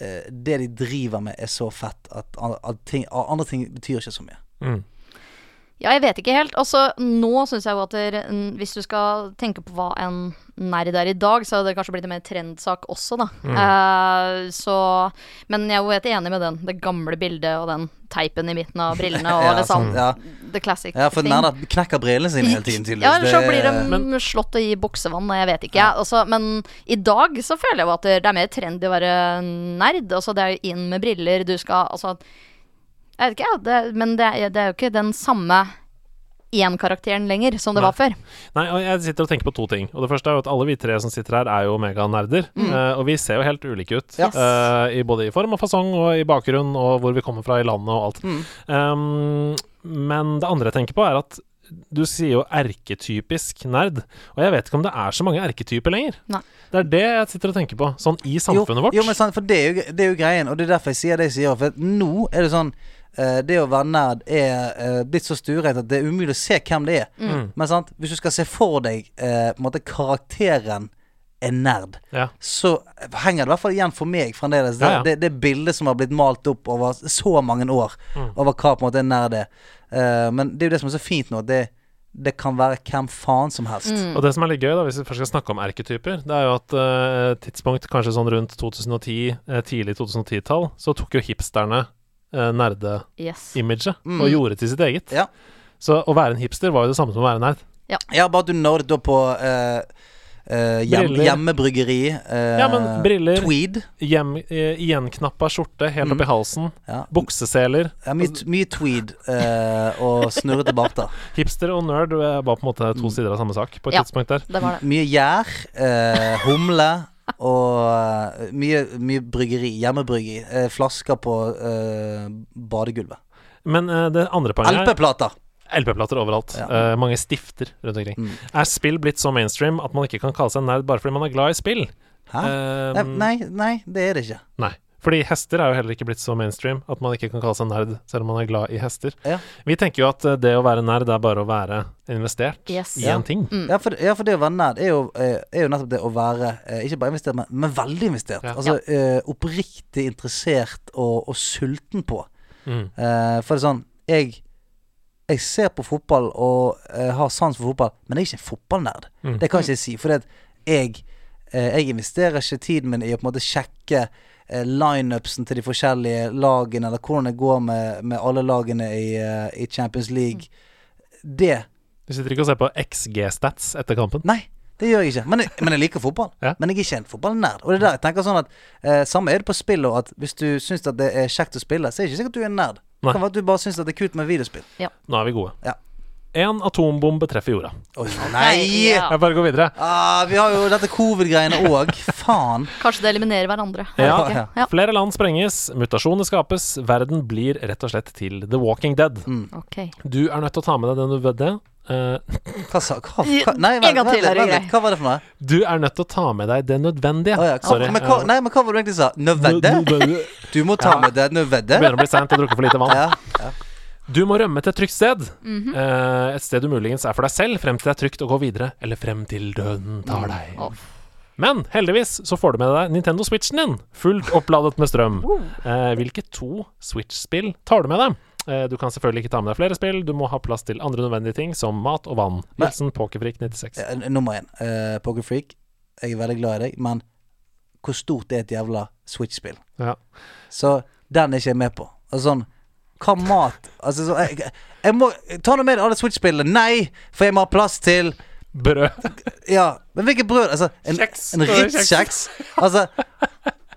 B: eh, det de driver med, er så fett at, an- at ting, andre ting betyr ikke så mye.
A: Mm.
E: Ja, jeg vet ikke helt. Altså, nå syns jeg jo at der, n- hvis du skal tenke på hva en nerd er i dag, så hadde det kanskje blitt en mer trendsak også, da. Eh, så Men jeg er jo helt enig med den. Det gamle bildet og den teipen i midten av brillene og
B: Ja,
E: det sånn.
B: sånn, ja.
E: The classic
B: Ja, for
E: thing.
B: nerder knekker brillene sine hele tiden, tydeligvis.
E: Ja, eller så
B: Det-
E: blir de slått i buksevann, og jeg vet ikke. jeg. Altså, men i dag så føler jeg jo at det er mer trendy å være nerd. Altså, det er jo inn med briller, du skal altså Jeg vet ikke, jeg. Det, men det, er- det er jo ikke den samme én-karakteren lenger som det var før.
A: Nei, og jeg sitter og tenker på to ting. Og det første er jo at alle vi tre som sitter her, er jo meganerder. eh, og vi ser jo helt ulike ut.
B: Mm. Yes.
A: eh, i både i form og fasong og i bakgrunn og hvor vi kommer fra i landet og alt.
B: Mm.
A: Um, men det andre jeg tenker på, er at du sier jo erketypisk nerd, og jeg vet ikke om det er så mange erketyper lenger.
E: Nei.
A: Det er det jeg sitter og tenker på, sånn i samfunnet
B: jo,
A: vårt.
B: Jo, men sant, for det er jo, det er jo greien, og det er derfor jeg sier det jeg sier. For at nå er det sånn eh, Det å være nerd er eh, blitt så sturet at det er umulig å se hvem det er.
A: Mm.
B: Men sant, hvis du skal se for deg eh, på en måte karakteren en nerd,
A: ja.
B: så henger det i hvert fall igjen for meg fremdeles. Det,
A: Ja, ja.
B: det, det bildet som har blitt malt opp over så mange år,
A: Mm.
B: over hva på en måte en nerd er. Eh, men det er jo det som er så fint nå, at det, det kan være hvem faen som helst.
E: Mm.
A: Og det som er litt gøy, da, hvis vi først skal snakke om erketyper, det er jo at eh, tidspunkt kanskje sånn rundt 2010, eh, tidlig 2010-tall, så tok jo hipsterne eh, nerde-imaget
E: Yes.
A: og gjorde til sitt eget.
B: Mm. Ja.
A: Så å være en hipster var jo det samme som å være nerd.
B: Ja, bare at du nådde da på eh, eh, hjem,
A: Briller.
B: hjemmebryggeri. eh,
A: Ja, men briller-
B: Tweed.
A: Hjem, eh, igjenknappa skjorte helt oppi halsen,
B: Mm. Ja.
A: bukseseler.
B: Ja, mye, mye tweed eh, og snurrete barter.
A: Hipster og nerd eh, var på en måte
B: Mm.
A: to sider av samme sak på et
E: Ja.
A: tidspunkt der.
E: Det var det.
B: Mye gjær, eh, humle og eh, mye, mye bryggeri. Hjemmebryggeri. eh, flasker på eh, badegulvet.
A: Men eh, det andre poenget er
B: LP-plater.
A: LP-plater overalt. Eh, mange stifter rundt omkring.
B: Mm.
A: Er spill blitt så mainstream at man ikke kan kalle seg nerd bare fordi man er glad i spill?
B: Hæ?
A: Eh,
B: Nei, nei, nei, det er det ikke.
A: Nei. Fordi hester er jo heller ikke blitt så mainstream at man ikke kan kalle seg nerd, selv om man er glad i hester.
B: Ja.
A: Vi tenker jo at eh, det å være nerd er bare å være investert
E: Yes. Mm.
A: i
E: Ja.
A: en ting.
B: Ja, for, ja, for det å være nerd er jo, eh, er jo nettopp det å være eh, ikke bare investert, men, men veldig investert.
A: Ja.
B: Altså eh, oppriktig interessert og, og sulten på.
A: Mm.
B: Eh, for det er sånn Jeg, jeg ser på fotball og eh, har sans for fotball, men jeg er ikke en fotballnerd.
A: Mm.
B: Det kan ikke jeg si. For jeg, eh, jeg investerer ikke tiden min i å på en måte sjekke eh, lineupsen til de forskjellige lagene, eller hvordan det går med, med alle lagene i, eh, i Champions League.
A: Mm.
B: Det
A: Du sitter ikke og ser på XG-stats etter kampen.
B: Nei, det gjør jeg ikke. Men jeg, men jeg liker fotball.
A: Ja.
B: Men jeg er ikke en fotballnerd. Og det er der jeg tenker sånn at eh, Samme er det på spill òg, at hvis du syns at det er kjekt å spille, så er det ikke sikkert du er en nerd.
A: Nei.
B: Det kan være at du bare syns at det er kult med videospill.
A: Nå er vi gode.
B: Ja.
A: En atombombe treffer jorda.
B: Oi, nei!
E: Ja.
A: Jeg bare går videre.
B: Ah, vi har jo dette covid-greiene òg. Faen.
E: Kanskje det eliminerer hverandre.
A: Ja.
E: Jeg vet ikke.
A: Flere land sprenges, mutasjoner skapes, verden blir rett og slett til The Walking Dead.
B: Mm.
E: ja. ok.
B: Eh,
A: Du er nødt til å ta med deg den nødvendige eh,
B: Hva sa hva, hva, nei,
E: En gang til, er det grei.
B: litt. Hva var det for noe?
A: Du er nødt til å ta med deg det nødvendige.
B: Å ja, hva,
A: Sorry.
B: men, hva, nei, men hva var det du egentlig sa? Nødvedde?
A: Det
B: Du må ta med deg nødvedde?
A: begynner å bli seint, jeg har drukket for lite vann.
B: Ja.
A: Du må rømme til et trygt sted. Eh, et sted du muligens er for deg selv, frem til det er trygt å gå videre, eller frem til døden tar deg.
E: Å.
A: Men heldigvis så får du med deg Nintendo Switchen din, fullt oppladet med strøm. Eh, hvilke to Switch-spill tar du med deg? Eh, Du kan selvfølgelig ikke ta med deg flere spill, du må ha plass til andre nødvendige ting som mat og vann.
B: Men-
A: Hilsen Pokerfrik96.
B: Eh, Nummer én. Uh, Pokerfreak. Jeg er veldig glad i deg, men hvor stort er et jævla Switch-spill?
A: Ja.
B: Så den er ikke jeg med på. Altså sånn Hva mat Altså så, jeg, jeg må Ta nå med deg alle Switch-spillene. Nei! For jeg må ha plass til
A: Brød.
B: Ja, men hvilket brød? Altså, en,
A: Kjeks.
B: en Ritz-kjeks? Altså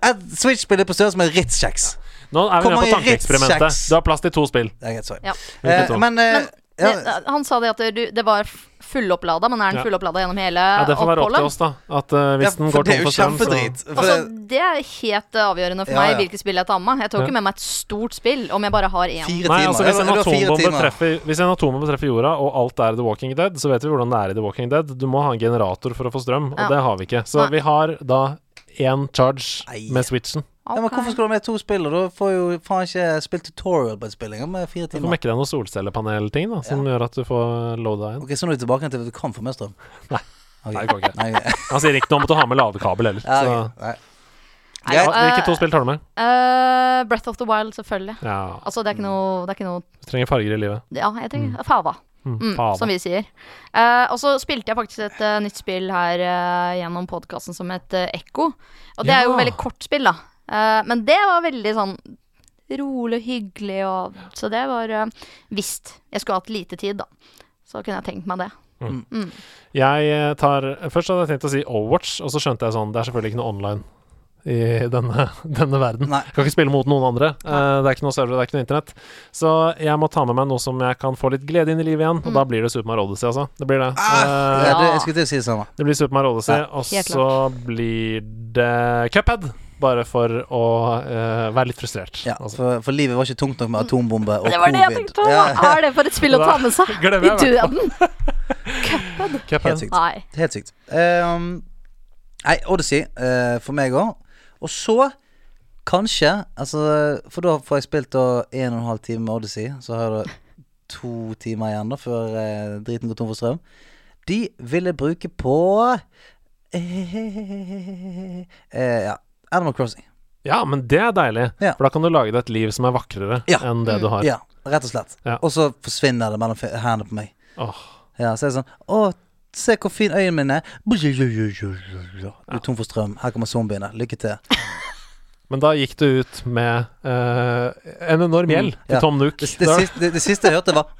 B: Et Switch-spill er på størrelse med en Ritz-kjeks.
A: Nå er vi
B: Hvor
A: nede på
B: mange
A: tankeeksperimentet.
B: Ritz-kjeks?
A: Du har plass til to spill.
B: Det er greit, sorry.
E: Ja.
A: Hvilket
B: Eh,
A: da?
B: men eh, ja,
E: Men, eh, han sa det at du, det var f- fullopplada, men er den
A: Ja.
E: fullopplada gjennom hele
A: Ja, det får være opp til
E: oppholdet?
A: oss, da. At eh,
B: ja,
A: hvis den
B: for
A: går
B: det er
A: tom
B: jo
A: for strøm, så
B: kjempedrit. For
E: Altså,
B: det-
E: det er helt eh, avgjørende for
B: Ja,
E: meg
B: ja.
E: hvilke spill jeg tar med. Jeg tar
A: Ja.
E: ikke med meg et stort spill om jeg bare har én.
B: Fire
A: Nei,
B: timer.
A: altså hvis en,
B: Eller- eller fire
A: atombombe
B: timer.
A: treffer, hvis en atombombe treffer jorda, og alt er i The Walking Dead, så vet vi hvordan det er i The Walking Dead. Du må ha en generator for å få strøm, og
E: Ja.
A: det har vi ikke. Så
E: Nei.
A: vi har da én charge
B: Nei.
A: med switchen.
B: Ja, men Hvorfor skal du ha med to spill? Og da får jeg jo faen ikke spilt tutorial på et spill engang med fire
A: Du får
B: timer.
A: mekke deg noen solcellepanelting da, som gjør at du får loada inn.
B: Ok, Så nå er du tilbake til at du kan få mer strøm?
A: Nei.
B: Ok.
A: Nei, det går ikke.
B: Nei, ok.
A: Han sier ikke noe om at du har med ladekabel heller. Så
B: Ja, ok. Nei.
E: Nei,
A: ja,
B: Greit.
E: eh,
A: hvilke to spill tar du med?
E: eh, Breath of the Wild, selvfølgelig.
A: Ja,
E: Altså,
B: Mm.
E: det er ikke noe, det er ikke noe
A: du trenger farger i livet.
E: Ja, jeg trenger Fava.
A: Mm,
E: Mm,
A: faen.
E: som vi sier. Eh, og så spilte jeg faktisk et eh, nytt spill her eh, gjennom podkasten som het eh, Ekko. Og det er jo
A: Ja.
E: veldig kort spill, da. Eh, men det var veldig sånn rolig og hyggelig og Så det var eh, Visst, jeg skulle hatt lite tid, da. Så kunne jeg tenkt meg det.
A: Jeg eh, tar Først hadde jeg tenkt å si Overwatch, og så skjønte jeg sånn Det er selvfølgelig ikke noe online i denne, denne verden.
B: Nei.
A: Kan ikke spille mot noen andre. Eh, det er ikke noe server, det er ikke noe internett. Så jeg må ta med meg noe som jeg kan få litt glede inn i livet igjen, og da blir det Super Mario Odyssey, altså. Det blir det.
B: Mm. Ah,
A: Eh,
B: ja, det- jeg skulle til å si det samme.
A: det blir Super Mario Odyssey,
B: Ja,
A: og
E: helt
A: så blir det Cuphead. Bare for å eh, være litt frustrert.
B: Ja,
A: altså.
B: for, for livet var ikke tungt nok med atombombe og covid.
E: Det var det jeg tenkte på!
B: Ja,
E: Hva er det for et spill å ta med seg
A: Glemmer
E: i
A: jeg i hvert
E: døden?
B: helt
A: Cuphead.
B: sykt.
E: Nei.
B: Helt sykt. Ehm, nei, Odyssey eh, for meg òg. Og så kanskje altså, For da får jeg spilt da en og en halv time med Odyssey. Så har jeg da to timer igjen da før eh, driten går tom for strøm. De ville bruke på eh, Ja, Animal Crossing.
A: Ja, men det er deilig,
B: Ja.
A: for da kan du lage deg et liv som er vakrere
B: Ja. Mm.
A: enn det du har.
B: Ja, rett og slett.
A: Ja.
B: Og så forsvinner det mellom fe- hendene på meg.
A: Åh.
B: Ja, så er det sånn Å, se hvor fin øynene mine er. Du er tom for strøm. Her kommer zombiene. Lykke til.
A: Men da gikk du ut med eh, en enorm gjeld
B: Mm,
A: til
B: ja.
A: Tom Nook.
B: Det, det,
A: Da-
B: siste, det, det siste jeg hørte, var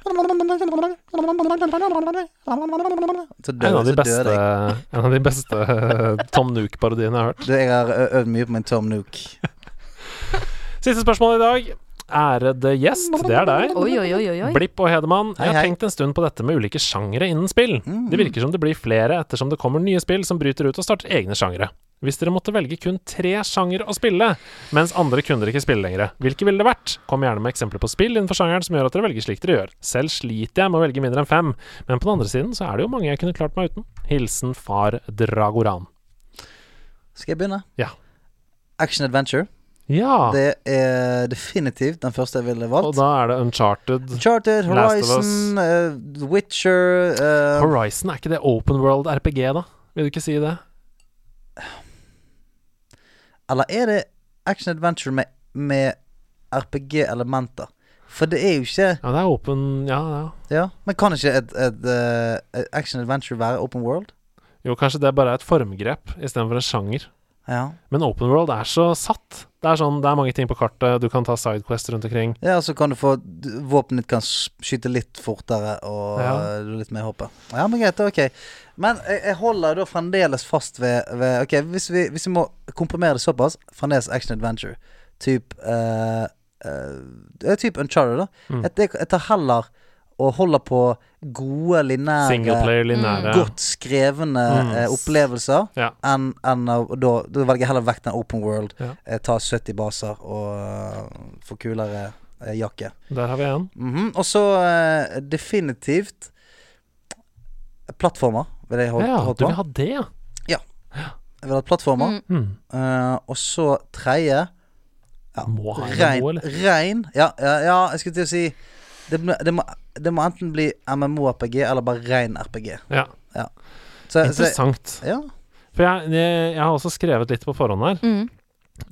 B: Så døde,
A: en av de
B: så
A: beste,
B: døde jeg.
A: en av de beste eh, Tom Nook-parodiene jeg har hørt.
B: Du, jeg har ø- øvd mye på min Tom Nook.
A: Siste spørsmål i dag. Ærede gjest, det er deg.
E: Oi, oi, oi, oi. oi.
A: Blipp og Hedemann, jeg har
B: Hei, hei.
A: tenkt en stund på dette med ulike sjangere innen spill. Det virker som det blir flere ettersom det kommer nye spill som bryter ut og starter egne sjangere. Hvis dere måtte velge kun tre sjanger å spille, mens andre kunder ikke spille lenger, hvilke ville det vært? Kom gjerne med eksempler på spill innenfor sjangeren som gjør at dere velger slik dere gjør. Selv sliter jeg med å velge mindre enn fem, men på den andre siden så er det jo mange jeg kunne klart meg uten. Hilsen far Dragoran.
B: Skal jeg begynne?
A: Ja.
B: Action Adventure.
A: Ja,
B: Det er definitivt den første jeg ville
A: og
B: valgt.
A: da er det Uncharted.
B: Charted,
A: Last of
B: Horizon, eh, The Witcher eh,
A: Horizon, er ikke det open world RPG, da? Vil du ikke si det?
B: Eller er det Action Adventure med, med RPG-elementer? For det er jo ikke
A: Ja, det er open Ja, ja.
B: Ja, men kan ikke et, et, eh, et action adventure være open world?
A: Jo, kanskje det bare er et formgrep istedenfor en sjanger.
B: Ja.
A: Men open world er så satt. Det er sånn, det er mange ting på kartet, du kan ta sidequest rundt omkring.
B: Ja, så kan du få d- Våpenet ditt kan s- skyte litt fortere, og
A: Ja.
B: eh, du er litt mer hoppet. Ja, men greit, ok. Men jeg, jeg holder da fremdeles fast ved, ved Ok, hvis vi, hvis vi må komprimere det såpass, fremdeles action adventure. Typ eh, eh, det er Typ Uncharted, da. Jeg, jeg tar heller og holder på gode, lineære,
A: Singleplayer, linære
B: godt skrevne
A: Mm.
B: eh, opplevelser
A: Ja.
B: enn enn å da, da velger jeg heller vekk den open world,
A: Ja.
B: eh, ta 70 baser og eh, få kulere eh, jakke.
A: Der har vi en.
B: Mhm, Og så eh, definitivt plattformer, vil jeg holde,
A: Ja,
B: holde
A: du
B: på.
A: vil ha det, ja.
B: Jeg vil ha plattformer.
E: Mm.
A: Hmm.
B: Eh, og så tredje Ja,
A: Må ha en
B: Rein,
A: MMO, eller?
B: rein ja, ja, ja, jeg skulle til å si det, må- det, må, det må enten bli MMO-RPG eller bare rein RPG.
A: Ja.
B: Eh, Så, så,
A: Interessant.
B: ja.
A: For jeg, jeg, jeg har også skrevet litt på forhånd her.
E: Mm.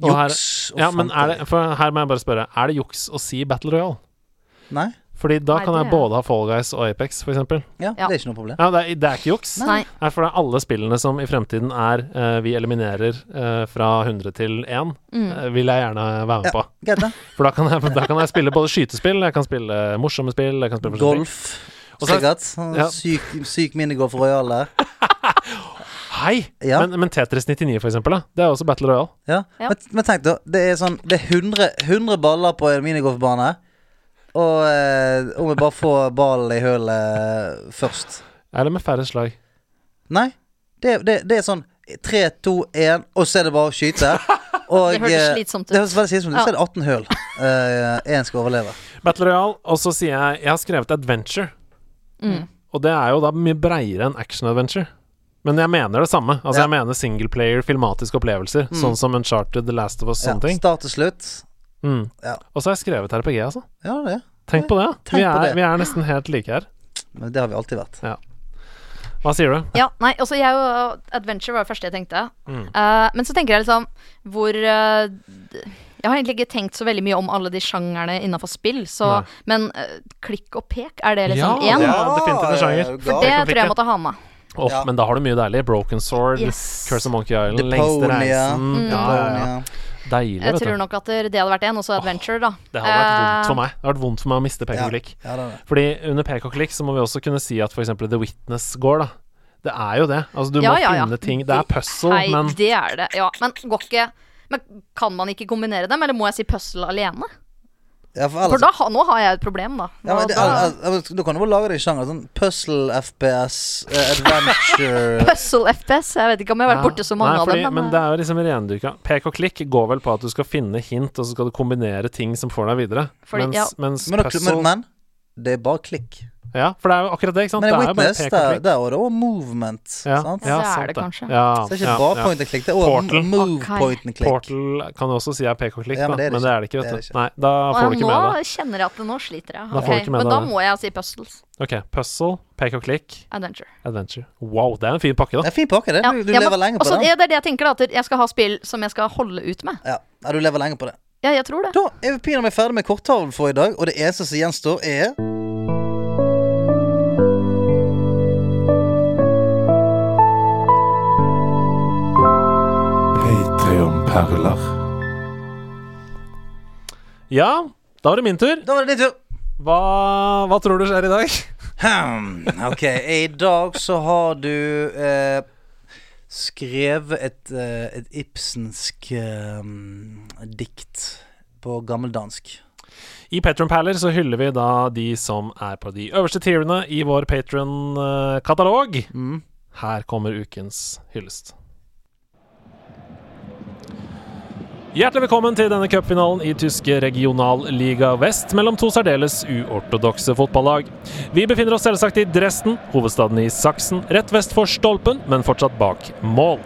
A: Og her
B: Juks og
A: ja, men er
B: fanteri.
A: det, for her må jeg bare spørre, er det juks å si Battle Royale?
B: Nei?
A: Fordi da
E: Nei,
A: kan
E: det
A: jeg
E: er-
A: både ha Fall Guys og Apex, for eksempel.
B: Ja,
E: Ja.
B: det er ikke noe problem.
A: Ja, det er, det er ikke juks.
E: Nei.
A: Nei, for det er alle spillene som i fremtiden er eh, vi eliminerer eh, fra 100 til 1,
E: Mm.
A: eh, vil jeg gjerne være med
B: Ja.
A: på.
B: Greit, det.
A: For da kan, jeg, da kan jeg spille både skytespill, jeg kan spille morsomme spill, jeg kan spille forskjellige ting.
B: Golf.
A: Og så-
B: Sikkert. Sånn
A: ja.
B: Syk, syk minigolf royal der.
A: Hei!
B: Ja.
A: Men, men Tetris 99, for eksempel, da. det er også Battle Royale.
B: Ja.
E: Ja.
B: Men, men tenk, da. Det er sånn Det er 100, 100 baller på en minigolfbane. Og eh, om vi bare får ballen i hølet først.
A: Eller med færre slag.
B: Nei. Det, det, det er sånn 3, 2, 1, og så er det bare å skyte. Og,
E: Det hørtes
B: eh,
E: slitsomt ut.
B: Det høres veldig slitsomt ut.
E: Ja.
B: Så er det 18 høl. Én skal overleve.
A: Battle Royale, og så sier jeg Jeg har skrevet Adventure.
E: Mm.
A: Og det er jo da mye breiere enn Action Adventure. Men jeg mener det samme. Altså
B: Ja.
A: Jeg mener singleplayer, filmatiske opplevelser.
B: Mm.
A: Sånn som Uncharted, The Last of Us,
B: Ja,
A: sånne ting.
B: start til slutt.
A: Mm.
B: Ja.
A: Og så har jeg skrevet RPG, altså.
B: Ja, det er det.
A: Tenk på det.
B: Tenk
A: vi,
B: på
A: er,
B: det.
A: vi er nesten helt like her.
B: Men det har vi alltid vært.
A: Hva sier du?
E: Ja, nei, altså jeg og Adventure var det første jeg tenkte.
A: Mm.
E: Eh, men så tenker jeg liksom hvor eh, d- Jeg har egentlig ikke tenkt så veldig mye om alle de sjangerne innafor spill, så
A: Nei.
E: Men eh, klikk og pek, er det
A: Ja,
E: liksom
A: det
E: én?
A: er definitivt en sjanger.
B: Ja,
E: det
A: klikk og
E: tror jeg
A: pek,
E: jeg måtte ha med.
A: Åh,
B: Ja.
A: Men da har du mye deilig. Broken Sword,
E: Yes.
A: Curse of Monkey Island, Lengste
B: Deponia.
A: reisen.
E: Mm.
A: Ja, ja, ja.
B: Deponia.
A: Deilig,
E: Jeg
A: vet
E: tror
A: du.
E: nok at det hadde vært én, og så Adventure, da.
A: Det hadde vært vondt
E: Eh,
A: for meg. Det hadde vært vondt for meg å miste pek
B: Ja.
A: og klikk.
B: Ja, det er det.
A: Fordi under pek og klikk så må vi også kunne si at for eksempel The Witness går, da. Det er jo det. Altså, du
E: Ja,
A: må
E: ja, ja.
A: finne ting Det er puzzle,
E: Hei,
A: men
E: Eh, det er det. Ja, men går ikke Men kan man ikke kombinere dem, eller må jeg si puzzle alene?
B: Ja, for
E: For
B: ellers
E: da, ha- nå har jeg et problem, da.
B: Ja, men
E: Og
B: det,
E: da
B: al- al- al- da kan du bare lage det i sjanger. Sånn puzzle, FPS, eh, adventure
E: Puzzle FPS, jeg vet ikke om jeg har vært
A: Ja.
E: borti så mange
A: Nei, fordi,
E: av dem,
A: Men det er jo liksom rendyrka. Pek og klikk går vel på at du skal finne hint, og så skal du kombinere ting som får deg videre.
E: Fordi-
A: mens
E: ja.
A: mens
B: men, da-
A: puzzle
B: men, men det er bare klikk.
A: Ja, for det er jo akkurat det, ikke sant?
B: Men i
A: det er jo bare
B: Witness,
A: pek og
B: der,
A: klikk.
B: der var det òg movement.
A: Ja,
B: Sant?
E: Ja,
A: ja,
E: det er
A: sant
E: det kanskje.
A: Ja,
B: Så det er ikke
A: ja,
B: bare
A: ja.
B: point and click, det er òg
A: Portal.
B: move
E: Ok.
B: point and click.
A: Portal kan du også si er pek og klikk,
B: Ja, men
A: da,
B: det er det
A: men det er det ikke, vet
B: Det er det
A: du.
B: ikke.
A: Nei, da får du ikke
E: nå
A: med deg det.
E: kjenner jeg at det- nå sliter jeg.
A: Da får du
E: Ok,
A: ikke med
E: men
A: deg
E: da
A: det.
E: må jeg si puzzles.
A: Ok, puzzle, pek og klikk,
E: Adventure.
A: adventure. Wow, det er en fin pakke,
B: Det
A: da.
B: er fin pakke, det.
E: Ja,
B: Du, du
E: ja,
B: lever
E: men-
B: lenge på
E: altså,
B: det.
E: er det er det jeg tenker, da. At jeg skal ha spill som jeg skal holde ut med.
B: Ja. ja, du lever lenge på det.
E: Ja, jeg tror det.
B: Da er vi pinadø ferdig med korttavlen for i dag, og det eneste som gjenstår, er
G: Patreon-perler.
A: Ja, da var det min tur.
B: Da var det din tur.
A: Hva, hva tror du skjer i dag?
B: Hmm, ok, i dag så har du eh, skrevet et, eh, et Ibsensk eh, dikt på gammeldansk.
A: I Patron Perler så hyller vi da de som er på de øverste tierene i vår Patron-katalog.
B: Mm.
A: Her kommer ukens hyllest. Hjertelig velkommen til denne cupfinalen i tyske Regionalliga Vest mellom to særdeles uortodokse fotballag. Vi befinner oss selvsagt i Dresden, hovedstaden i Saksen, rett vest for stolpen, men fortsatt bak mål.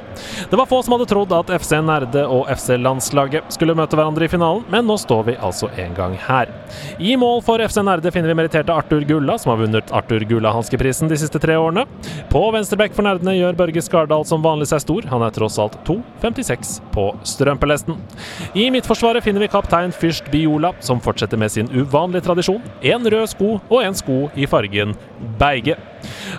A: Det var få som hadde trodd at FC Nerde og FC Landslaget skulle møte hverandre i finalen, men nå står vi altså en gang her. I mål for FC Nerde finner vi meritterte Arthur Gulla, som har vunnet Arthur Gulla-hanskeprisen de siste tre årene. På venstreback for nerdene gjør Børge Skardal som vanlig seg stor. Han er tross alt 2,56 på strømpelesten. I midtforsvaret finner vi kaptein Fyrst Biola, som fortsetter med sin uvanlige tradisjon. En rød sko og en sko i fargen beige.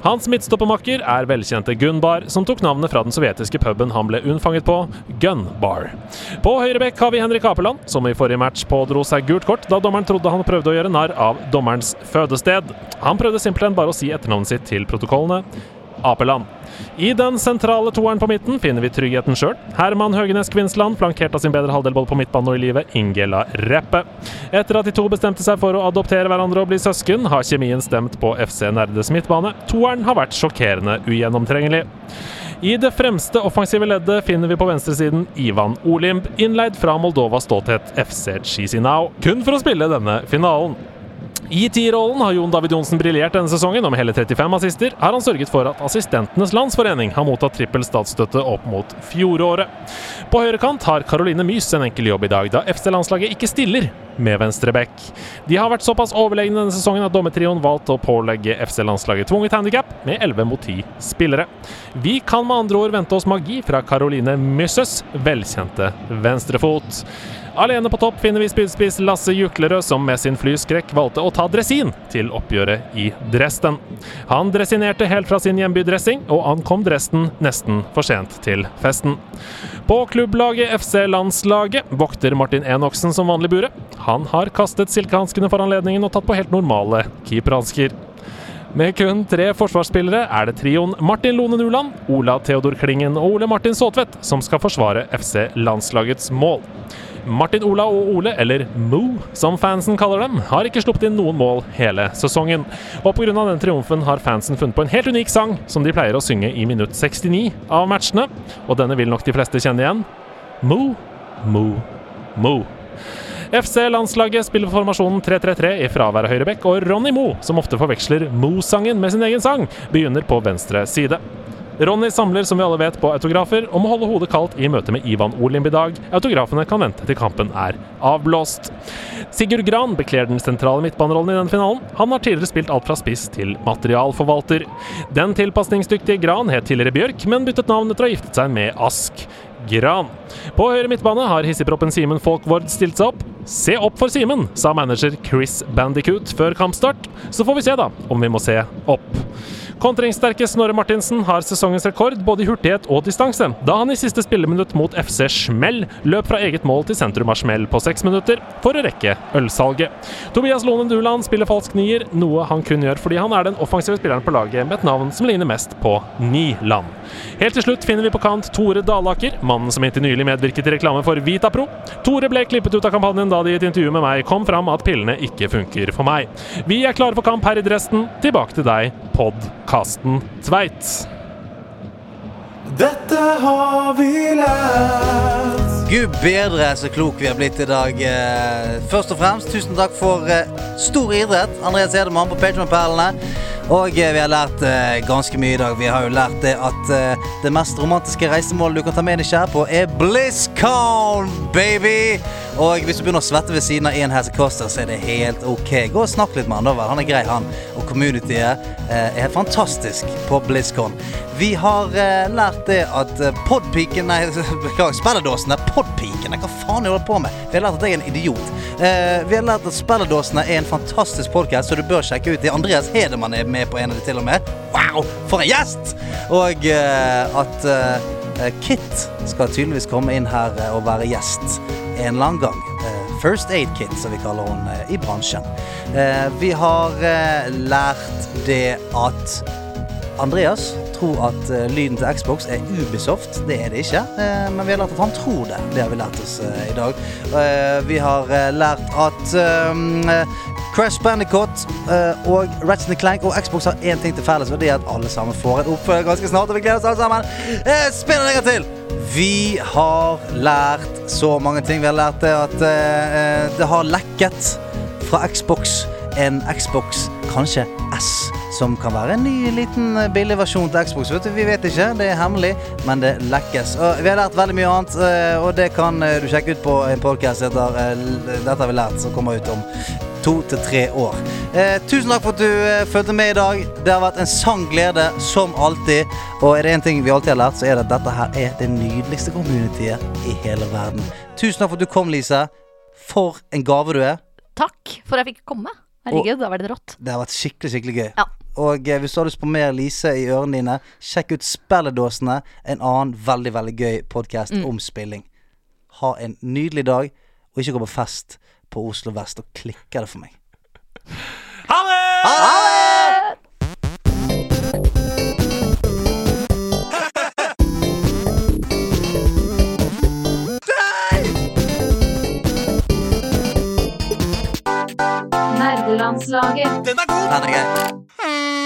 A: Hans midtstoppemakker er velkjente Gunbar, som tok navnet fra den sovjetiske puben han ble unnfanget på, Gunbar. På høyrebekk har vi Henrik Apeland, som i forrige match pådro seg gult kort da dommeren trodde han prøvde å gjøre narr av dommerens fødested. Han prøvde simpelthen bare å si etternavnet sitt til protokollene. Apeland. I den sentrale toeren på midten finner vi tryggheten sjøl. Herman Høgenes Kvinsland, flankert av sin bedre halvdel både på midtbanen og i livet, Ingela Reppe. Etter at de to bestemte seg for å adoptere hverandre og bli søsken, har kjemien stemt på FC Nerdes midtbane. Toeren har vært sjokkerende ugjennomtrengelig. I det fremste offensive leddet finner vi på venstresiden Ivan Olimb, innleid fra Moldovas stolthet FC Chisinau, kun for å spille denne finalen. I tierrollen har Jon David Johnsen briljert denne sesongen, og med hele 35 assister har han sørget for at Assistentenes Landsforening har mottatt trippel statsstøtte opp mot fjoråret. På høyrekant har Caroline Mys en enkel jobb i dag, da FC-landslaget ikke stiller med venstreback. De har vært såpass overlegne denne sesongen at dommertrioen valgte å pålegge FC-landslaget tvunget handikap med 11 mot 10 spillere. Vi kan med andre ord vente oss magi fra Caroline Mysses velkjente venstrefot. Alene på topp finner vi spydspiss Lasse Juklerød, som med sin flyskrekk valgte å ta dressin til oppgjøret i Dresden. Han dressinerte helt fra sin hjemby Dressing, og ankom Dresden nesten for sent til festen. På klubblaget FC-landslaget vokter Martin Enoksen som vanlig buret. Han har kastet silkehanskene for anledningen og tatt på helt normale keeperhansker. Med kun tre forsvarsspillere er det trioen Martin Lone Nuland, Ola Theodor Klingen og Ole Martin Saatvedt som skal forsvare FC-landslagets mål. Martin Ola og Ole, eller Moo som fansen kaller dem, har ikke sluppet inn noen mål hele sesongen. Og pga. den triumfen har fansen funnet på en helt unik sang som de pleier å synge i minutt 69 av matchene, og denne vil nok de fleste kjenne igjen. Moo, moo, moo. FC-landslaget spiller formasjonen 3-3-3 i fravær av Høyrebekk, og Ronny Moe, som ofte forveksler Moe-sangen med sin egen sang, begynner på venstre side. Ronny samler som vi alle vet på autografer, og må holde hodet kaldt i møte med Ivan Olimb i dag. Autografene kan vente til kampen er avblåst. Sigurd Gran bekler den sentrale midtbanerollen i denne finalen. Han har tidligere spilt alt fra spiss til materialforvalter. Den tilpasningsdyktige Gran het tidligere Bjørk, men byttet navn etter å ha giftet seg med Ask. Gran. På høyre midtbane har hissigproppen Simen Folk Vord stilt seg opp. Se opp for Simen, sa manager Chris Bandicoot før kampstart. Så får vi se, da, om vi må se opp. Kontringssterke Snorre Martinsen har sesongens rekord både i hurtighet og distanse, da han i siste spilleminutt mot FC Smell løp fra eget mål til sentrum av Smell på seks minutter for å rekke ølsalget. Tobias Lone Duland spiller falsk nier, noe han kun gjør fordi han er den offensive spilleren på laget med et navn som ligner mest på ni land. Helt til slutt finner vi på kant Tore Dalaker, mannen som inntil nylig medvirket i reklame for Vitapro. Tore ble klippet ut av kampanjen da det i et intervju med meg kom fram at pillene ikke funker for meg. Vi er klare for kamp her i Dresden. Tilbake til deg, podkasten Tveit.
H: Dette har vi lært.
B: Gud bedre så klok vi har blitt i dag. Eh, Først og fremst, tusen takk for eh, stor idrett, Andreas Edemann på Patrion-perlene. Og eh, vi har lært eh, ganske mye i dag. Vi har jo lært det at eh, det mest romantiske reisemålet du kan ta med deg kjære på, er BlizzCon, baby! Og hvis du begynner å svette ved siden av en hestekoster, så er det helt ok. Gå og snakk litt med han da vel. Han er grei, han. Og communityet eh, er fantastisk på BlizzCon. Vi har eh, lært det at eh, podpiken Nei, beklager, spelledåsene. Podpikene, hva faen holder jeg på med? Vi har lært at jeg er en idiot. Eh, vi har lært at Spelledåsene er en fantastisk podkast, så du bør sjekke ut det. Andreas Hedemann er med på en av de til og med. Wow, for en gjest! Og eh, at eh, Kit skal tydeligvis komme inn her eh, og være gjest en eller annen gang. Eh, First Aid Kit, som vi kaller hun eh, i bransjen. Eh, Vi har eh, lært det at Andreas tror at eh, lyden til Xbox er Ubisoft. Det er det ikke. eh, men vi har lært at han tror det. Det har vi lært oss eh, i dag. Eh, vi har eh, lært at eh, Crash Bandicoot eh, og Ratchet Clank og Xbox har én ting til felles, og det er at alle sammen får en oppfølger ganske snart. Og vi gleder oss alle sammen. Eh, spill en gang til! Vi har lært så mange ting. Vi har lært det at eh, eh, det har lekket fra Xbox. En Xbox, kanskje S, som kan være en ny liten eh, billig versjon til Xbox. Vet du, vi vet ikke, det er hemmelig, men det lekkes. Og vi har lært veldig mye annet, eh, og det kan eh, du sjekke ut på en podkast etter eh, L- Dette har vi lært, som kommer ut om to til tre år. Eh, tusen takk for at du eh, fulgte med i dag. Det har vært en sann glede, som alltid. Og er det én ting vi alltid har lært, så er det at dette her er det nydeligste communityet i hele verden. Tusen takk for at du kom, Lise. For en gave du er.
E: Takk for at jeg fikk komme. Herregud, da var det rått.
B: Det har vært skikkelig, skikkelig gøy.
E: Ja.
B: Og eh, hvis du har lyst på mer Lise i ørene dine, sjekk ut Spelledåsene. En annen veldig, veldig gøy podkast om spilling. Ha en nydelig dag, og ikke gå på fest på Oslo vest og klikke det for meg. Ha det! Den er god! Den er grei.